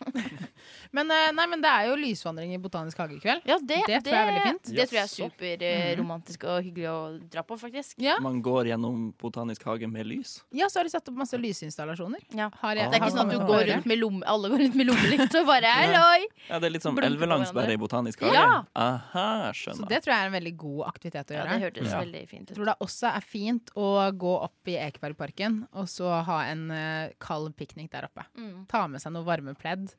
[SPEAKER 4] men, eh, nei, men det er jo lysvandring i Botanisk hage i kveld.
[SPEAKER 5] Ja, det,
[SPEAKER 4] Det tror jeg er veldig fint.
[SPEAKER 5] Det tror jeg er superromantisk og hyggelig å dra på, faktisk.
[SPEAKER 4] Ja.
[SPEAKER 3] Man går gjennom Botanisk hage med lys.
[SPEAKER 4] ja, så har de satt opp masse lysinstallasjoner.
[SPEAKER 5] Ja.
[SPEAKER 4] Har jeg,
[SPEAKER 5] Det er
[SPEAKER 4] har
[SPEAKER 5] ikke sånn at
[SPEAKER 4] kommet
[SPEAKER 5] du
[SPEAKER 4] på
[SPEAKER 5] går
[SPEAKER 4] høyre.
[SPEAKER 5] rundt med lomme, alle går rundt med lommelykt og bare halloi!
[SPEAKER 3] Ja, Det er litt som
[SPEAKER 5] Blunker på
[SPEAKER 3] Elvelandsbæret i Botanisk hage.
[SPEAKER 5] Ja.
[SPEAKER 3] Aha,
[SPEAKER 4] Så
[SPEAKER 3] skjønner.
[SPEAKER 4] det tror jeg er en veldig god aktivitet å
[SPEAKER 5] Ja,
[SPEAKER 4] gjøre.
[SPEAKER 5] det hørtes
[SPEAKER 3] Ja.
[SPEAKER 5] veldig fint
[SPEAKER 4] Jeg
[SPEAKER 5] ut.
[SPEAKER 4] tror det også er fint å gå opp i Ekebergparken og så ha en eh, kald piknik der oppe.
[SPEAKER 5] Mm.
[SPEAKER 4] Ta med seg noe varmepledd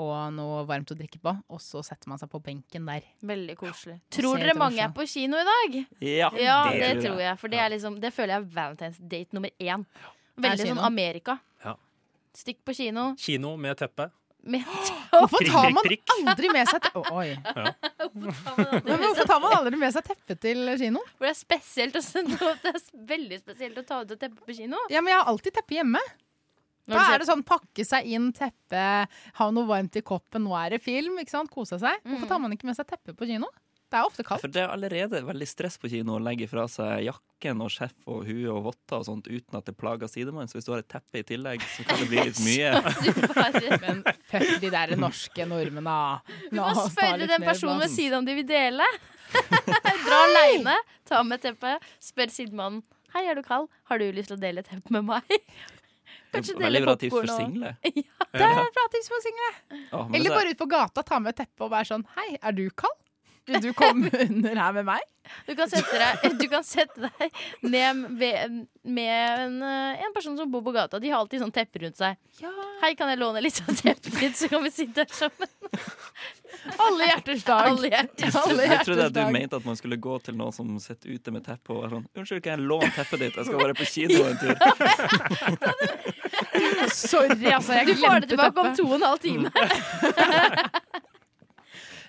[SPEAKER 4] og noe varmt å drikke på, og så setter man seg på benken der.
[SPEAKER 5] Veldig koselig.
[SPEAKER 4] ser
[SPEAKER 5] Tror dere
[SPEAKER 4] utover
[SPEAKER 5] mange er
[SPEAKER 4] sjøen.
[SPEAKER 5] på kino i dag?
[SPEAKER 3] Ja,
[SPEAKER 5] Ja,
[SPEAKER 6] det
[SPEAKER 5] det
[SPEAKER 6] tror
[SPEAKER 5] tror jeg. For det,
[SPEAKER 3] Ja.
[SPEAKER 5] er liksom, det føler jeg er Valentine's date nummer én.
[SPEAKER 4] Er
[SPEAKER 5] Veldig
[SPEAKER 4] kino.
[SPEAKER 5] sånn Amerika.
[SPEAKER 6] Ja.
[SPEAKER 5] Stikk på kino.
[SPEAKER 6] Kino med teppe.
[SPEAKER 5] Med
[SPEAKER 4] Hvorfor
[SPEAKER 6] Prikk,
[SPEAKER 4] tar man
[SPEAKER 6] prikk,
[SPEAKER 4] aldri med seg te- Oi. Men hvorfor tar man aldri med seg teppe til kino?
[SPEAKER 5] For det er spesielt å sende opp- Det er veldig spesielt å ta ut et teppe på kino.
[SPEAKER 4] Ja, men jeg har alltid teppe hjemme. Da er det sånn pakke seg inn, teppe, ha noe varmt i koppen, nå er det film, ikke sant? Kose seg. Hvorfor
[SPEAKER 5] Mm.
[SPEAKER 4] tar man ikke med seg teppe på kino? Det er ofte kaldt.
[SPEAKER 3] For det er allerede veldig stress på kino å legge fra seg jakken og skjerf og hue og votter og sånt uten at det plager sidemannen. Så hvis du har et teppe i tillegg, så kan det bli litt mye.
[SPEAKER 5] Du bare
[SPEAKER 4] Men fuck de der norske nordmennene. da. La
[SPEAKER 5] må
[SPEAKER 4] oss ta
[SPEAKER 5] spørre
[SPEAKER 4] litt
[SPEAKER 5] den
[SPEAKER 4] mer
[SPEAKER 5] personen ved
[SPEAKER 4] plass.
[SPEAKER 5] siden om de vil dele. Dra aleine, ta med teppet, spør sidemannen. Hei, er du kald? Har du lyst til å dele teppet med meg? Kanskje dele
[SPEAKER 3] Veldig bra tips for
[SPEAKER 5] popcorn og
[SPEAKER 3] single.
[SPEAKER 4] Det er bra tips for single.
[SPEAKER 3] Ja, men
[SPEAKER 4] Eller
[SPEAKER 3] det-
[SPEAKER 4] bare ut på gata, ta med teppet og være sånn Hei, er du kald? Vil du komme under her med meg?
[SPEAKER 5] Du kan sette deg, du kan sette deg ned ved, med en, eh, en person som bor på gata. De har alltid sånn teppe rundt seg. Hei, kan jeg låne litt av teppet ditt, så kan vi sitte her sammen?
[SPEAKER 4] Alle hjerters dag.
[SPEAKER 5] Alle hjerters
[SPEAKER 4] dag.
[SPEAKER 3] Jeg trodde at du mente at man skulle gå til noen som sitter ute med teppe og er sånn 'Unnskyld, kan jeg låne teppet ditt? Jeg skal bare på kino en tur.'
[SPEAKER 4] Sorry, altså. Jeg
[SPEAKER 5] Du får det
[SPEAKER 4] glemte
[SPEAKER 5] tilbake om
[SPEAKER 4] teppet.
[SPEAKER 5] to og en halv time.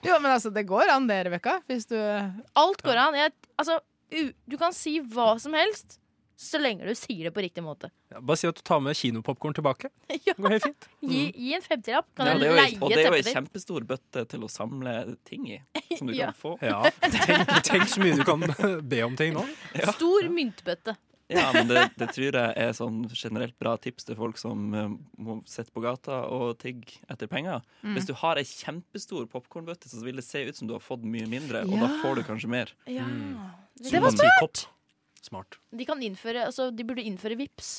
[SPEAKER 4] Jo, men altså, det går an det, Rebekka. Hvis du
[SPEAKER 5] Alt går an. Jeg, altså, u, du kan si hva som helst, så lenge du sier det på riktig måte.
[SPEAKER 6] Ja, bare si at du tar med kinopopkorn tilbake.
[SPEAKER 5] Ja.
[SPEAKER 6] Det går helt fint.
[SPEAKER 5] Gi, gi en femtilapp. Kan
[SPEAKER 3] Ja,
[SPEAKER 5] jeg
[SPEAKER 3] det er jo
[SPEAKER 5] leie
[SPEAKER 3] ei- og det er jo ei
[SPEAKER 5] teppet ditt?
[SPEAKER 3] kjempestor bøtte til å samle ting i, som du
[SPEAKER 5] Ja.
[SPEAKER 3] kan få.
[SPEAKER 6] Ja, tenk, tenk så mye du kan be om ting nå.
[SPEAKER 5] Stor myntbøtte.
[SPEAKER 3] Ja, men det, det tror jeg er sånn generelt bra tips til folk som eh, må sitte på gata og tigge etter penger.
[SPEAKER 5] Mm.
[SPEAKER 3] Hvis du har ei kjempestor popkornbøtte, så vil det se ut som du har fått mye mindre, og da
[SPEAKER 4] Ja.
[SPEAKER 3] får du kanskje mer.
[SPEAKER 5] Ja.
[SPEAKER 4] Det var
[SPEAKER 6] smart! Smart.
[SPEAKER 5] Mm. De, kan innføre, altså, de burde innføre VIPS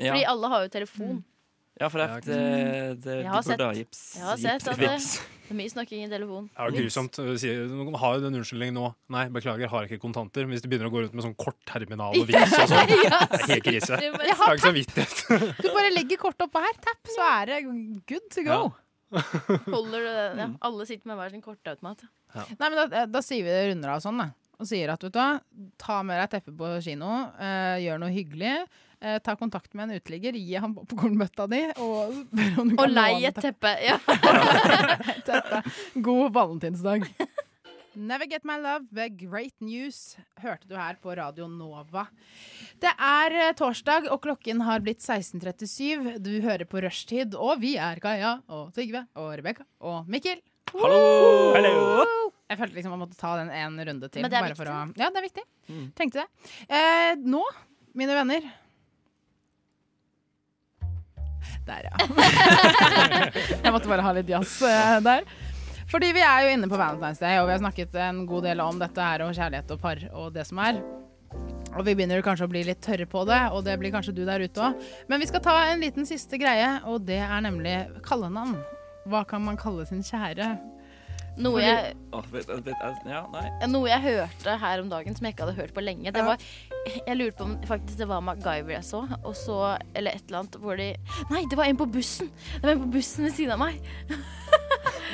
[SPEAKER 3] Ja,
[SPEAKER 5] Fordi alle har jo telefon.
[SPEAKER 3] ja for
[SPEAKER 6] Ja,
[SPEAKER 3] jeg, det, det,
[SPEAKER 5] Jeg
[SPEAKER 3] du
[SPEAKER 5] har sett-
[SPEAKER 3] burde ha gips.
[SPEAKER 5] jeg har sett
[SPEAKER 3] gips-
[SPEAKER 5] at det-
[SPEAKER 3] vips.
[SPEAKER 5] Det er mye snakking i telefon.
[SPEAKER 6] Det er jo grusomt. å si. Noen har jo den unnskyldningen nå. Nei, beklager, har ikke kontanter. Men hvis du begynner å gå rundt med sånn kortterminal og vips og sånn, det er helt krise.
[SPEAKER 5] Det er bare-
[SPEAKER 6] Jeg har ikke samvittighet.
[SPEAKER 4] Du bare legger kortet oppå her, tapp, så er det good to go.
[SPEAKER 6] Ja.
[SPEAKER 5] sånn Holder du den? Ja.
[SPEAKER 4] Mm.
[SPEAKER 5] Alle sitter med hver sin kortautomat.
[SPEAKER 4] Nei, men da, da sier vi det runder av sånn, da. Og sier at vet du hva, ta med deg teppet på kino, eh, gjør noe hyggelig. Eh, ta kontakt med en uteligger, gi ham popkornbøtta di, og spør om du
[SPEAKER 5] Og
[SPEAKER 4] kan
[SPEAKER 5] lei
[SPEAKER 4] låne
[SPEAKER 5] et teppe. Ja.
[SPEAKER 4] teppet. God valentinsdag. Never Get My Love ved Great News hørte du her på Radio Nova. Det er eh, torsdag, og klokken har blitt 16.37. Du hører på Rushtid, og vi er Kaja og Trygve og Rebekka og Mikkel.
[SPEAKER 3] Hallo!
[SPEAKER 4] Jeg følte liksom jeg måtte ta den en runde til.
[SPEAKER 5] Men det er
[SPEAKER 4] bare for å, ja, det er viktig. Tenkte det. Eh, nå, mine venner Der, ja. jeg måtte bare ha litt jazz eh, der. Fordi vi er jo inne på Valentine's Day, og vi har snakket en god del om dette her og kjærlighet og par og det som er. Og vi begynner kanskje å bli litt tørre på det, og det blir kanskje du der ute òg. Men vi skal ta en liten siste greie, og det er nemlig kallenavn. Hva kan man kalle sin kjære?
[SPEAKER 5] Noe jeg,
[SPEAKER 3] Å, vet- vet- vet- Ja, nei.
[SPEAKER 5] noe jeg hørte her om dagen som jeg ikke hadde hørt på lenge. Det var, jeg lurte på om faktisk det var MacGyver jeg så, og så Eller et eller annet hvor de Nei, det var en på bussen! Det var en på bussen ved siden av meg.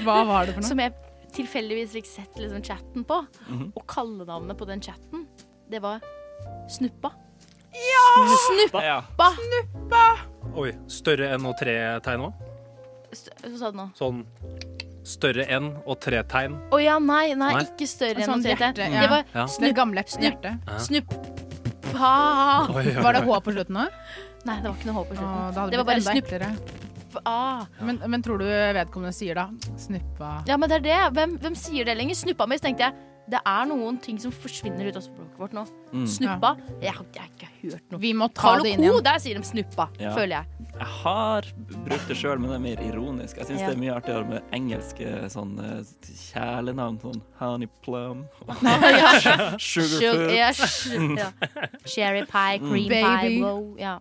[SPEAKER 4] Hva var det for noe?
[SPEAKER 5] Som jeg tilfeldigvis fikk sett liksom, chatten på.
[SPEAKER 4] Mhm.
[SPEAKER 5] Og kallenavnet på den chatten, det var Snuppa.
[SPEAKER 3] Nei, ja.
[SPEAKER 5] Ba!
[SPEAKER 6] Oi, større enn og tre tegn òg?
[SPEAKER 5] St- Hva sa du nå?
[SPEAKER 6] Sånn større enn og tre tegn.
[SPEAKER 5] Å ja, nei, nei,
[SPEAKER 6] Nei.
[SPEAKER 5] ikke større enn
[SPEAKER 4] Sånn
[SPEAKER 5] noe
[SPEAKER 4] hjerte,
[SPEAKER 5] tredje.
[SPEAKER 4] ja.
[SPEAKER 5] Det var
[SPEAKER 6] Ja.
[SPEAKER 4] Det
[SPEAKER 5] Snupp,
[SPEAKER 4] gamle
[SPEAKER 5] snupp.
[SPEAKER 4] hjertet.
[SPEAKER 5] snuppa.
[SPEAKER 6] Oi, oi, oi.
[SPEAKER 4] Var det H på slutten òg?
[SPEAKER 5] Nei, det var ikke noe håp på
[SPEAKER 4] Å,
[SPEAKER 5] slutten.
[SPEAKER 4] da hadde
[SPEAKER 5] Det
[SPEAKER 4] blitt
[SPEAKER 5] var bare
[SPEAKER 4] enda
[SPEAKER 5] snupp.
[SPEAKER 4] eklere.
[SPEAKER 5] Ah.
[SPEAKER 4] Men, men tror du vedkommende sier da 'snuppa'?
[SPEAKER 5] Ja, men det er det. Hvem, hvem sier det lenger? Snuppa mi, så tenkte jeg. Det er noen ting som forsvinner ut av språket vårt nå.
[SPEAKER 4] Mm.
[SPEAKER 5] Snuppa. Jeg, har- jeg har ikke hørt noe.
[SPEAKER 4] Vi må ta
[SPEAKER 5] Carlo
[SPEAKER 4] det inn
[SPEAKER 5] Co,
[SPEAKER 4] igjen.
[SPEAKER 5] der sier de snuppa,
[SPEAKER 3] Ja.
[SPEAKER 5] føler jeg.
[SPEAKER 3] Jeg har brukt det sjøl, men det er mer ironisk. Jeg syns
[SPEAKER 5] Ja.
[SPEAKER 3] det er mye artigere med engelske sånn eh, kjælenavn, sånn Honey Plum,
[SPEAKER 5] Sug-
[SPEAKER 3] Sugarfoot.
[SPEAKER 5] ja, sj- ja. Cherry pie, cream
[SPEAKER 4] Baby.
[SPEAKER 5] pie, blow. Ja.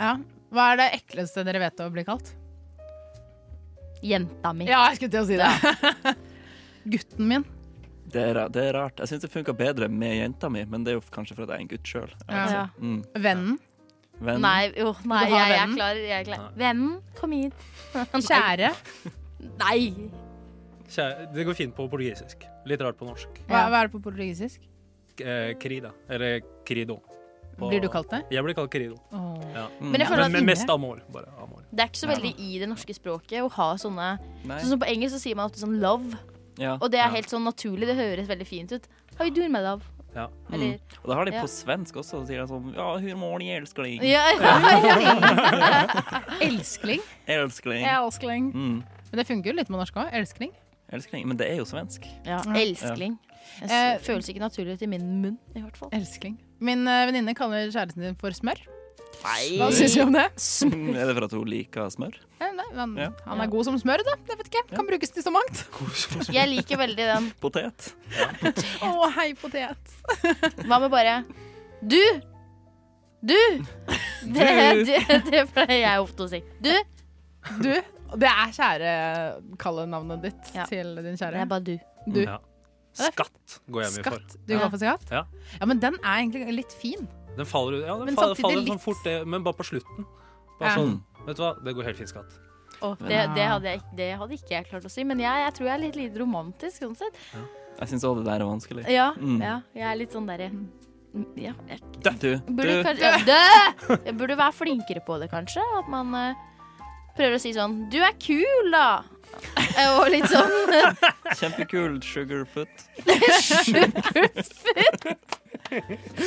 [SPEAKER 4] Ja. Hva er det ekleste dere vet å bli kalt?
[SPEAKER 5] Jenta mi.
[SPEAKER 4] Ja, jeg skulle til å si det. Gutten min.
[SPEAKER 3] Det er, ra- det er rart. Jeg syns det funka bedre med jenta mi, men det er jo kanskje fordi jeg er en gutt sjøl.
[SPEAKER 4] Ja.
[SPEAKER 5] Ja.
[SPEAKER 3] Mm.
[SPEAKER 4] Vennen.
[SPEAKER 3] Venn.
[SPEAKER 5] Nei, jo, nei
[SPEAKER 4] Vil du
[SPEAKER 5] jeg,
[SPEAKER 4] ha
[SPEAKER 5] jeg er
[SPEAKER 4] vennen?
[SPEAKER 5] klar. Jeg er klar. Vennen, kom hit.
[SPEAKER 4] Kjære.
[SPEAKER 8] Nei!
[SPEAKER 6] Kjære, det går fint på portugisisk. Litt rart på norsk.
[SPEAKER 4] Hva, hva er det på portugisisk?
[SPEAKER 6] Eh, Krida. Eller Krido. På-
[SPEAKER 4] Blir du kalt det?
[SPEAKER 6] Jeg blir kalt Krido.
[SPEAKER 4] Åh.
[SPEAKER 6] Ja.
[SPEAKER 3] Mm.
[SPEAKER 5] Men jeg føler
[SPEAKER 6] Men
[SPEAKER 5] at
[SPEAKER 6] men mest amor. Bare amor.
[SPEAKER 5] det er ikke så veldig i det norske språket å ha sånne
[SPEAKER 3] Nei.
[SPEAKER 5] Sånn som På engelsk så sier man ofte sånn love,
[SPEAKER 3] Ja.
[SPEAKER 5] og det er helt sånn naturlig. Det høres veldig fint ut. How you doing, my love?
[SPEAKER 6] Ja.
[SPEAKER 5] Eller
[SPEAKER 3] Og da har de
[SPEAKER 5] Ja.
[SPEAKER 3] på svensk også, så sier de sånn Ja, hur mår ni elskling?
[SPEAKER 5] ja, ja, ja.
[SPEAKER 4] Elskling?
[SPEAKER 3] Elskling.
[SPEAKER 4] Elskling.
[SPEAKER 3] Mm.
[SPEAKER 4] Men det funker jo litt på norsk òg. Elskling.
[SPEAKER 3] Elskling. Men det er jo svensk.
[SPEAKER 5] ja. Elskling. Det
[SPEAKER 4] Eh,
[SPEAKER 5] føles ikke naturlig ut i min munn, i hvert fall.
[SPEAKER 4] Elskling. Min eh, venninne kaller kjæresten din for smør. Hva
[SPEAKER 5] Nei.
[SPEAKER 4] syns du om det?
[SPEAKER 3] Mm, Er det for at hun liker smør?
[SPEAKER 4] Eh, Nei, han,
[SPEAKER 3] Ja.
[SPEAKER 4] han er god som smør, da. Det vet ikke. jeg. Kan brukes til så mangt.
[SPEAKER 5] Jeg liker veldig den.
[SPEAKER 3] Potet?
[SPEAKER 4] Å, hei, potet.
[SPEAKER 5] Hva med bare Du! Du! Det, det, det pleier jeg ofte å si. Du!
[SPEAKER 4] Du, det er kjære kallenavnet ditt
[SPEAKER 5] Ja.
[SPEAKER 4] til din
[SPEAKER 5] Det
[SPEAKER 4] kjære.
[SPEAKER 5] er bare du.
[SPEAKER 4] Du.
[SPEAKER 6] Ja. Skatt går jeg mye for.
[SPEAKER 4] Skatt. Du går for skatt?
[SPEAKER 6] Ja.
[SPEAKER 4] ja, men den er egentlig litt fin.
[SPEAKER 6] Den faller ut. Ja, den
[SPEAKER 4] Men
[SPEAKER 6] faller,
[SPEAKER 4] samtidig
[SPEAKER 6] faller
[SPEAKER 4] litt.
[SPEAKER 6] sånn fort, det- men bare på slutten. Bare
[SPEAKER 4] Ja.
[SPEAKER 6] sånn, vet du hva, det går helt fint, skatt.
[SPEAKER 5] Det, det, hadde jeg, ikke- det hadde ikke jeg klart å si, men jeg, jeg tror jeg er litt lite romantisk sånn sett.
[SPEAKER 3] Jeg syns òg det der er vanskelig.
[SPEAKER 5] Ja,
[SPEAKER 3] Mm.
[SPEAKER 5] ja jeg er litt sånn derre mm, ja, jeg
[SPEAKER 3] Du, du,
[SPEAKER 5] burde kanskje ja, Dø! Jeg burde være flinkere på det, kanskje. At man eh, prøver å si sånn Du er kul, da! Eh, Og litt sånn
[SPEAKER 3] kjempekul sugarfoot.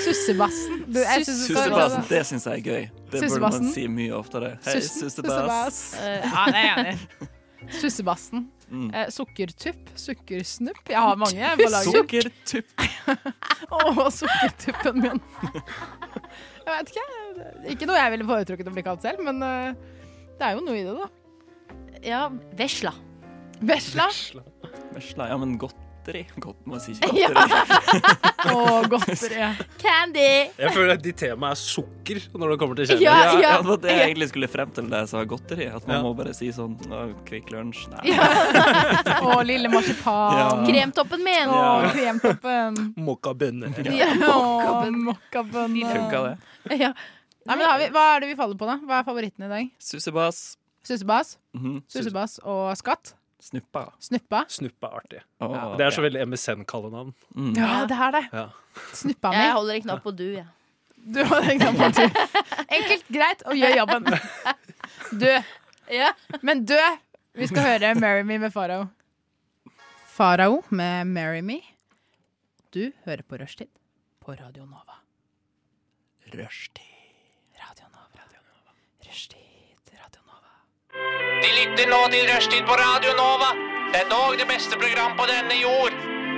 [SPEAKER 4] Sussebassen. Du, jeg synes-
[SPEAKER 3] Sussebassen, det syns jeg er gøy. Det burde
[SPEAKER 4] Sussebassen?
[SPEAKER 3] man si mye oftere. Hei,
[SPEAKER 4] Sussen.
[SPEAKER 3] sussebass.
[SPEAKER 5] eh,
[SPEAKER 4] Ja, det er jeg enig i. Sussebassen.
[SPEAKER 3] Mm.
[SPEAKER 4] Eh, sukkertupp. Sukkersnupp. Jeg har mange jeg, på laget.
[SPEAKER 3] Sukkertupp.
[SPEAKER 4] Å, sukkertuppen min. Jeg vet ikke. det er Ikke noe jeg ville foretrukket å bli kalt selv, men eh, det er jo noe i det, da.
[SPEAKER 5] Ja, vesla.
[SPEAKER 4] Vesla
[SPEAKER 3] Vesla. Ja, men godteri. Godt, man sier ikke godteri.
[SPEAKER 4] og godteri.
[SPEAKER 5] Candy!
[SPEAKER 6] Jeg føler at de temaene er sukker når det kommer til
[SPEAKER 5] Ja,
[SPEAKER 6] kjærlighet.
[SPEAKER 5] ja.
[SPEAKER 3] Ja, det var det jeg egentlig skulle frem til da jeg sa godteri. At man
[SPEAKER 6] Ja.
[SPEAKER 3] må bare si sånn «Å, Kvikk Lunsj. Nei.
[SPEAKER 4] Og lille marsipan.
[SPEAKER 3] Ja.
[SPEAKER 5] Kremtoppen min!
[SPEAKER 4] Og kremtoppen.
[SPEAKER 6] Mokkabønner.
[SPEAKER 5] Ja.
[SPEAKER 4] Og mokkabønner.
[SPEAKER 3] Funka det?
[SPEAKER 5] Ja.
[SPEAKER 4] Nei, men har vi, hva er det vi faller på, da? Hva er favoritten i dag?
[SPEAKER 3] Sussebass.
[SPEAKER 4] Sussebass,
[SPEAKER 3] Mhm.
[SPEAKER 4] sussebass og skatt.
[SPEAKER 3] Snuppa.
[SPEAKER 4] Snuppa.
[SPEAKER 6] Snuppe er artig.
[SPEAKER 3] Å,
[SPEAKER 6] Ja, det er så veldig MSN-kallenavn.
[SPEAKER 3] mm.
[SPEAKER 4] Ja, det er det.
[SPEAKER 6] Ja.
[SPEAKER 4] Snuppa mi.
[SPEAKER 5] Jeg holder en knapp på du, jeg.
[SPEAKER 4] Du har den knappen til. Enkelt, greit, og gjør jobben. Dø.
[SPEAKER 5] Ja.
[SPEAKER 4] Men dø! Vi skal høre 'Marry Me' med Farao. Farao med 'Marry Me'. Du hører på Rushtid på Radio Nova.
[SPEAKER 3] Rushtid.
[SPEAKER 4] Radio Nova. Rushtid, Radio Nova.
[SPEAKER 9] De lytter nå til Rushtid på Radio Nova. Det er dog det beste program på denne jord.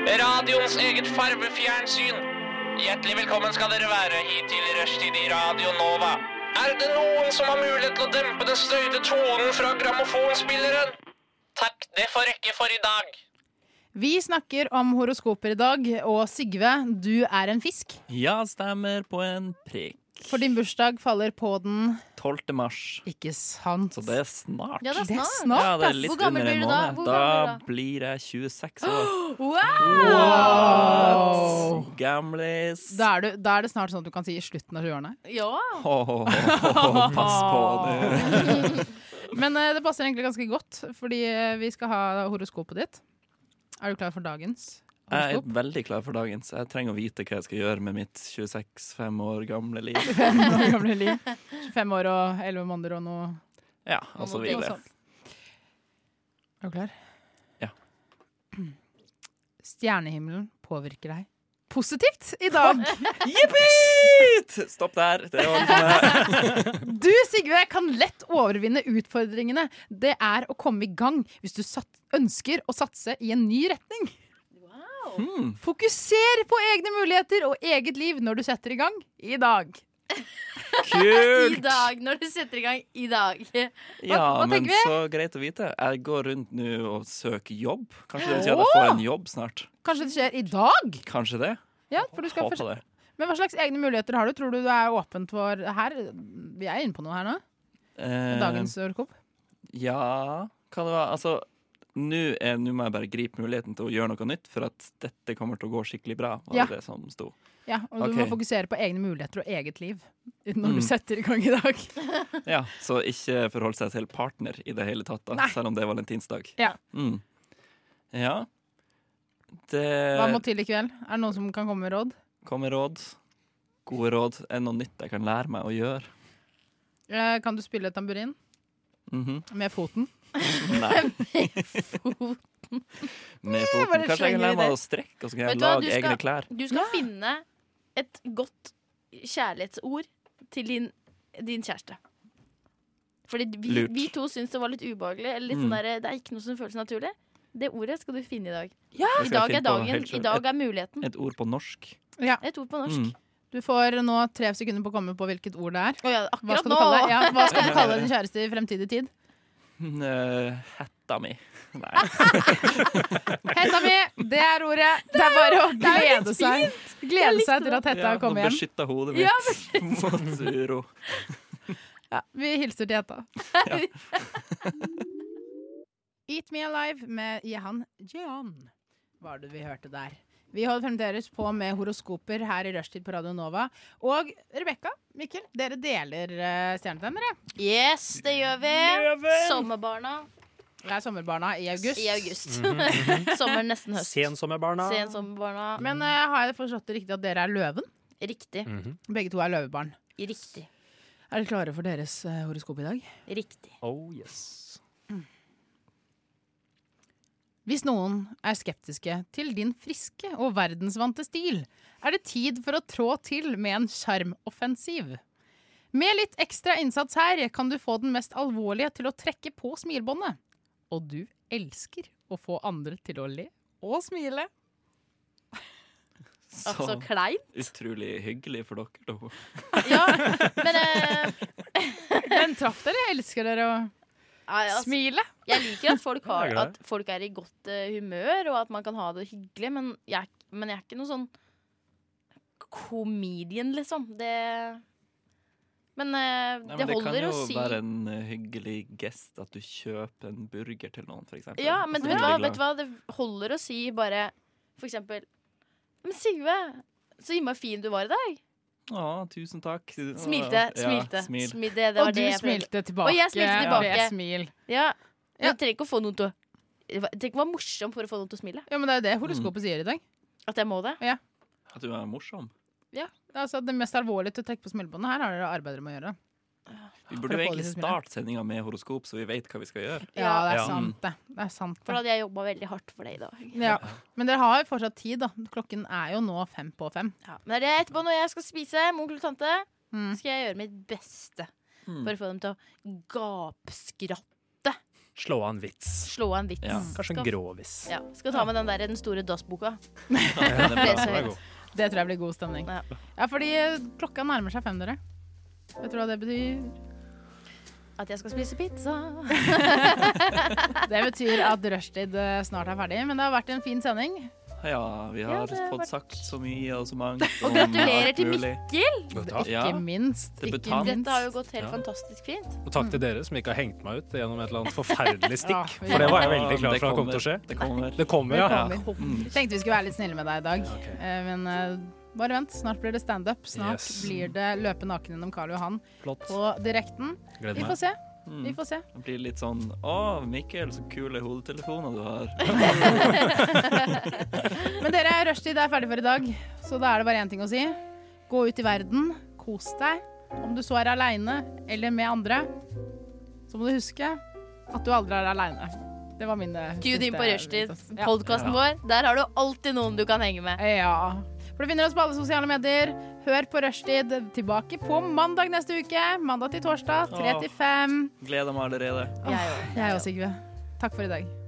[SPEAKER 9] Radioens eget farvefjernsyn. Hjertelig velkommen skal dere være hit til Rushtid i Radio Nova. Er det noen som har mulighet til å dempe den støyte tonen fra grammofonspilleren? Takk, det får rekke for i dag.
[SPEAKER 4] Vi snakker om horoskoper i dag, og Sigve, du er en fisk.
[SPEAKER 3] Ja, stemmer på en prikk.
[SPEAKER 4] For din bursdag faller på den
[SPEAKER 3] 12. mars.
[SPEAKER 4] Ikke sant?
[SPEAKER 3] Så det er snart.
[SPEAKER 5] Ja, det er
[SPEAKER 4] Det er
[SPEAKER 5] snart.
[SPEAKER 3] Ja, det er
[SPEAKER 4] ass.
[SPEAKER 3] litt
[SPEAKER 5] Hvor gammel
[SPEAKER 3] under en
[SPEAKER 5] blir du da?
[SPEAKER 3] måned.
[SPEAKER 5] Hvor gammel
[SPEAKER 3] blir jeg 26 år.
[SPEAKER 4] Wow!
[SPEAKER 3] Gamlis.
[SPEAKER 4] Da er, du, da er det snart sånn at du kan si i slutten av 20-årene.
[SPEAKER 5] Ja.
[SPEAKER 3] Ho, ho, ho, ho, Pass på det.
[SPEAKER 4] Men eh, det passer egentlig ganske godt, fordi eh, vi skal ha horoskopet ditt. Er du klar for dagens
[SPEAKER 3] Jeg
[SPEAKER 4] horoskop?
[SPEAKER 3] er veldig klar for dagen, så jeg trenger å vite hva jeg skal gjøre med mitt 26-5 år gamle liv.
[SPEAKER 4] Fem år gamle liv. 25 år og 11 måneder og noe,
[SPEAKER 3] Ja, og så
[SPEAKER 4] noe
[SPEAKER 3] videre.
[SPEAKER 4] sånt. Er du klar?
[SPEAKER 3] Ja.
[SPEAKER 4] Stjernehimmelen påvirker deg positivt i dag.
[SPEAKER 3] Jippi! Stopp der. Det var liksom det.
[SPEAKER 4] Du, Sigve, kan lett overvinne utfordringene. Det er å komme i gang hvis du sat ønsker å satse i en ny retning.
[SPEAKER 3] Hmm.
[SPEAKER 4] Fokuser på egne muligheter og eget liv når du setter i gang i dag.
[SPEAKER 5] I
[SPEAKER 3] Kult!
[SPEAKER 5] dag, når du setter i gang i dag.
[SPEAKER 3] Ja,
[SPEAKER 4] hva
[SPEAKER 3] men
[SPEAKER 4] tenker vi?
[SPEAKER 3] så greit å vite. Jeg går rundt nå og søker jobb. Kanskje det betyr at jeg får en jobb snart.
[SPEAKER 4] Kanskje det skjer i dag?
[SPEAKER 3] Kanskje det.
[SPEAKER 4] Ja, for du skal
[SPEAKER 3] Håper det.
[SPEAKER 4] Men hva slags egne muligheter har du? Tror du du er åpent for her? Vi er inne på noe her nå.
[SPEAKER 3] Eh,
[SPEAKER 4] Dagens orkopp.
[SPEAKER 3] Ja, hva det var Altså, nå er- nå må jeg bare gripe muligheten til å gjøre noe nytt, for at dette kommer til å gå skikkelig bra. Var
[SPEAKER 4] Ja.
[SPEAKER 3] det det som sto.
[SPEAKER 4] Ja, og du
[SPEAKER 3] Ok.
[SPEAKER 4] må fokusere på egne muligheter og eget liv når
[SPEAKER 3] Mm.
[SPEAKER 4] du setter i gang i dag.
[SPEAKER 3] Ja, Så ikke forholde seg til partner i det hele tatt, da,
[SPEAKER 4] Nei.
[SPEAKER 3] selv om det er valentinsdag.
[SPEAKER 4] Ja.
[SPEAKER 3] Mm. ja.
[SPEAKER 4] Hva må
[SPEAKER 3] Det
[SPEAKER 4] til i kveld? Er det noen som kan komme med råd?
[SPEAKER 3] kommer råd. Gode råd. Er det noe nytt jeg kan lære meg å gjøre?
[SPEAKER 4] Eh, Kan du spille tamburin
[SPEAKER 3] Mhm.
[SPEAKER 4] med foten?
[SPEAKER 3] Nei.
[SPEAKER 5] Fot.
[SPEAKER 3] Med
[SPEAKER 4] Ja, bare
[SPEAKER 3] foten. Kanskje jeg
[SPEAKER 4] slenger
[SPEAKER 3] kan lære
[SPEAKER 4] vi
[SPEAKER 3] meg
[SPEAKER 4] det.
[SPEAKER 3] å strekke, og så kan
[SPEAKER 5] Vet
[SPEAKER 3] jeg
[SPEAKER 5] du hva,
[SPEAKER 3] lage
[SPEAKER 5] du skal-
[SPEAKER 3] egne klær.
[SPEAKER 5] Du skal finne et godt kjærlighetsord til din, din kjæreste. Fordi vi,
[SPEAKER 3] Lurt.
[SPEAKER 5] vi to syns det var litt ubehagelig. Eller litt
[SPEAKER 3] Mm.
[SPEAKER 5] sånn der, det er ikke noe som føles naturlig. Det ordet skal du finne i dag.
[SPEAKER 3] Jeg
[SPEAKER 5] I
[SPEAKER 3] skal
[SPEAKER 5] dag
[SPEAKER 3] finne
[SPEAKER 5] er
[SPEAKER 3] på
[SPEAKER 5] dagen.
[SPEAKER 3] helt
[SPEAKER 5] I
[SPEAKER 3] selv
[SPEAKER 5] dag er muligheten.
[SPEAKER 3] Et, et ord på norsk.
[SPEAKER 5] Et ord på norsk.
[SPEAKER 3] Mm.
[SPEAKER 4] Du får nå tre sekunder på å komme på hvilket ord det er.
[SPEAKER 5] Å ja,
[SPEAKER 4] Hva
[SPEAKER 5] akkurat
[SPEAKER 4] skal, du
[SPEAKER 5] nå!
[SPEAKER 4] kalle, ja, hva skal du kalle din kjæreste i fremtidig tid?
[SPEAKER 3] Eh, hetta mi. Nei.
[SPEAKER 4] Hetta mi! Det er ordet. Det er bare å glede seg. Glede seg til at hetta
[SPEAKER 3] Ja, nå
[SPEAKER 4] kommer hjem.
[SPEAKER 3] beskytter hodet
[SPEAKER 4] Ja,
[SPEAKER 3] mitt mot uro.
[SPEAKER 4] Ja, vi hilser til Hetta. Eat Me Alive med Jehan Jehan var det vi hørte der. Vi holder fremdeles på med horoskoper her i rushtid på Radio Nova. Og Rebekka, Mikkel, dere deler uh, stjernetegner. ja.
[SPEAKER 5] Yes, det gjør vi. Sommerbarna
[SPEAKER 4] Det er sommerbarna i august.
[SPEAKER 5] i august.
[SPEAKER 3] Mhm.
[SPEAKER 5] Mhm. Sommer nesten høst.
[SPEAKER 6] Sensommerbarna.
[SPEAKER 5] Sensommerbarna.
[SPEAKER 4] Men eh, har jeg forstått det riktig at dere er løven?
[SPEAKER 5] Riktig.
[SPEAKER 6] Mhm.
[SPEAKER 4] Begge to er løvebarn.
[SPEAKER 5] Riktig.
[SPEAKER 4] Er dere klare for deres eh, horoskop i dag?
[SPEAKER 5] Riktig.
[SPEAKER 6] Oh yes.
[SPEAKER 4] Hvis noen er skeptiske til din friske og verdensvante stil, er det tid for å trå til med en sjarmoffensiv. Med litt ekstra innsats her kan du få den mest alvorlige til å trekke på smilebåndet. Og du elsker å få andre til å le og smile.
[SPEAKER 5] Altså
[SPEAKER 3] Så
[SPEAKER 5] klein.
[SPEAKER 3] utrolig hyggelig for dere. Da.
[SPEAKER 5] Ja, men eh,
[SPEAKER 4] Men traff dere? Elsker dere å
[SPEAKER 5] nei, altså,
[SPEAKER 4] smile?
[SPEAKER 5] Jeg liker at folk, har,
[SPEAKER 6] Jeg er glad.
[SPEAKER 5] at folk er i godt eh, humør, og at man kan ha det hyggelig, men jeg, er ikke- men jeg er ikke noe sånn comedian, liksom. Det Men eh,
[SPEAKER 3] Nei,
[SPEAKER 5] det
[SPEAKER 3] men det kan
[SPEAKER 5] holder
[SPEAKER 3] jo
[SPEAKER 5] å si
[SPEAKER 3] være en eh, hyggelig gest at du kjøper en burger til noen, for eksempel.
[SPEAKER 5] Ja, men
[SPEAKER 3] Så
[SPEAKER 5] vet
[SPEAKER 3] blir
[SPEAKER 5] du, hva,
[SPEAKER 3] de
[SPEAKER 5] vet du
[SPEAKER 3] glad.
[SPEAKER 5] hva? Det holder å si bare for eksempel Men Sigve, så innmari fin du var i dag.
[SPEAKER 3] Å, tusen takk.
[SPEAKER 5] Smilte,
[SPEAKER 3] Ja,
[SPEAKER 5] smilte.
[SPEAKER 3] smil.
[SPEAKER 5] smil. Det, det
[SPEAKER 4] Og
[SPEAKER 5] var
[SPEAKER 4] du
[SPEAKER 5] det jeg prøvde.
[SPEAKER 4] smilte tilbake.
[SPEAKER 5] Og jeg smilte
[SPEAKER 4] ved
[SPEAKER 5] tilbake.
[SPEAKER 4] smil.
[SPEAKER 5] Ja.
[SPEAKER 4] Ja.
[SPEAKER 5] Jeg trenger ikke å få noen til å Jeg trenger ikke å være morsom for å få noen til å smile.
[SPEAKER 4] Ja, men det er jo det horoskopet sier i dag.
[SPEAKER 5] At jeg må det.
[SPEAKER 3] At du er morsom.
[SPEAKER 4] Altså, det mest alvorlige til å trekke på smilebåndet her har dere arbeidere med å gjøre.
[SPEAKER 5] Ah,
[SPEAKER 3] Vi
[SPEAKER 4] For å
[SPEAKER 3] burde jo
[SPEAKER 4] få
[SPEAKER 3] egentlig
[SPEAKER 4] disse smilene.
[SPEAKER 3] starte sendinga med horoskop, så vi vet hva vi skal gjøre.
[SPEAKER 4] Ja, det er
[SPEAKER 6] Ja.
[SPEAKER 4] sant, det. det, er sant,
[SPEAKER 5] For da
[SPEAKER 4] det.
[SPEAKER 5] hadde jeg jobba veldig hardt for det i dag.
[SPEAKER 4] Ja. Men dere har jo fortsatt tid, da. Klokken er jo nå fem på fem.
[SPEAKER 5] Ja, men det er etterpå når jeg skal spise med onkel og tante,
[SPEAKER 4] Mm.
[SPEAKER 5] skal jeg gjøre mitt beste
[SPEAKER 3] Mm.
[SPEAKER 5] for å få dem til å gapskratte.
[SPEAKER 6] Slå av en vits.
[SPEAKER 5] Slå av en vits.
[SPEAKER 3] Ja.
[SPEAKER 6] Kanskje en
[SPEAKER 5] Skal-
[SPEAKER 6] gråvis.
[SPEAKER 5] Ja, skal ta med den der den store dass-boka.
[SPEAKER 3] Ja, det er
[SPEAKER 5] Lese
[SPEAKER 3] bra.
[SPEAKER 5] høyt.
[SPEAKER 4] Det tror jeg blir god stemning.
[SPEAKER 5] Ja.
[SPEAKER 4] Ja, fordi eh, klokka nærmer seg fem, dere. Vet dere hva det betyr?
[SPEAKER 5] At jeg skal spise pizza.
[SPEAKER 4] Det betyr at rushtid eh, snart er ferdig, men det har vært en fin sending.
[SPEAKER 3] ja, vi har
[SPEAKER 5] Ja, det har
[SPEAKER 3] fått
[SPEAKER 5] vært-
[SPEAKER 3] sagt så mye og så mangt.
[SPEAKER 5] Og gratulerer til Mikkel!
[SPEAKER 6] Takk.
[SPEAKER 3] Ja.
[SPEAKER 4] Ikke minst.
[SPEAKER 3] Det
[SPEAKER 4] Ikke
[SPEAKER 3] betaler.
[SPEAKER 5] Dette
[SPEAKER 4] minst.
[SPEAKER 5] har jo gått helt
[SPEAKER 6] Ja.
[SPEAKER 5] fantastisk fint.
[SPEAKER 6] Og takk til dere som ikke har hengt meg ut gjennom et eller annet forferdelig
[SPEAKER 4] Ja,
[SPEAKER 6] stikk.
[SPEAKER 4] vi-
[SPEAKER 6] For det var jeg veldig klar for at kom til å skje.
[SPEAKER 3] Det kommer.
[SPEAKER 6] Det kommer,
[SPEAKER 4] Det
[SPEAKER 6] ja.
[SPEAKER 4] kommer.
[SPEAKER 3] Mm.
[SPEAKER 4] Tenkte vi skulle være litt snille med deg i dag,
[SPEAKER 6] Ok.
[SPEAKER 4] Eh, men eh, bare vent. Snart blir det standup. Snart
[SPEAKER 6] Yes.
[SPEAKER 4] blir det løpe naken gjennom Karl Johan
[SPEAKER 6] Flott.
[SPEAKER 4] på direkten.
[SPEAKER 6] Gleder
[SPEAKER 4] Vi
[SPEAKER 6] meg.
[SPEAKER 4] får se.
[SPEAKER 3] Mm.
[SPEAKER 4] Vi får se.
[SPEAKER 3] Det blir litt sånn Å, Mikkel, så kule hodetelefoner du har.
[SPEAKER 4] Men dere, rushtid er ferdig for i dag, så da er det bare én ting å si. Gå ut i verden, kos deg. Om du så er aleine eller med andre, så må du huske at du aldri er aleine. Det var mine
[SPEAKER 5] Tune inn på
[SPEAKER 4] siste-
[SPEAKER 5] Rushtid,
[SPEAKER 4] Ja.
[SPEAKER 5] podkasten vår. Der har du alltid noen du kan henge med.
[SPEAKER 4] Ja. For du finner oss på alle sosiale medier. Hør på Rushtid tilbake på mandag neste uke. Mandag til torsdag, 3 til 5.
[SPEAKER 3] Gleder meg allerede.
[SPEAKER 5] Jeg òg.
[SPEAKER 4] Jeg og Sigve. Takk for i dag.